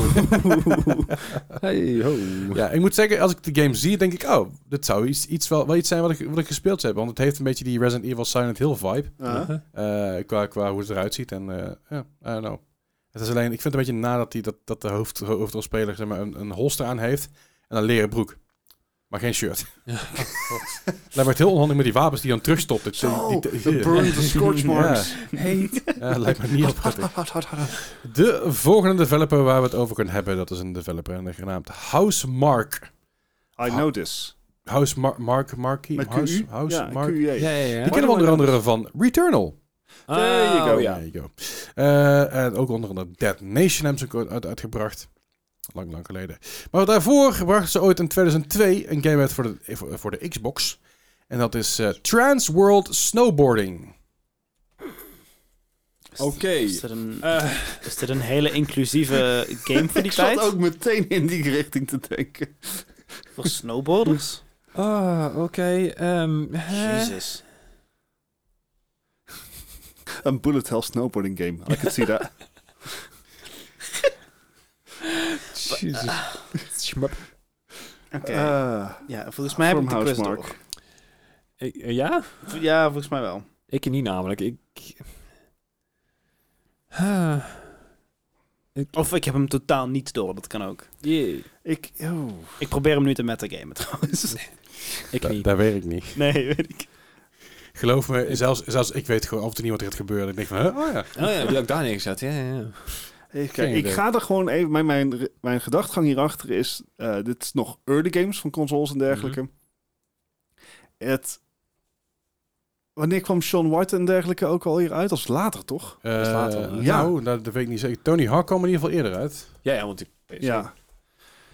C: Hey, ho.
A: Ja, ik moet zeggen, als ik de game zie, denk ik, oh, dit zou iets, iets wel, wel iets zijn wat ik, wat ik gespeeld heb. Want het heeft een beetje die Resident Evil Silent Hill vibe.
D: Ah.
A: eh, qua, qua hoe het eruit ziet. En eh, ja, I don't know. Het is alleen, ik vind het een beetje na dat, die, dat, dat de hoofd, hoofdrolspeler zeg maar, een, een holster aan heeft en een leren broek. Maar geen shirt.
C: Ja.
A: Lijkt me het heel onhandig met die wapens die dan terugstopt. Het-
D: Zo,
A: die- die-
D: de Oh, burn, the scorch marks.
A: Ja, lijkt me niet heel prettig. De volgende developer waar we het over kunnen hebben, dat is een developer en genaamd Housemark.
D: I know this.
A: House Mar Mark Markie?
D: Met
A: House,
D: QU?
A: House
D: ja, E.
A: Mark.
D: QUA.
C: Ja, ja, ja.
A: Die kennen we onder andere van Returnal.
D: There you go.
C: Oh,
A: Ja.
C: ja.
A: There you go. Eh, en ook onder andere Dead Nation hebben ze ook uit, uitgebracht. Lang, lang geleden. Maar daarvoor brachten ze ooit in 2002 een game uit voor de, voor, voor de Xbox. En dat is eh, Trans World Snowboarding.
C: Oké.
B: Is, dit een,
C: Eh,
B: is dit een hele inclusieve game voor die
D: Ik zat
B: tijd?
D: ook meteen in die richting te denken.
B: Voor snowboarders?
C: Ah, oké. ehm,
B: Eh.
C: hè?
B: Jezus.
D: Een bullet hell snowboarding game. I could see that.
C: Jezus. Schmup.
B: Oké.
D: Ah,
B: ja, volgens mij heb ik
D: From
B: de quiz
D: Housemark.
B: door.
C: Ik- eh, Ja?
B: Ja, volgens mij wel.
C: Ik niet namelijk. Ik... Ah.
B: Of ik heb hem totaal niet door, dat kan ook.
C: Jee.
D: ik... Oh.
B: Ik probeer hem nu te metagamen trouwens.
C: Ik
A: Da-
C: niet.
A: daar weet ik niet.
B: Nee, weet ik.
A: Geloof me, zelfs, zelfs ik weet gewoon af en toe niet wat er gaat gebeuren. Ik denk van, hè? oh ja.
C: Oh ja, die heb ik daar neergezet. Ja, ja, ja.
D: Even
A: Geen
D: kijken. Ik
A: idee.
D: ga er gewoon even... Mijn, mijn, mijn gedachtgang hierachter is... eh, dit is nog early games van consoles en dergelijke. Het... Wanneer kwam Sean White en dergelijke ook al hier uit? Als later, toch?
A: Eh,
C: is later, hè?
A: Nou, dat, dat weet ik niet zeker. Tony Hawk kwam er in ieder geval eerder uit.
C: Ja, ja, want ik...
D: Ja.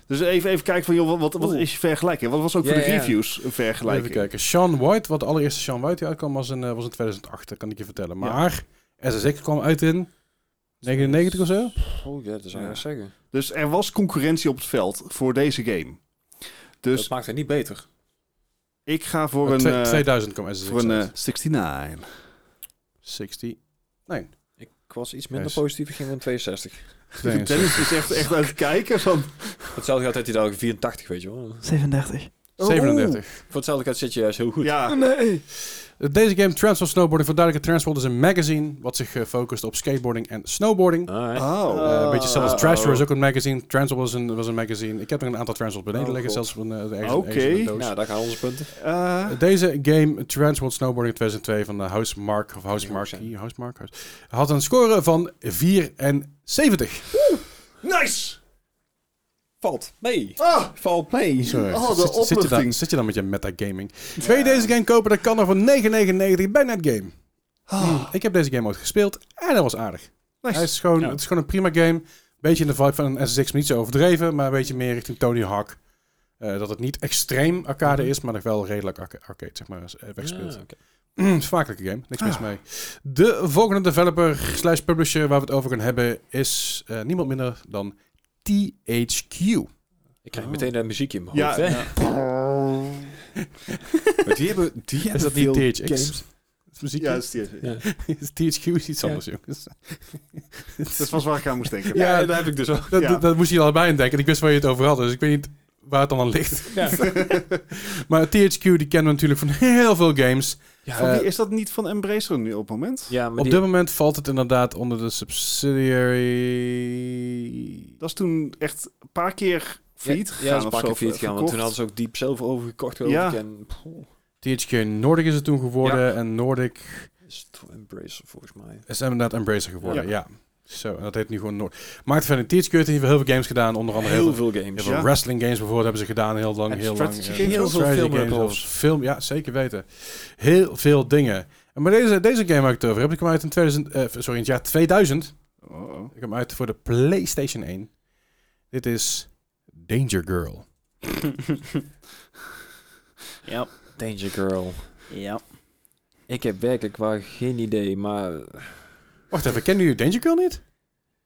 D: Dus even, even kijken van, joh, wat- wat, wat
C: Oeh.
D: is je vergelijking? Wat was ook
C: Ja,
D: voor de
C: ja.
D: reviews een vergelijking?
A: Even kijken. Sean White, wat de allereerste Sean White die uitkwam, was in, eh, was in 2008. Dat kan ik je vertellen. Maar SSX kwam uit in 99 of zo?
C: Oh ja, dat zou je
D: Ja.
C: zeggen.
D: Dus er was concurrentie op het veld voor deze game. Dus
C: dat maakt het niet beter.
D: ik ga voor een,
A: Oh, Twee-
D: eh,
A: 2000 kwam SSX
D: voor een eh,
A: uit.
D: 69.
A: 60.
C: Ik was iets minder
A: Yes.
C: positief, ik ging met 62.
D: Dennis is echt, echt aan het kijken van...
C: Hetzelfde geld had hij daar 84, weet je wel.
B: 37.
D: Oh.
A: 37.
C: Voor hetzelfde geld zit je juist heel goed.
D: Ja,
B: Nee.
A: Eh, Deze game, Transfer Snowboarding, voor duidelijke Transworld is een magazine wat zich eh, focust op skateboarding en snowboarding.
C: Ah, hè.
D: Oh.
A: Eh, een beetje zelfs Trash
C: oh.
A: was ook een magazine. Transworld was een, was een magazine. Ik heb er een aantal Transworld beneden
C: Oh,
A: liggen,
C: God.
A: zelfs van eh, ergens- ergens
D: Oké.
A: in een doos.
C: Nou, daar gaan onze punten.
D: Eh,
A: Deze game, Transworld Snowboarding 2002 van de House Mark, of House Mark, House Mark, House- had een score van 74.
D: nice!
C: Valt mee.
D: Ah, valt mee.
A: Sorry.
D: Oh,
A: Zit-
D: de
A: zit, je dan,
D: opluchting.
A: zit je dan met je metagaming? Wil je deze game kopen, dan kan er voor 9,99 bij Netgame.
D: Ah.
A: Hmm, Ik heb deze game ooit gespeeld en dat was aardig. Hij
D: Nice.
A: is gewoon,
C: Ja.
A: Het is gewoon een prima game. Beetje in de vibe van een SSX, maar niet zo overdreven. Maar een beetje meer richting Tony Hawk. Eh, dat het niet extreem arcade
C: Mhm.
A: is, maar nog wel redelijk arca- arcade, zeg maar, eh, wegspeelt.
C: Ah, oké.
A: Het is een Smakelijke game, niks
C: Ah.
A: mis mee. De volgende developer slash publisher waar we het over gaan hebben is eh, niemand minder dan THQ.
C: Ik krijg
D: Oh.
C: meteen een muziekje in mijn
D: Ja,
C: hoofd. hè. Maar die hebben, die hebben
A: dat
C: veel
A: niet THX?
C: games.
A: Is muziek?
D: Ja, dat is die.
C: Ja.
A: Is THQ is iets
C: Ja.
A: anders, jongens.
D: Dat was waar ik aan moest denken.
A: Ja,
C: heb ik dus ook.
A: dat,
D: Ja.
A: dat, dat moest je al bij denken. Ik wist waar je het over had, dus ik weet niet waar het dan aan ligt.
C: Ja.
A: Maar THQ die kennen we natuurlijk van heel veel games.
C: Ja,
D: Van
A: Eh,
D: wie is dat niet van Embracer nu op het moment?
C: ja, maar
A: Op
C: die,
A: dit moment valt het inderdaad onder de subsidiary.
D: Dat is toen echt een paar keer failliet
C: ja,
D: gegaan
C: ja, dat is
D: of
C: een paar
D: zo,
C: keer failliet gegaan, want
D: verkocht.
C: toen hadden ze ook Deep zelf overgekocht. geloof
D: Ja.
C: ik, En, poeh,
A: THQ Nordic is het toen geworden. En Nordic
C: is het voor Embracer volgens mij.
A: is inderdaad Embracer geworden. Ja.
D: Ja.
A: Zo, en dat heet nu gewoon Noord. Maakt van THQ heeft heel veel games gedaan. Onder andere heel,
C: Heel
A: veel,
C: veel games.
A: heel
D: ja.
A: veel wrestling games bijvoorbeeld hebben ze gedaan. Heel lang,
D: En
A: heel lang.
D: strategy
A: eh,
D: games
C: Heel
D: ook?
C: veel
A: strategy
C: filmen
A: games,
C: ook.
A: Film, ja, zeker weten. Heel veel dingen. En Maar deze, deze game waar ik het over heb, ik kwam uit in, 2000, eh, sorry, in het jaar 2000.
D: Oh, oh.
A: Ik heb hem uit voor de PlayStation 1. Dit is Danger Girl.
B: ja.
C: Danger Girl.
B: Ja.
C: Ik heb werkelijk waar geen idee, maar...
A: Wacht even, kennen jullie Danger Girl niet?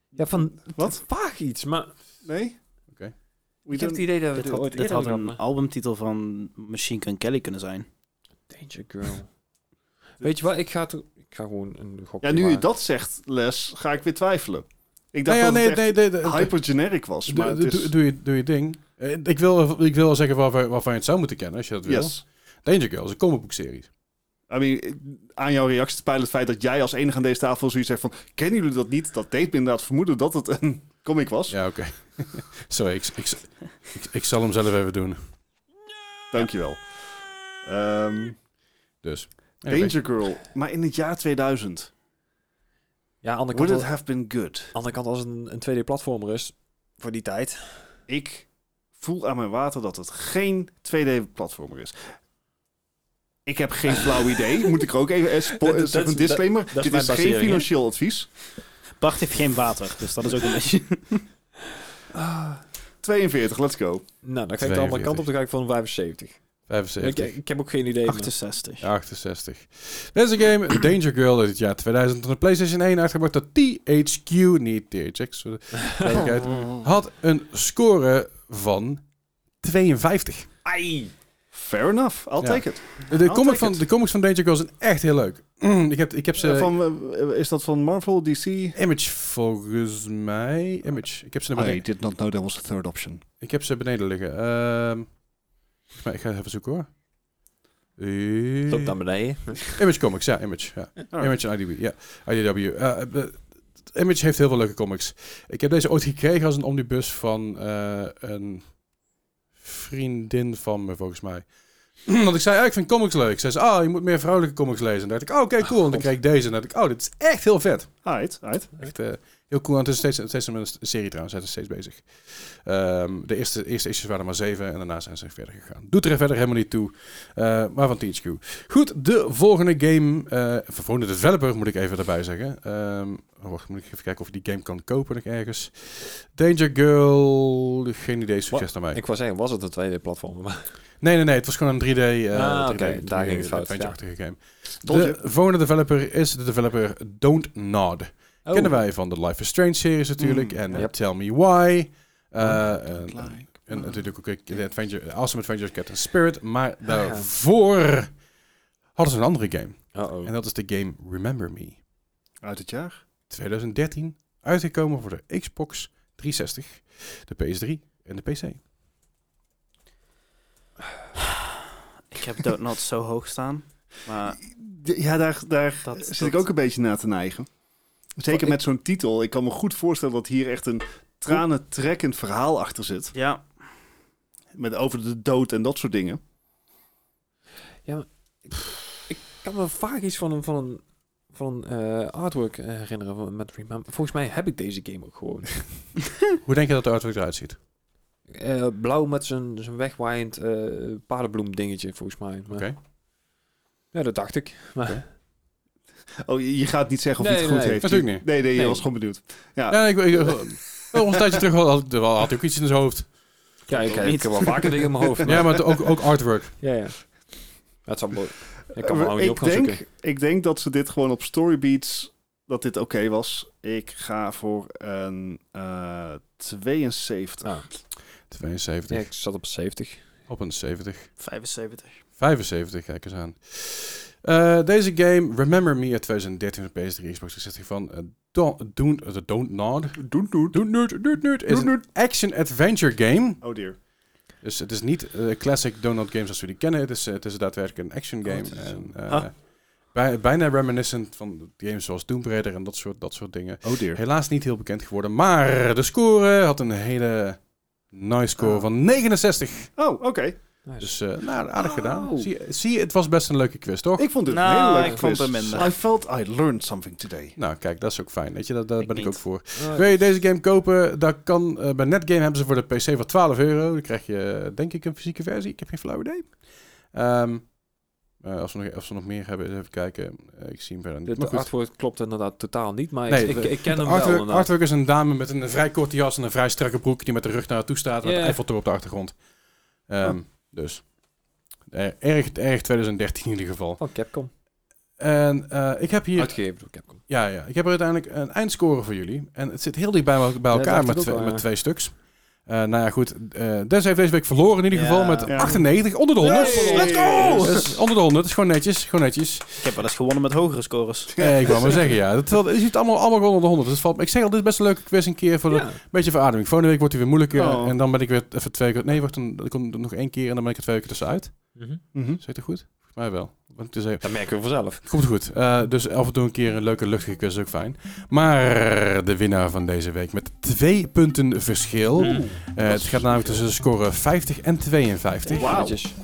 C: Ja, van...
D: Wat?
C: Vaag iets, maar...
D: Nee?
A: Oké.
D: We
B: Ik heb
D: don't-
B: het idee dat we
C: Dit
B: dit,
C: had-
B: ooit
C: dit
B: eerder
C: had
B: over
C: een
B: hadden. een albumtitel van Machine Gun Kelly kunnen zijn.
C: Danger Girl. Weet je wat, ik ga, to- ik ga gewoon een gokje
D: Ja, nu je
C: maken.
D: dat zegt, Les, ga ik weer twijfelen. Ik
A: Nou
D: dacht
A: ja,
D: dat
A: nee,
D: het
A: nee, nee, nee,
D: echt hypergeneric was,
A: doe-
D: maar
A: doe-
D: het is...
A: doe- Doe je- doe je ding. Eh, Ik wil, ik wil wel zeggen waarvan, waarvan je het zou moeten kennen, als je dat wil.
D: Yes.
A: Danger Girl is een comicboekserie.
D: I mean, aan jouw reactie te peilen het feit dat jij als enige aan deze tafel zoiets zegt van... Kennen jullie dat niet? Dat deed me inderdaad vermoeden dat het een comic was.
A: Ja, oké. Sorry, ik, ik, ik, ik zal hem zelf even doen.
D: Dankjewel. Ehm,
A: Dus.
D: Danger Girl, maar in het jaar 2000.
C: Ja, aan de
D: Would
C: kant,
D: it
C: als,
D: have been good?
C: aan de kant als een, een 2D-platformer is... Voor die tijd.
D: Ik voel aan mijn water dat het geen 2D-platformer is. Ik heb geen flauw idee. Moet ik er ook even eh, spo-
C: Dat-
D: eh,
C: dat-
D: zeg een
C: dat-
D: disclaimer?
C: is
D: Dit
C: mijn
D: is geen
C: basering, hè?
D: financieel advies.
B: Bart heeft geen water, dus dat is ook een beetje...
D: 42, let's go.
C: Nou, dan ga ik de andere kant op, dan ga ik van 75. Ik,
A: 75.
C: ik heb ook geen idee. maar-
B: 68.
A: 68. Deze game, Danger Girl, uit het jaar 2000 op de PlayStation 1 uitgebracht door THQ, niet THX, voor de duidelijkheid,
D: Oh.
A: had een score van 52.
D: Ai. Fair enough, I'll
A: Ja.
D: take it.
A: De, comic
D: take
A: van,
D: it.
A: de comics van Danger Girl zijn echt heel leuk. Mm, ik, heb, ik heb ze...
D: Eh, van, eh, is dat van Marvel, DC?
A: Image volgens mij. Image. Ik heb ze, naar beneden,
D: did not know that was a third option.
A: ik heb ze beneden liggen. Ehm, volgens mij, ik ga even zoeken hoor. Eh,
C: Loop naar beneden.
A: Image Comics, ja, Image. Ja. Image en IDW, ja. IDW. Eh, eh, de- Image heeft heel veel leuke comics. Ik heb deze ooit gekregen als een omnibus van eh, een vriendin van me, volgens mij. Want ik zei, ja, ik vind comics leuk. Ze zei, ah, je moet meer vrouwelijke comics lezen. En dacht ik, oh, oké, cool. En dan
C: God.
A: kreeg ik deze. En dacht ik, oh, dit is echt heel vet.
D: Alright, alright.
A: Echt eh, heel cool. En het is steeds, steeds een serie trouwens. Het is steeds bezig. Ehm, de eerste, eerste issues waren er maar zeven. En daarna zijn ze verder gegaan. Doet er verder helemaal niet toe. eh, maar van THQ. Goed, de volgende game. eh de volgende developer moet ik even erbij zeggen. Ehm, oh, wacht, moet ik even kijken of ik die game kan kopen nog ergens. Danger Girl. Geen idee, succes naar mij.
C: Ik wou zeggen, was het een 2D-platformer? Maar
A: Nee, nee, nee. Het was gewoon een 3D. eh
C: Ah, oké,
A: 3D,
C: daar ging het fout,
A: adventure-achtige game.
D: Tot
A: De volgende developer is de developer Don't Nod.
C: Oh.
A: Kennen wij van de Life is Strange series natuurlijk.
D: Mm,
A: en eh,
C: yep. Oh,
A: Tell Me Why. Eh, en-
D: Like.
A: en
C: Ah.
A: natuurlijk ook eh, de Adventure, Awesome Adventures Captain Spirit. Maar
C: Ah.
A: daarvoor hadden ze een andere game.
C: Uh-oh.
A: En dat is de game Remember Me.
D: Uit het jaar?
A: 2013 uitgekomen voor de Xbox 360, de PS3 en de PC.
B: Ik heb Don't Not zo hoog staan. Maar
D: Ja, daar, daar
B: dat...
D: zit
B: dat-
D: ik ook een beetje na te neigen. Zeker
C: Ik-
D: met zo'n titel. Ik kan me goed voorstellen dat hier echt een tranentrekkend verhaal achter zit.
B: Ja,
D: Met over de dood en dat soort dingen.
C: Ik kan me vaak iets van een, van een, van een eh, artwork eh, herinneren van- met Remember. Volgens mij heb ik deze game ook gewoon.
A: Hoe denk je dat de artwork eruit ziet?
C: Eh, blauw met zijn zijn wegwaaiend eh paardenbloem dingetje, volgens mij. Maar-
A: Oké.
C: Ja, dat dacht ik. Maar
D: Oh, je je gaat niet zeggen of
C: Nee,
D: hij het goed
C: nee,
D: heeft.
A: natuurlijk niet.
D: Nee, nee, je
C: Nee.
D: was gewoon benieuwd.
C: Ah.
A: Ja, ik, ik, wel, een tijdje terug had, had, had ik ook iets in zijn hoofd.
C: ja, ik,
B: ook
C: ik
B: niet.
C: heb wel vaker dingen in mijn hoofd.
A: Ja, maar het- ook, ook artwork.
C: ja, ja. Dat is allemaal... Ik kan me allemaal niet op
D: ik,
C: gaan
D: denk,
C: zoeken.
D: ik denk dat ze dit gewoon op Storybeats, dat dit oké was. Ik ga voor een eh 72.
C: Ah,
A: 72,
C: ja, ik zat op 70.
A: op een 70,
B: 75.
A: 75, kijk eens aan. Eh, deze game, Remember Me uit 2013 van PS3, Xbox 360 van eh, Don't, don't, de don't Nod.
D: Doet, doet.
A: Don't Nerd, Nerd, Nerd is
D: Don't
A: een action-adventure game.
D: Oh dear.
A: Dus het is niet eh, classic Donut games als we die kennen. Het is, eh, het is daadwerkelijk een action game.
D: het is
A: en,
D: een-
A: eh,
B: Ah.
A: bij- bijna reminiscent van games zoals Tomb Raider en dat soort, dat soort dingen.
D: Oh dear.
A: Helaas niet heel bekend geworden. Maar de score had een hele nice score
D: Ah.
A: van 69.
D: Oh, oké.
C: Nice.
A: Dus eh, nou, aardig
D: Oh.
A: gedaan. Zie je, zie je, het was best een leuke quiz, toch?
D: Ik vond het een
B: Nou,
D: hele leuke
B: ik vond
D: quiz.
B: hem minder.
D: I felt I learned something today.
A: Nou, kijk, dat is ook fijn. Weet je, daar, daar
B: Ik
A: ben ik
B: niet.
A: ook voor.
C: Ah,
A: Wil je deze game kopen? Dat kan, eh, bij Netgame hebben ze voor de PC voor 12 euro. Dan krijg je, eh, denk ik, een fysieke versie. Ik heb geen flauw idee. Ehm, eh, als, we nog, als we nog meer hebben, even kijken. Eh, ik zie hem verder niet.
C: Het
A: Maar goed.
C: artwork klopt inderdaad totaal niet, maar
A: Nee,
C: ik, ik,
A: de-
C: ik ken hem wel. eh.
A: Artwork,
C: inderdaad.
A: artwork is een dame met een vrij korte jas en een vrij strakke broek die met de rug naar haar toe staat. Met
C: Ja.
A: een Eiffeltoren op de achtergrond. Ehm, Dus. Eh, erg, erg 2013 in ieder geval.
C: Van Oh, Capcom.
A: En eh, ik heb hier
C: Uitgegeven door Capcom.
A: Ja, ja, ik heb er uiteindelijk een eindscore voor jullie. En het zit heel dicht bij, el- bij
C: Ja,
A: elkaar
C: dat dacht
A: met,
C: ik
A: twee,
C: ook al,
A: met
C: ja.
A: twee stuks. Eh, nou ja, goed. eh Des heeft deze week verloren in ieder
B: Ja.
A: geval met
D: Ja.
A: 98. Onder de 100.
D: Hey!
A: Let's go! Dus onder de 100. is gewoon netjes. Gewoon netjes.
B: Ik heb wel eens gewonnen met hogere scores.
A: Eh, ik wou maar zeggen, ja. Dat, dat, je ziet allemaal, allemaal gewoon onder de 100. Dus het valt, me- ik zeg al, dit is best een leuke quiz een keer voor de
C: Ja.
A: beetje verademing. Volgende week wordt hij weer moeilijker.
D: Oh.
A: En dan ben ik weer even twee keer... Nee, wacht, dan, dan komt er nog één keer en dan ben ik er twee keer tussenuit.
C: Mhm.
D: Mhm.
A: Zegt het goed? Volgens mij wel. Want het is even-
C: Dat merken we vanzelf.
A: Komt goed. Eh, dus af en toe een keer een leuke luchtige quiz is ook fijn. Maar de winnaar van deze week met twee punten verschil. Eh, het gaat namelijk tussen de scoren 50 en 52.
D: Wauw.
C: Netjes.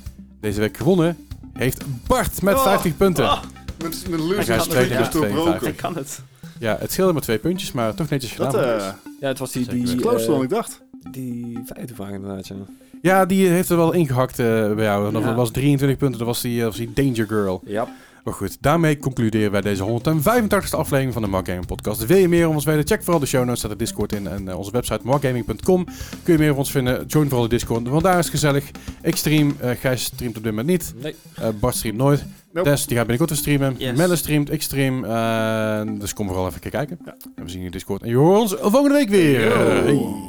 A: Deze week gewonnen heeft Bart met
D: Oh.
A: 50 punten.
B: Ah,
D: Mijn, mijn
A: Hij
D: leuze
A: gaat
D: is
A: tweede
D: tweede
A: met
D: doorbroken.
B: ik
A: 52.
B: kan het.
A: Ja, het scheelde maar twee puntjes, maar toch netjes gedaan.
D: Dat eh
C: Ja, het was die...
A: Zeker
C: die
D: is closer dan
C: eh,
D: ik dacht.
C: Die vijfde vraag inderdaad, ja.
A: Ja, die heeft er wel ingehakt eh, bij jou. Want
C: Ja.
A: Dat was 23 punten, dat was die, eh, was die Danger Girl.
C: Ja.
A: Maar goed, daarmee concluderen wij deze 185e aflevering van de Mark Gaming Podcast. Wil je meer van ons weten? Check vooral de show notes, staat de Discord in en eh, onze website markgaming.com. Kun je meer van ons vinden? Join vooral de Discord, want daar is het gezellig. Ik stream, eh Gijs streamt op dit moment niet,
C: Nee.
A: Eh, Bart streamt nooit.
D: Nope.
A: Des, die gaat binnenkort weer streamen.
B: Yes.
A: Melle streamt, ik stream. eh, dus kom vooral even kijken.
D: Ja.
A: En we zien je in Discord. En je hoort ons volgende week weer.
D: Yo.
A: Hey.